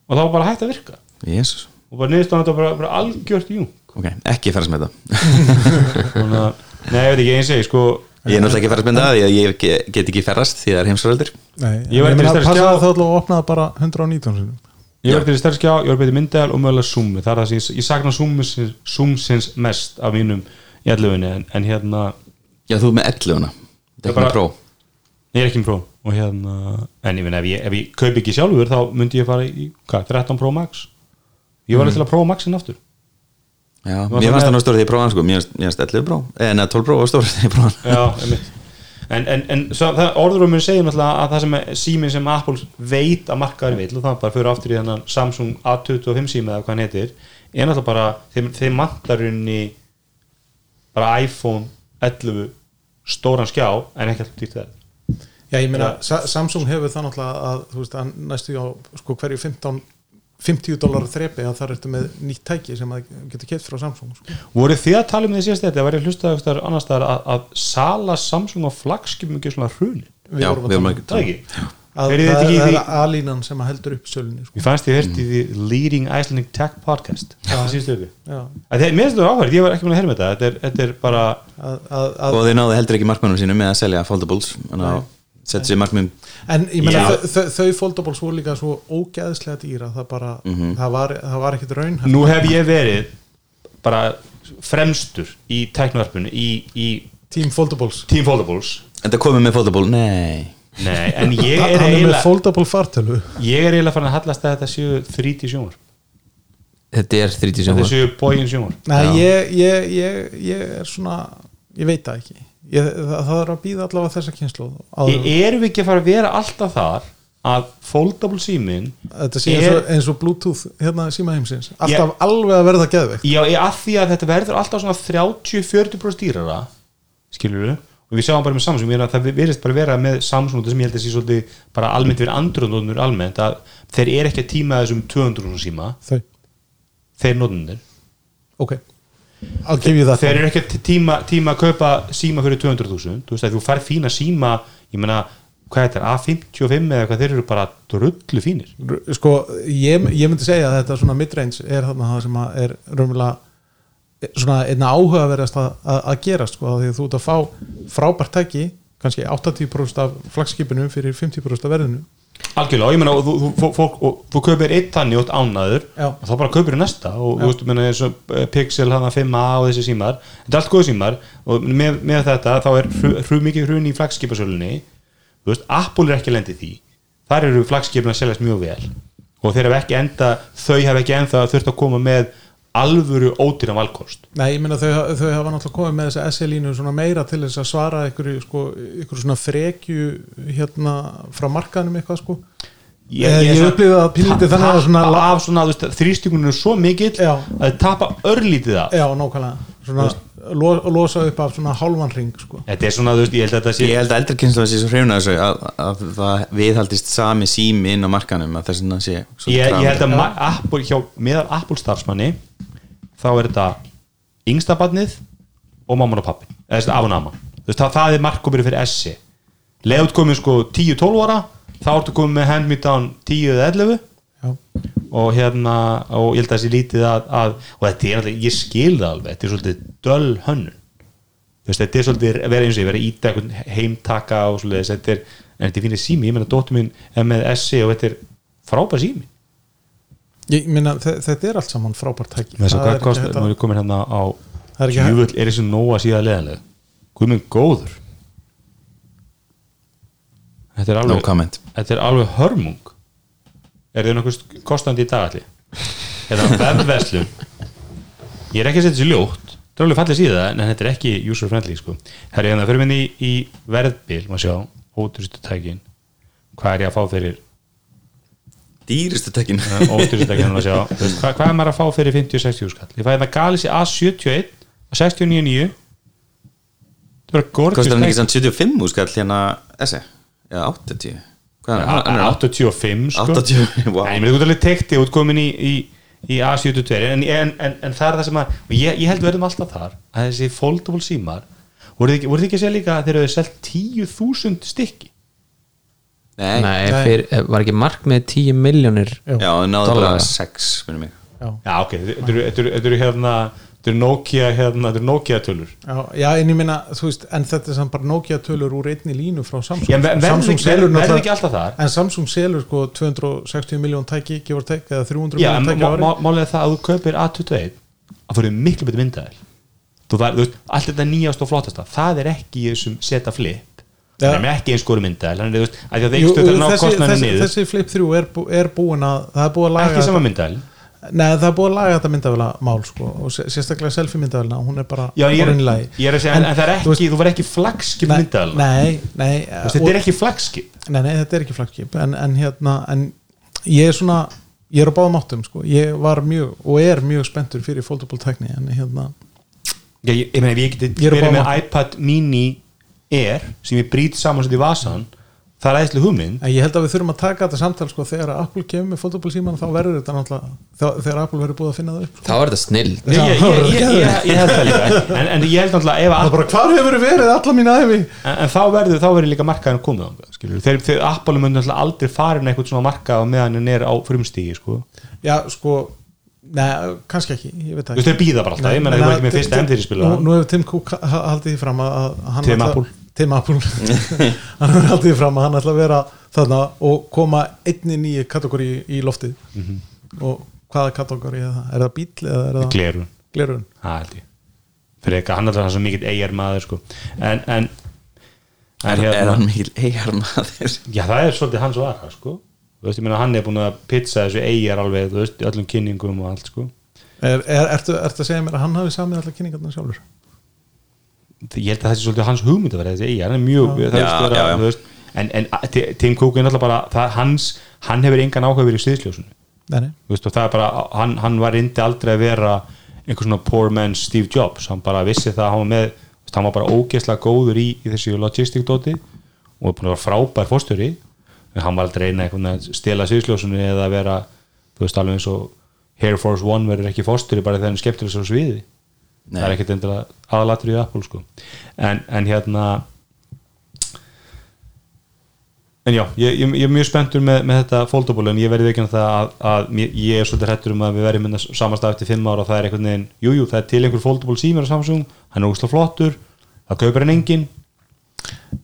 [SPEAKER 2] og það var bara hægt að virka
[SPEAKER 3] Jésus
[SPEAKER 2] og bara niðurstaðan þetta var bara, bara algjört jún
[SPEAKER 3] Ok, ekki færis með það
[SPEAKER 2] Þannig að, nei, ég veit ekki, eins og ég sko
[SPEAKER 3] Ég er náttúrulega ekki færis með það því að ég ge- get ekki ferðast því það er heimsvöröldir
[SPEAKER 5] Nei, en
[SPEAKER 2] Ég var
[SPEAKER 5] ég
[SPEAKER 2] til
[SPEAKER 5] meina
[SPEAKER 2] þess að
[SPEAKER 5] passa
[SPEAKER 2] skjá-
[SPEAKER 5] það þá alltaf að opna það bara 119 sinum
[SPEAKER 2] Ég verði til stærskjá, ég verði betið myndaðal og mögulega Zoomi, það er það sem ég, ég sakna Zoomsins, Zoomsins mest af mínum í allufinni, en, en hérna
[SPEAKER 3] Já, þú ert með 11 Þetta er
[SPEAKER 2] Ég bara-
[SPEAKER 3] ekki með pró
[SPEAKER 2] ég er ekki með Pro og hérna, en ég finn ef ég, ef ég kaup ekki sjálfur þá myndi ég fara í, hvað, 13 Pro Max ég var mm. til að Pro Maxin aftur
[SPEAKER 3] Já,
[SPEAKER 2] var það
[SPEAKER 3] mér fannst
[SPEAKER 2] með-
[SPEAKER 3] það nú stór því ég prófaði hann sko Mér fannst- mér fannst 11 próf, eh, neða 12 próf var stór því ég prófaði hann
[SPEAKER 2] Já, einmitt. en, en, en svo, það, orðurum mun segir náttúrulega að það sem er síminn sem Apple veit að markaður vill og það bara fyrir aftur í þennan Samsung A25 sími eða hvað hann heitir er náttúrulega bara, þeim, þeim mantarunni bara iPhone 11 stóran skjá en ekki alltaf dýrt það
[SPEAKER 5] Já, ég meina, Sa Samsung hefur það náttúrulega að, þú veist, að næstu á sko, hverju 15, 50 dólar þrepi að það ertu með nýtt tæki sem að getur keitt frá Samsung sko.
[SPEAKER 2] voru þið að tala um því síðast þetta var ég hlustað eitthvað annars staðar að, að sala Samsung á flagskipum ekki svona hruni
[SPEAKER 3] Já,
[SPEAKER 5] vorum að
[SPEAKER 3] við
[SPEAKER 5] tala
[SPEAKER 3] vorum
[SPEAKER 5] um
[SPEAKER 3] ekki
[SPEAKER 2] það ekki
[SPEAKER 5] að
[SPEAKER 2] Eruð þið
[SPEAKER 5] það,
[SPEAKER 2] ekki í
[SPEAKER 5] það
[SPEAKER 2] því-
[SPEAKER 5] er alínan sem að heldur upp sölunni sko.
[SPEAKER 2] Ég fannst ég hérst í því Leading Icelandic Tech Podcast Það síðustu ykkur
[SPEAKER 5] Já,
[SPEAKER 2] Að Þegar mér finnst þetta áhverð, ég var ekki með að heyra með þetta þetta er, þetta er bara,
[SPEAKER 5] að, að, að,
[SPEAKER 3] Og þeir náðu heldur ekki markmannum sínum með að selja foldables Þannig að setja sér um- markmannum
[SPEAKER 5] en ég meina,
[SPEAKER 2] Já.
[SPEAKER 5] þau, þau, þau foldables voru líka svo ógeðslega dýra það bara,
[SPEAKER 2] Mhm.
[SPEAKER 5] það var, það var ekkit raun
[SPEAKER 2] nú hef ég verið bara fremstur í tæknuverfinu, í, í
[SPEAKER 5] Team foldables
[SPEAKER 2] Team Foldables
[SPEAKER 3] En það komið með foldable, nei
[SPEAKER 2] Nei, en ég
[SPEAKER 5] Hann
[SPEAKER 2] er
[SPEAKER 5] er með
[SPEAKER 2] eiginlega
[SPEAKER 5] foldable fartölu
[SPEAKER 2] ég er eiginlega farin að hallast að þetta séu 3D sjónvarp,
[SPEAKER 4] þetta er 30
[SPEAKER 2] þetta
[SPEAKER 4] sjómar
[SPEAKER 2] séu bógin sjónvarp
[SPEAKER 5] Nei, ég, ég, ég, ég er svona ég veit það ekki ég, það, það er að býða allavega þessa kynslu
[SPEAKER 2] Ég erum við ekki að fara að vera alltaf þar að foldable símin
[SPEAKER 5] þetta sé eins,
[SPEAKER 2] er,
[SPEAKER 5] og, eins og bluetooth hérna síma heimsins alltaf
[SPEAKER 2] Ég-
[SPEAKER 5] alveg að verða geðveikt
[SPEAKER 2] já, ég að því að þetta verður alltaf svona 30-40% dýrara skilur við og við sjáum bara með Samsung, ég meina að það verðist bara vera með Samsung þetta sem ég held að sé svolítið bara almennt verið andrunóðnur almennt að þeir eru ekki að tíma þessum 200 síma
[SPEAKER 5] þau,
[SPEAKER 2] þeir nótunir
[SPEAKER 5] ok I'll give you that
[SPEAKER 2] þeir eru ekki að tíma, tíma að kaupa síma fyrir 200.000 þú veist að þú færð fína síma ég meina, hvað þetta er, A55 eða hvað þeir eru bara drullu fínir
[SPEAKER 5] R- sko, ég, ég myndi segja að þetta svona midrange er þarna það sem að er raunverulega eh, svona einna áhugaverðast að, að, að gerast sko, af því að þú ert að fá frábært tæki kannski 80% af flagskipinu fyrir 50% af verðinu
[SPEAKER 2] algjörlega, og ég meina, og þú, þú, fó- fólk, og, þú kaupir einn þannig út ánaður
[SPEAKER 5] Já.
[SPEAKER 2] og þá bara kaupir næsta og þú veist, ég meina, eins og eh, Pixel, hana 5a og þessi símar þetta er allt góð símar og með, með þetta þá er hru, hru, mikið hrun í flagskipasölunni þú veist, Apple er ekki lendið því þar eru flagskipin að seljast mjög vel og þeir hafa ekki enda, þau hafa ekki enda þurft að koma með alvöru ódýran valkost
[SPEAKER 5] Nei, ég meina þau, þau hafa náttúrulega komið með þessa SE-línu svona meira til þess að svara ykkur, sko, ykkur svona frekju hérna frá markaðnum eitthvað sko Ég, ég, ég upplýði að pínlítið þannig að svona
[SPEAKER 2] tappa af svona, þú veist, þrýstingunum er svo mikill
[SPEAKER 5] Já. Eh.
[SPEAKER 2] að þið tapa örlítið af
[SPEAKER 5] Já, nákvæmlega svona, lo, losa upp af svona hálfan ring sko.
[SPEAKER 2] Þetta er svona, þú veist, ég held að þetta sé
[SPEAKER 3] Ég held að eldri kynslu að sé svo hreifun að þessu að, að það viðhaldist sami sími inn á markannum að þess að sé
[SPEAKER 2] ég, ég held að ma- Apple, hjá, meðal Apple starfsmanni þá er þetta yngsta barnið og mamman og pappin eða þess að afan amma Þú veist, það, það er markkopir fyrir S leðut komið sko 10-12 ára þá ertu komið með hand me down 10 eða 11
[SPEAKER 5] Já,
[SPEAKER 2] og hérna og ég held að það sé lítið að, að og þetta er alltaf, ég skil það alveg þetta er svolítið döl hönnun Þú veist, þetta er svolítið að vera eins og ég vera að íta einhvern heimtaka og svolítið þetta er, en þetta er fínir sími, ég meina dóttur minn er með SE og þetta er frábær sími
[SPEAKER 5] ég meina þe- þetta er allt saman frábært tæki
[SPEAKER 2] Þess að
[SPEAKER 5] Það er
[SPEAKER 2] hvað
[SPEAKER 5] ekki
[SPEAKER 2] kostar,
[SPEAKER 5] hægt
[SPEAKER 2] nú
[SPEAKER 5] að-
[SPEAKER 2] er ég komin hérna á
[SPEAKER 5] Það er ekki hægt.
[SPEAKER 2] Júvöld er þessi nóa síðan leðanlega Guð minn góður þetta er
[SPEAKER 3] no
[SPEAKER 2] alveg,
[SPEAKER 3] comment
[SPEAKER 2] þetta er alveg hörmung er þau nokkuð kostandi í dagalli eða vefverslun ég er ekki að setja þessi ljótt þetta er alveg fallið síða en þetta er ekki user friendly sko. herri en það fyrir minni í, í verðbil maður sjá, ódurstu tækin hvað er ég að fá fyrir
[SPEAKER 3] dýristu tekkin
[SPEAKER 2] ódurstu tækin maður sjá, þú veist, hvað, hvað er maður að fá fyrir 50-60 skall ég fæði þetta Galaxy A71 og 69.9 þetta er bara gorgeous
[SPEAKER 3] kostar hann ekki
[SPEAKER 2] tæki
[SPEAKER 3] samt 75 úr skall hérna þessi, eða 80 hvað er hann? hann? er
[SPEAKER 2] 85 sko
[SPEAKER 3] 80, wow.
[SPEAKER 2] Nei, mér þú ert alveg tekti út komin í, í, í A72 en, en, en, en það er það sem að og ég, ég held við verðum alltaf þar að þessi foldable símar voru þið ekki, voruð þið ekki að segja líka að þeir eru selt 10.000 stykki
[SPEAKER 3] Nei, Nei.
[SPEAKER 4] Nei,
[SPEAKER 5] Nei.
[SPEAKER 4] fyr, var ekki markmið 10 miljónir
[SPEAKER 5] Jú.
[SPEAKER 3] já, það náði
[SPEAKER 4] Dollara.
[SPEAKER 3] bara 6 minnum mig
[SPEAKER 5] já,
[SPEAKER 2] Já, ok, þetta eru- þetta eru- þetta eru hérna þetta eru Nokia, hérna, þetta eru Nokia tölur
[SPEAKER 5] já, já, en ég minna þú veist, en þetta er samt bara Nokia tölur úr einni línu frá Samsung
[SPEAKER 2] Já, ver- verður
[SPEAKER 5] Samsung
[SPEAKER 2] ekki-
[SPEAKER 5] selur
[SPEAKER 2] verður
[SPEAKER 5] náttúrulega-
[SPEAKER 2] ekki alltaf þar?
[SPEAKER 5] en Samsung selur sko 260 miljón tæki, gefur tæk, eða 300
[SPEAKER 2] Já, en
[SPEAKER 5] miljón tæki á
[SPEAKER 2] má-
[SPEAKER 5] ári
[SPEAKER 2] má- málið er það að þú kaupir A21 að fyrir miklu betur myndaðil þú var, þú veist, allt þetta nýjast og flottasta það er ekki í þessum seta flip
[SPEAKER 5] Já.
[SPEAKER 2] það er ekki eins góru myndaðil þannig að þú veist, að því að það
[SPEAKER 5] Jú,
[SPEAKER 2] ekki stöður að ná
[SPEAKER 5] þessi,
[SPEAKER 2] kostnæðinu
[SPEAKER 5] þessi,
[SPEAKER 2] niður
[SPEAKER 5] þessi Flip 3 er, bú, er búin að það er búin að laga
[SPEAKER 2] ekki sama
[SPEAKER 5] þetta-
[SPEAKER 2] myndaðil
[SPEAKER 5] Nei, það er búið að laga þetta myndavela mál sko, og sé- sérstaklega selfie myndavela hún er bara
[SPEAKER 2] Já, ég er,
[SPEAKER 5] orðin í lagi.
[SPEAKER 2] ég er að segja, en, en það er
[SPEAKER 5] þú
[SPEAKER 2] ekki, þú var ekki flaggskip
[SPEAKER 5] Nei,
[SPEAKER 2] myndaðal
[SPEAKER 5] Nei, nei,
[SPEAKER 2] Þetta er ekki flaggskip
[SPEAKER 5] nei, nei, þetta er ekki flaggskip en, en hérna, en ég er svona ég er á báðum áttum sko, ég var mjög og er mjög spenntur fyrir foldable tækni en hérna,
[SPEAKER 2] Ég, ég, ég meina, ef ég geti
[SPEAKER 5] Ég er að
[SPEAKER 2] verið
[SPEAKER 5] báða
[SPEAKER 2] með iPad mini Air sem ég brýt saman sér í vasan það er æðislega hugmynd
[SPEAKER 5] en ég held að við þurfum að taka þetta samtal sko, þegar Apple kemur með foldable síman þá verður þetta náttúrulega, þá, þegar Apple verður búið að finna það upp sko.
[SPEAKER 4] Þá er þetta snill
[SPEAKER 2] Nei, ég, ég, ég, ég, ég, ég held það líka en, en ég held náttúrulega ef
[SPEAKER 5] Það
[SPEAKER 2] Apple
[SPEAKER 5] bara, hvar hefur verið alla mín æfi
[SPEAKER 2] en, en þá verður þá verður líka markaðin komið á skilur, þeir, þeir Apple mun náttúrulega aldrei farin eitthvað svona markað á meðan hann er á frumstígi sko.
[SPEAKER 5] Já, sko, neða, kannski ekki ég veit það
[SPEAKER 2] þú veist
[SPEAKER 5] ekki
[SPEAKER 2] þeir býða bara alltaf, ég menna þeir voru ekki með fyrsta M4 spila
[SPEAKER 5] Nú, nú hefur Tim Cook ha- ha- haldið því fram að að hann
[SPEAKER 2] Tim
[SPEAKER 5] ætla-
[SPEAKER 2] Apple.
[SPEAKER 5] Tim Apple hann hefur haldið því fram að hann ætla að vera þarna og koma einni nýju kategóri í loftið
[SPEAKER 2] Mhm.
[SPEAKER 5] og hvaða kategóri er það? Er það bíl eða er það
[SPEAKER 2] glerun,
[SPEAKER 5] glerun?
[SPEAKER 2] það held ég fyrir eitthvað, hann er alltaf svo mikill eigjar maður sko. en, en, hérna-
[SPEAKER 3] er, er hann mikil eigar maður
[SPEAKER 2] Já, það er svolítið hans vara, sko Þú veist, ég meina, hann er búin að pizza þessu eigjar alveg, þú veist, í öllum kynningum og allt, sko
[SPEAKER 5] Er, er, ertu, ertu að segja mér að hann hafi samið allar kynningarnar sjálfur?
[SPEAKER 2] Ég held að það sé svolítið hans hugmynd að vera þessi eigjar, hann er mjög, það er
[SPEAKER 3] Já,
[SPEAKER 2] sko,
[SPEAKER 3] já, já.
[SPEAKER 2] þú veist En, en a- Ti- Tim Cook er náttúrulega bara, það, hans, hann hefur engan áhuga verið í sviðsljósinu
[SPEAKER 5] Nei, nei.
[SPEAKER 2] Þú veist, og það er bara, hann, hann var reyndi aldrei að vera einhver svona poor man Steve Jobs hann bara vissi það að hann var með þú veist, hann var bara ógeðslega góður í, í þessu logistic doti og er búin að vera frábær fórstöri en hann var aldrei reyna einhvern veginn að stela sviðsljósunni eða að vera, þú veist, alveg eins og Air Force One verður ekki fórstöri bara þegar hann skemmtilega svo sviði
[SPEAKER 3] Nei.
[SPEAKER 2] það er ekkert endur aðalatur í Apple sko. en, en hérna En já, ég, ég, ég er mjög spenntur með, með þetta foldable en ég verði ekki það að, að mér- ég er svolítið hrættur um að við verðum minna samastað eftir fimm ára og það er einhvern veginn, jújú, jú, það er til einhver foldable símur á Samsung, hann er úsla flottur það kaupir hann engin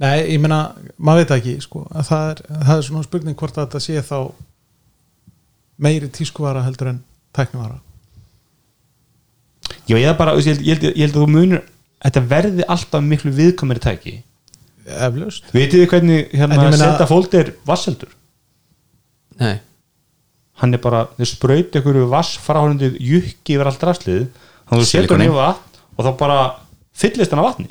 [SPEAKER 5] Nei, ég meina, maður veit það ekki sko. að það, er, það er svona spurning hvort að þetta sé þá meiri tískuvara heldur en tæknivara
[SPEAKER 2] Já, ég er bara, þú veist, ég held, ég held, ég held að þú munur þetta verði alltaf miklu viðkomari tæki
[SPEAKER 5] eflaust
[SPEAKER 2] Vitið þið hvernig hérna
[SPEAKER 5] En ég meina-
[SPEAKER 2] senda fold er vasseldur?
[SPEAKER 4] Nei,
[SPEAKER 2] Hann er bara, þeir sprauti einhverju vassfráhundið jukki yfir allt rastlið þannig að þú setur hann
[SPEAKER 3] Silikoni.
[SPEAKER 2] í vatn og þá bara fyllist hann af vatni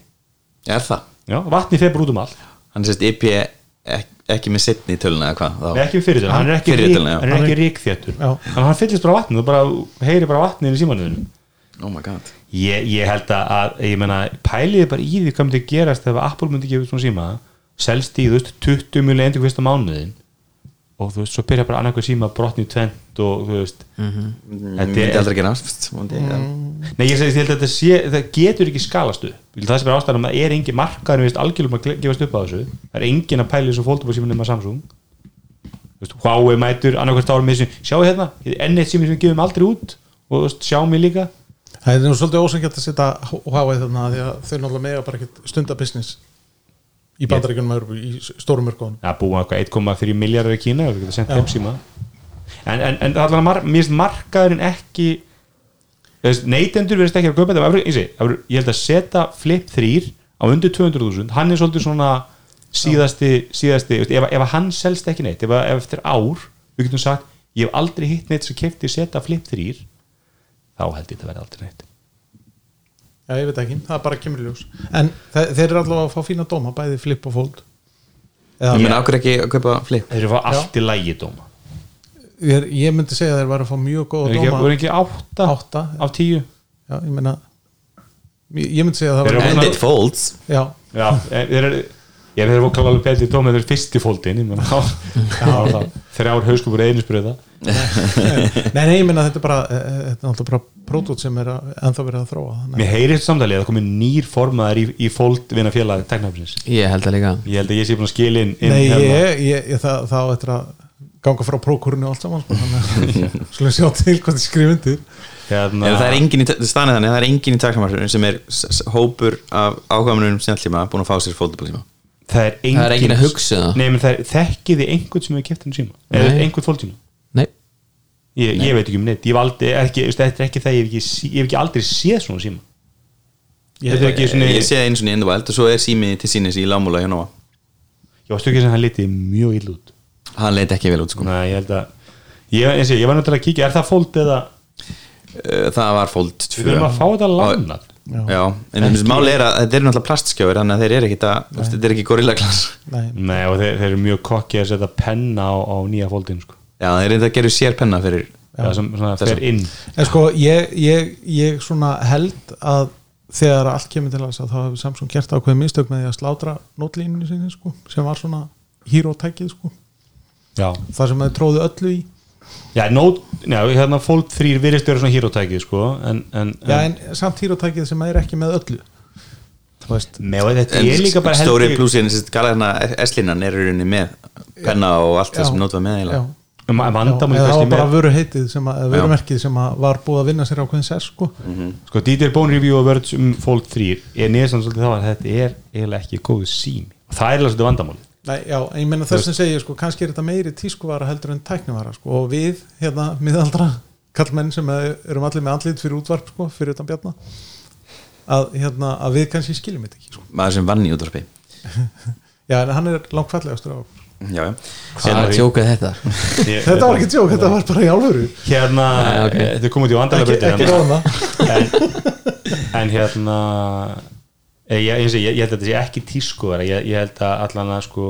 [SPEAKER 3] er það?
[SPEAKER 2] Já, vatni febur út um allt
[SPEAKER 3] hann sést IP ek, ekki með setni í töluna eða hvað þá?
[SPEAKER 2] Nei, ekki fyrir þetta, hann er ekki,
[SPEAKER 3] Fyrir
[SPEAKER 2] rík,
[SPEAKER 3] þetta, já.
[SPEAKER 2] hann er ekki ríkþjöttur
[SPEAKER 5] Já.
[SPEAKER 2] Þannig að hann fyllist bara vatnið, þú bara heyri bara vatnið í símanuðinu
[SPEAKER 3] oh my god
[SPEAKER 2] ég, ég held að, að ég menna, pæliði bara í því hvað myndi gerast ef Apple myndi gefa út svona síma selst í, þú veist, 20 mjög leindu hvist á mánuðin og þú veist, svo byrja bara annarkvæð síma brotni tvent og þú veist
[SPEAKER 3] Þetta myndi aldrei gerast myndi, mm.
[SPEAKER 2] Nei, ég segi, ég held að þetta sé, það getur ekki skalast upp það sem er ástæðan að er engin markaður við veist algjörum að gle- gefast upp á þessu það er engin að pæli þessu fólkdópa síma nema Samsung þú veist, Huawei mætur annarkvært ára með þessu, sjáu hérna enn eitt síma sem við gefum aldrei út og þú veist, sjáum ég líka
[SPEAKER 5] Það er nú svolítið ósengjart að setja Huawei þarna því að þau náttúrulega mega bara ekkert stunda business í bandaríkunum yeah. í s- stórum örgóðunum
[SPEAKER 2] Það er búið eitthvað 1,3 miljardar í Kína og við getum sendt þeim síma en, en, en það er alveg mar, mér finnst markaðurinn ekki þú veist, neytendur verðist ekki að köpa þetta ég, segi, það verður- ég held að setja Flip 3 á undir 200.000 hann er svolítið svona síðasti, síðasti veist, ef, ef hann selst ekki neitt ef, ef eftir ár, við getum sagt ég hef aldrei hitt neitt sem kefti seta flip 3 þá held ég þetta verði aldrei neitt
[SPEAKER 5] Já, ég veit ekki, það bara kemur í ljós En þe þeir eru allavega að fá fína dóma Bæði flip og fold Eða,
[SPEAKER 3] Ég menn ákveð ekki að kaupa flip
[SPEAKER 2] þeir eru að fá allt í lægi dóma
[SPEAKER 5] ég, ég myndi segja að þeir væri að fá mjög
[SPEAKER 2] þeir
[SPEAKER 5] góða
[SPEAKER 2] eru ekki,
[SPEAKER 5] dóma
[SPEAKER 2] voru ekki átta
[SPEAKER 5] Átta.
[SPEAKER 2] af tíu
[SPEAKER 5] Já, ég meina Ég ég myndi segja að það
[SPEAKER 2] Þeir eru
[SPEAKER 5] væri
[SPEAKER 3] And it folds
[SPEAKER 5] Já,
[SPEAKER 2] já, e- þeir eru ég þeir eru að kalla alveg betri dóma þeir eru fyrst í fóldin þrjár hauskupur einisbröða
[SPEAKER 5] nei, nei, ég meina þetta er bara eh, eh, Þetta er alltaf bara pródút sem er að, ennþá verið að þróa þannig að-
[SPEAKER 2] mér heyrist samtalið að það komi nýr formaðar í, í fóld vinna félag teknafsins
[SPEAKER 4] ég held að líka
[SPEAKER 2] ég held að ég sé búin að skilja inn, inn
[SPEAKER 5] Nei, ég,
[SPEAKER 2] hérna.
[SPEAKER 5] ég, ég, það, það á eftir að ganga frá prókurinu og allt saman sko, þannig að Skulum sjá til hvað þið skrifundir
[SPEAKER 2] Hérna,
[SPEAKER 3] En það er engin í stanið þannig, það er engin í takmarfinu sem er s- s- hópur af ákvæmunum snjalltíma búin að fá sér foldablasíma
[SPEAKER 2] það er engin,
[SPEAKER 4] Það er enginn að hugsa það.
[SPEAKER 2] Nei, menn það er þekkiði einhvern sem hefur kæft hann síma eða
[SPEAKER 4] Nei.
[SPEAKER 2] einhvern fólksíma
[SPEAKER 4] nei,
[SPEAKER 2] ég, ég veit ekki um neitt, ég hef aldrei ekki, veist, þetta er ekki það, ég hef ekki, sé- ég hef ekki aldrei séð svona síma Þetta er ekki svona
[SPEAKER 3] Ég sé það eins og niður endavæld og svo er sími til sínis í lámúla hjá Nóa
[SPEAKER 2] ég varstu ekki sem hann liti mjög ill út
[SPEAKER 3] Hann leit ekki vel út sko
[SPEAKER 2] Nei, ég held að ég, eins og ég, ég var náttúrulega að kíkja, er það fóld eða
[SPEAKER 3] Eh, Það var fold 2
[SPEAKER 2] við verðum að fá þetta lánað
[SPEAKER 3] Já, en þessi máli er að þetta eru náttúrulega plastskjáir þannig að þeir eru ekki það, þetta er ekki gorillaglans
[SPEAKER 5] Nei,
[SPEAKER 2] Nei, og þeir, þeir eru mjög kokkið að setja penna á, á nýja fóldin sko.
[SPEAKER 3] Já, þeir eru þetta að gera sér penna fyrir
[SPEAKER 2] það sem svona, fer inn
[SPEAKER 5] En sko, ég, ég, ég svona held að þegar allt kemur til þess að þá hefur Samsung gert ákveðið mistök með því að slátra nótlínunni sinni sko, sem var svona hýrótækið sko,
[SPEAKER 2] Já,
[SPEAKER 5] þar sem þau tróðu öllu í
[SPEAKER 2] já, nót, já hérna, fóld 3 virðist vera svona hýrótækið sko, en, en,
[SPEAKER 5] Já, en samt hýrótækið sem er ekki með öllu Þú veist,
[SPEAKER 2] Nei, og þetta
[SPEAKER 3] En
[SPEAKER 2] er líka bara
[SPEAKER 3] stóri
[SPEAKER 2] heldur-
[SPEAKER 3] blúsin, þessi galarna S-linan hérna, er í rauninni með penna og allt það
[SPEAKER 5] Já.
[SPEAKER 3] sem nótvað með
[SPEAKER 5] já,
[SPEAKER 3] eiginlega
[SPEAKER 2] Ma-
[SPEAKER 5] já,
[SPEAKER 2] um vandamál
[SPEAKER 5] eða það
[SPEAKER 2] kannski
[SPEAKER 5] var bara
[SPEAKER 2] með-
[SPEAKER 5] vöru heitið sem að, eða
[SPEAKER 3] Já.
[SPEAKER 5] vörumerkið sem að var búið að vinna sér ákveðin sér sko
[SPEAKER 2] sko Dieter Bone Review og Words um Fold 3 er neðsan svolítið þá að þetta er eiginlega ekki góðu sími og það er eiginlega svolítið vandamál
[SPEAKER 5] Nei, já, en ég meina þess sem segja sko, kannski er þetta meiri tískuvara heldur en tæknivara sko, og við, hérna, miðaldra kallmenn sem erum allir með andlit fyrir útvarp sko, fyrir utan bjarna að, hérna, að við kannski skiljum þetta ekki sko.
[SPEAKER 3] maður sem vann í útvarpi
[SPEAKER 5] já, en hann er langt fallegastur á okkur
[SPEAKER 3] Já, já
[SPEAKER 4] hvað er tjókað þetta
[SPEAKER 5] þetta var ekki tjók, þetta var bara í álveru
[SPEAKER 2] hérna,
[SPEAKER 4] Nei, ok.
[SPEAKER 2] eh, þetta er komið til
[SPEAKER 5] ekki,
[SPEAKER 2] vandalega
[SPEAKER 5] ekki ráðum það
[SPEAKER 2] en hérna eh, ég, ég, ég, ég held að þetta sé ekki tískuðara ég, ég held að allan að sko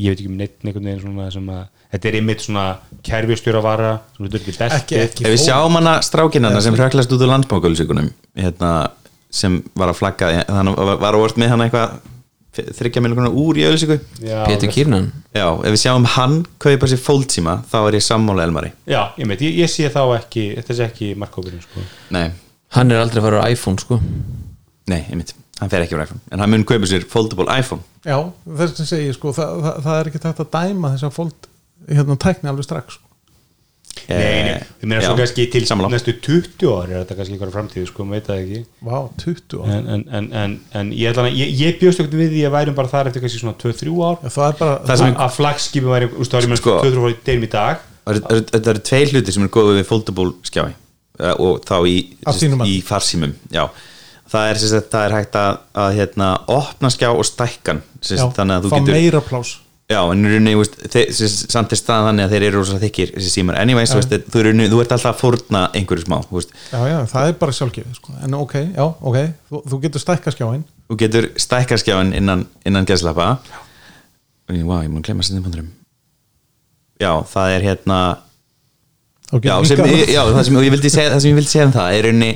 [SPEAKER 2] ég veit ekki um neitt einhvern veginn svona sem að þetta er einmitt svona kerfistjóra vara sem þetta er ekki
[SPEAKER 5] ekki,
[SPEAKER 2] bestið
[SPEAKER 5] ekki
[SPEAKER 3] Ef við
[SPEAKER 5] fór.
[SPEAKER 3] sjáum hana strákinana sem hröklast út úr landsbókaulisíkunum hérna, sem var að flagga þannig var- var að vorst með hana eitthvað þryggja miljonar úr í auðlýsingu
[SPEAKER 2] Já,
[SPEAKER 4] Pétur Kýrnan
[SPEAKER 3] Já, ef við sjáum hann kaupa sér fólksíma þá er ég sammála Elmari
[SPEAKER 2] já ég, veit, ég, ég sé þá ekki, þetta sé ekki markkókurinn sko.
[SPEAKER 3] Nei,
[SPEAKER 4] hann er aldrei að fara á iPhone sko
[SPEAKER 3] nei, einmitt, hann fer ekki úr iPhone en hann mun kaupa sér foldable iPhone
[SPEAKER 5] já, þess sem segja sko, það, það, það er ekki hægt að dæma þess að fólk hérna, tækni alveg strax sko.
[SPEAKER 2] Nei, nei, ég meina svo
[SPEAKER 3] Eh, já,
[SPEAKER 2] kannski til
[SPEAKER 3] sammála.
[SPEAKER 2] næstu 20 ári er þetta kannski einhverja framtíð, sko, maður veit það ekki
[SPEAKER 5] vá, 20 ára
[SPEAKER 2] en, en, en, en, en ég, ætla, að- ég, ég bjóst ekkert við því að værum bara þar eftir kannski svona 2-3 ár
[SPEAKER 5] það er bara,
[SPEAKER 3] Það sem-
[SPEAKER 2] að, að flagskipi væri, úst, það væri
[SPEAKER 3] Sko.
[SPEAKER 2] 2-3 ári deginum í dag
[SPEAKER 3] Það eru- eru- Þetta eru tvei hluti sem eru góðið við foldable skjái eh, og þá í,
[SPEAKER 5] Á
[SPEAKER 3] sérst,
[SPEAKER 5] þínum mati.
[SPEAKER 3] í farsímum já. það er, sérst, það er hægt að, að hérna, opna skjá og stækkan
[SPEAKER 5] já,
[SPEAKER 3] sérst, þannig að þú
[SPEAKER 5] fá
[SPEAKER 3] getur
[SPEAKER 5] meira plás
[SPEAKER 3] Já, en í rauninni, þú veist, þeir- þessi- samt er staðan þannig að þeir eru rosa þykir þessi símar, anyways, þú veist, þú, er rauninni, þú ert alltaf að fórna einhverju smá, þú veist,
[SPEAKER 5] Já, já, það er bara sjálfgefið sko. en ok, já, ok, þú, þú getur stækka skjáin
[SPEAKER 3] þú getur stækkarskjáin innan, innan gæslappa Vá, ég múin að glemma sinni bóndurum Já, það er hérna
[SPEAKER 5] Þú
[SPEAKER 3] já,
[SPEAKER 5] getur
[SPEAKER 3] sem,
[SPEAKER 5] minnkað-
[SPEAKER 3] já, það sem ég vildi segja það sem ég vildi segja um það er rauninni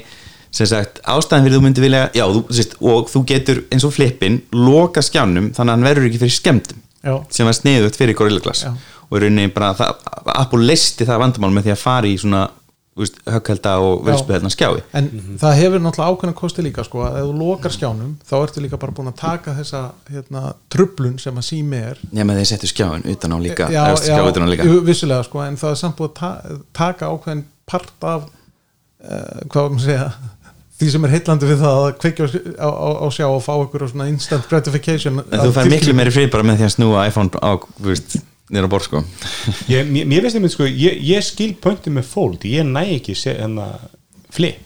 [SPEAKER 3] sem sagt, ástæðan fyrir þú myndi vilja já, þú, sérst, og þú getur eins og flippin loka skjánum þannig að hann verður ekki fyrir skemmtum
[SPEAKER 5] Já.
[SPEAKER 3] sem var sniðugt fyrir Gorilla Glass
[SPEAKER 5] Já.
[SPEAKER 3] og í rauninni bara það, Apple leisti það vandamál með því að fara í svona þú veist, högghælda og vilspuðhelna skjái
[SPEAKER 5] en það hefur náttúrulega ákveðna kosti líka sko, að ef þú lokar skjánum þá ertu líka bara búin að taka þessa hérna, tröflun sem að sími er
[SPEAKER 3] nema þeir settu skjáin utan á líka efstu skjá utan á líka
[SPEAKER 5] jú, vissulega sko, en það er samt búin að ta taka ákveðin part af uh, hvað var maður að segja því sem er heillandi við það að kveikja á- á, á, á sjá og fá ykkur svona instant gratification
[SPEAKER 3] en þú fær miklu meiri frið bara með því að snúa iPhone á, þú veist, nýra borð sko
[SPEAKER 2] ég, mér, mér veist einmitt, sko, ég, ég skil pöntum með fólk, ég næ ekki se, hennar, flip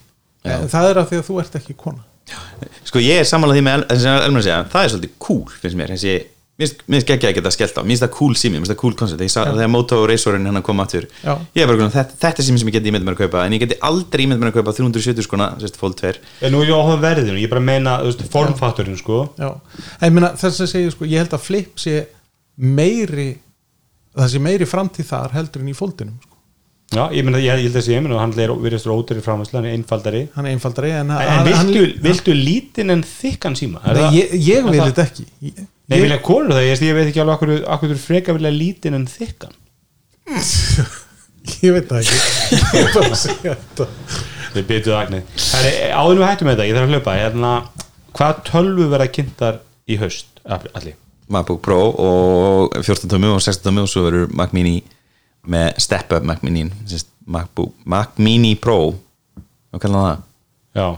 [SPEAKER 5] En það er af því að þú ert ekki kona
[SPEAKER 3] sko ég er samanlega því með El- sem Elmar segja, það er svolítið cool finnst mér, þessi minnst, minnst geggja að geta skellt á minnst það cool sími, minnst það cool concept ég sá
[SPEAKER 5] Já.
[SPEAKER 3] þegar Moto Racerinn hennar kom aftur
[SPEAKER 5] Já.
[SPEAKER 3] ég er bara grunn, þetta, þetta er sími sem ég geti ímynd mér að kaupa en ég geti aldrei ímynd mér að kaupa 370 skona, sérst, Fold 2
[SPEAKER 2] en nú er ég áhuga verðinu, ég bara meina þú veist, formfaktorinn sko
[SPEAKER 5] Já, en ég meina þess að segja sko, ég held að flip sé meiri það sé meiri framtíð þar heldur en í fóldinum sko.
[SPEAKER 2] já, ég, meina, ég, ég held að sé, ég meina, hann er virðist rótari framvæsla, hann er einfaldari
[SPEAKER 5] hann er einfaldari en,
[SPEAKER 2] en,
[SPEAKER 5] hann-
[SPEAKER 2] en viltu,
[SPEAKER 5] hann-
[SPEAKER 2] viltu lítinn en þykkan síma Er
[SPEAKER 5] Nei,
[SPEAKER 2] það-
[SPEAKER 5] ég, ég
[SPEAKER 2] er
[SPEAKER 5] vil
[SPEAKER 2] það-
[SPEAKER 5] þetta ekki ég,
[SPEAKER 2] Nei,
[SPEAKER 5] ég,
[SPEAKER 2] vilja konur það, ég, veist, ég veit ekki alveg akkur, akkur þú freka vilja lítinn en þykkan
[SPEAKER 5] ég veit það ekki ég er bara að segja þetta
[SPEAKER 2] Þið byttuð agnið Herri, áður en við hættum með þetta, ég þarf að hlaupa hérna, Hvað tölvu verða kynntar í haust? Allir
[SPEAKER 3] MacBook Pro og 14 tómi og 16 tómi og svo verður Mac Mini með Step Up Mac Mini sérst, MacBook, Mac Mini Pro og kallar hann
[SPEAKER 2] Já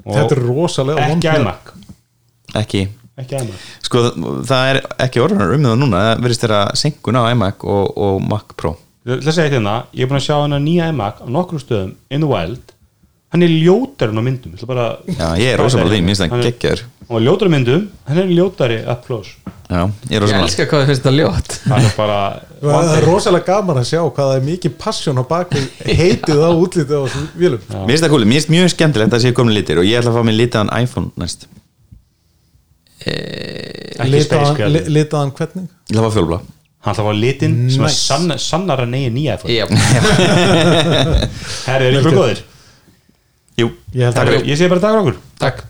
[SPEAKER 5] þetta er
[SPEAKER 2] Og
[SPEAKER 5] rosalega vond
[SPEAKER 2] ekki
[SPEAKER 5] mynd.
[SPEAKER 2] æmak
[SPEAKER 3] það ekki
[SPEAKER 2] Ekki æmak
[SPEAKER 3] sko það er ekki orðunar um það núna það verðist þeirra senkun á iMac og, og Mac Pro
[SPEAKER 2] Það segja eitt hérna, ég er búin að sjá hennar nýja æmak á nokkrum stöðum in the wild Hann er ljótarinn á myndum ég ætla bara,
[SPEAKER 3] já ég er rosa bara því, minnst það
[SPEAKER 2] hérna. Hann er-
[SPEAKER 3] geggjör
[SPEAKER 2] Hann var ljótarinn á myndum, hann er ljótari up close
[SPEAKER 3] já ég er
[SPEAKER 4] Ég
[SPEAKER 3] rosa bara
[SPEAKER 4] elska hvað þið finnst þetta ljótt
[SPEAKER 2] Hann er bara
[SPEAKER 5] það er rosalega gaman að sjá hvað það er mikið passjón á baki heitið á útlitið á þessum vélum
[SPEAKER 3] minnst það kúli, minnst mjög skemmtilegt að sé komin litir og ég ætla að fá mér litaðan iPhone næst ég
[SPEAKER 2] ekki space
[SPEAKER 5] litaðan
[SPEAKER 2] girl.
[SPEAKER 5] li- litaðan hvernig
[SPEAKER 3] ætla að fá fjólblá
[SPEAKER 2] Hann ætla að fá litinn sem að
[SPEAKER 5] Nice.
[SPEAKER 2] sanna, sannar að neyja nýja iPhone
[SPEAKER 4] Já,
[SPEAKER 2] Herri, er ykkur góðir?
[SPEAKER 3] jú,
[SPEAKER 5] ég held að
[SPEAKER 2] Ég segi bara takk fyrir okkur
[SPEAKER 4] takk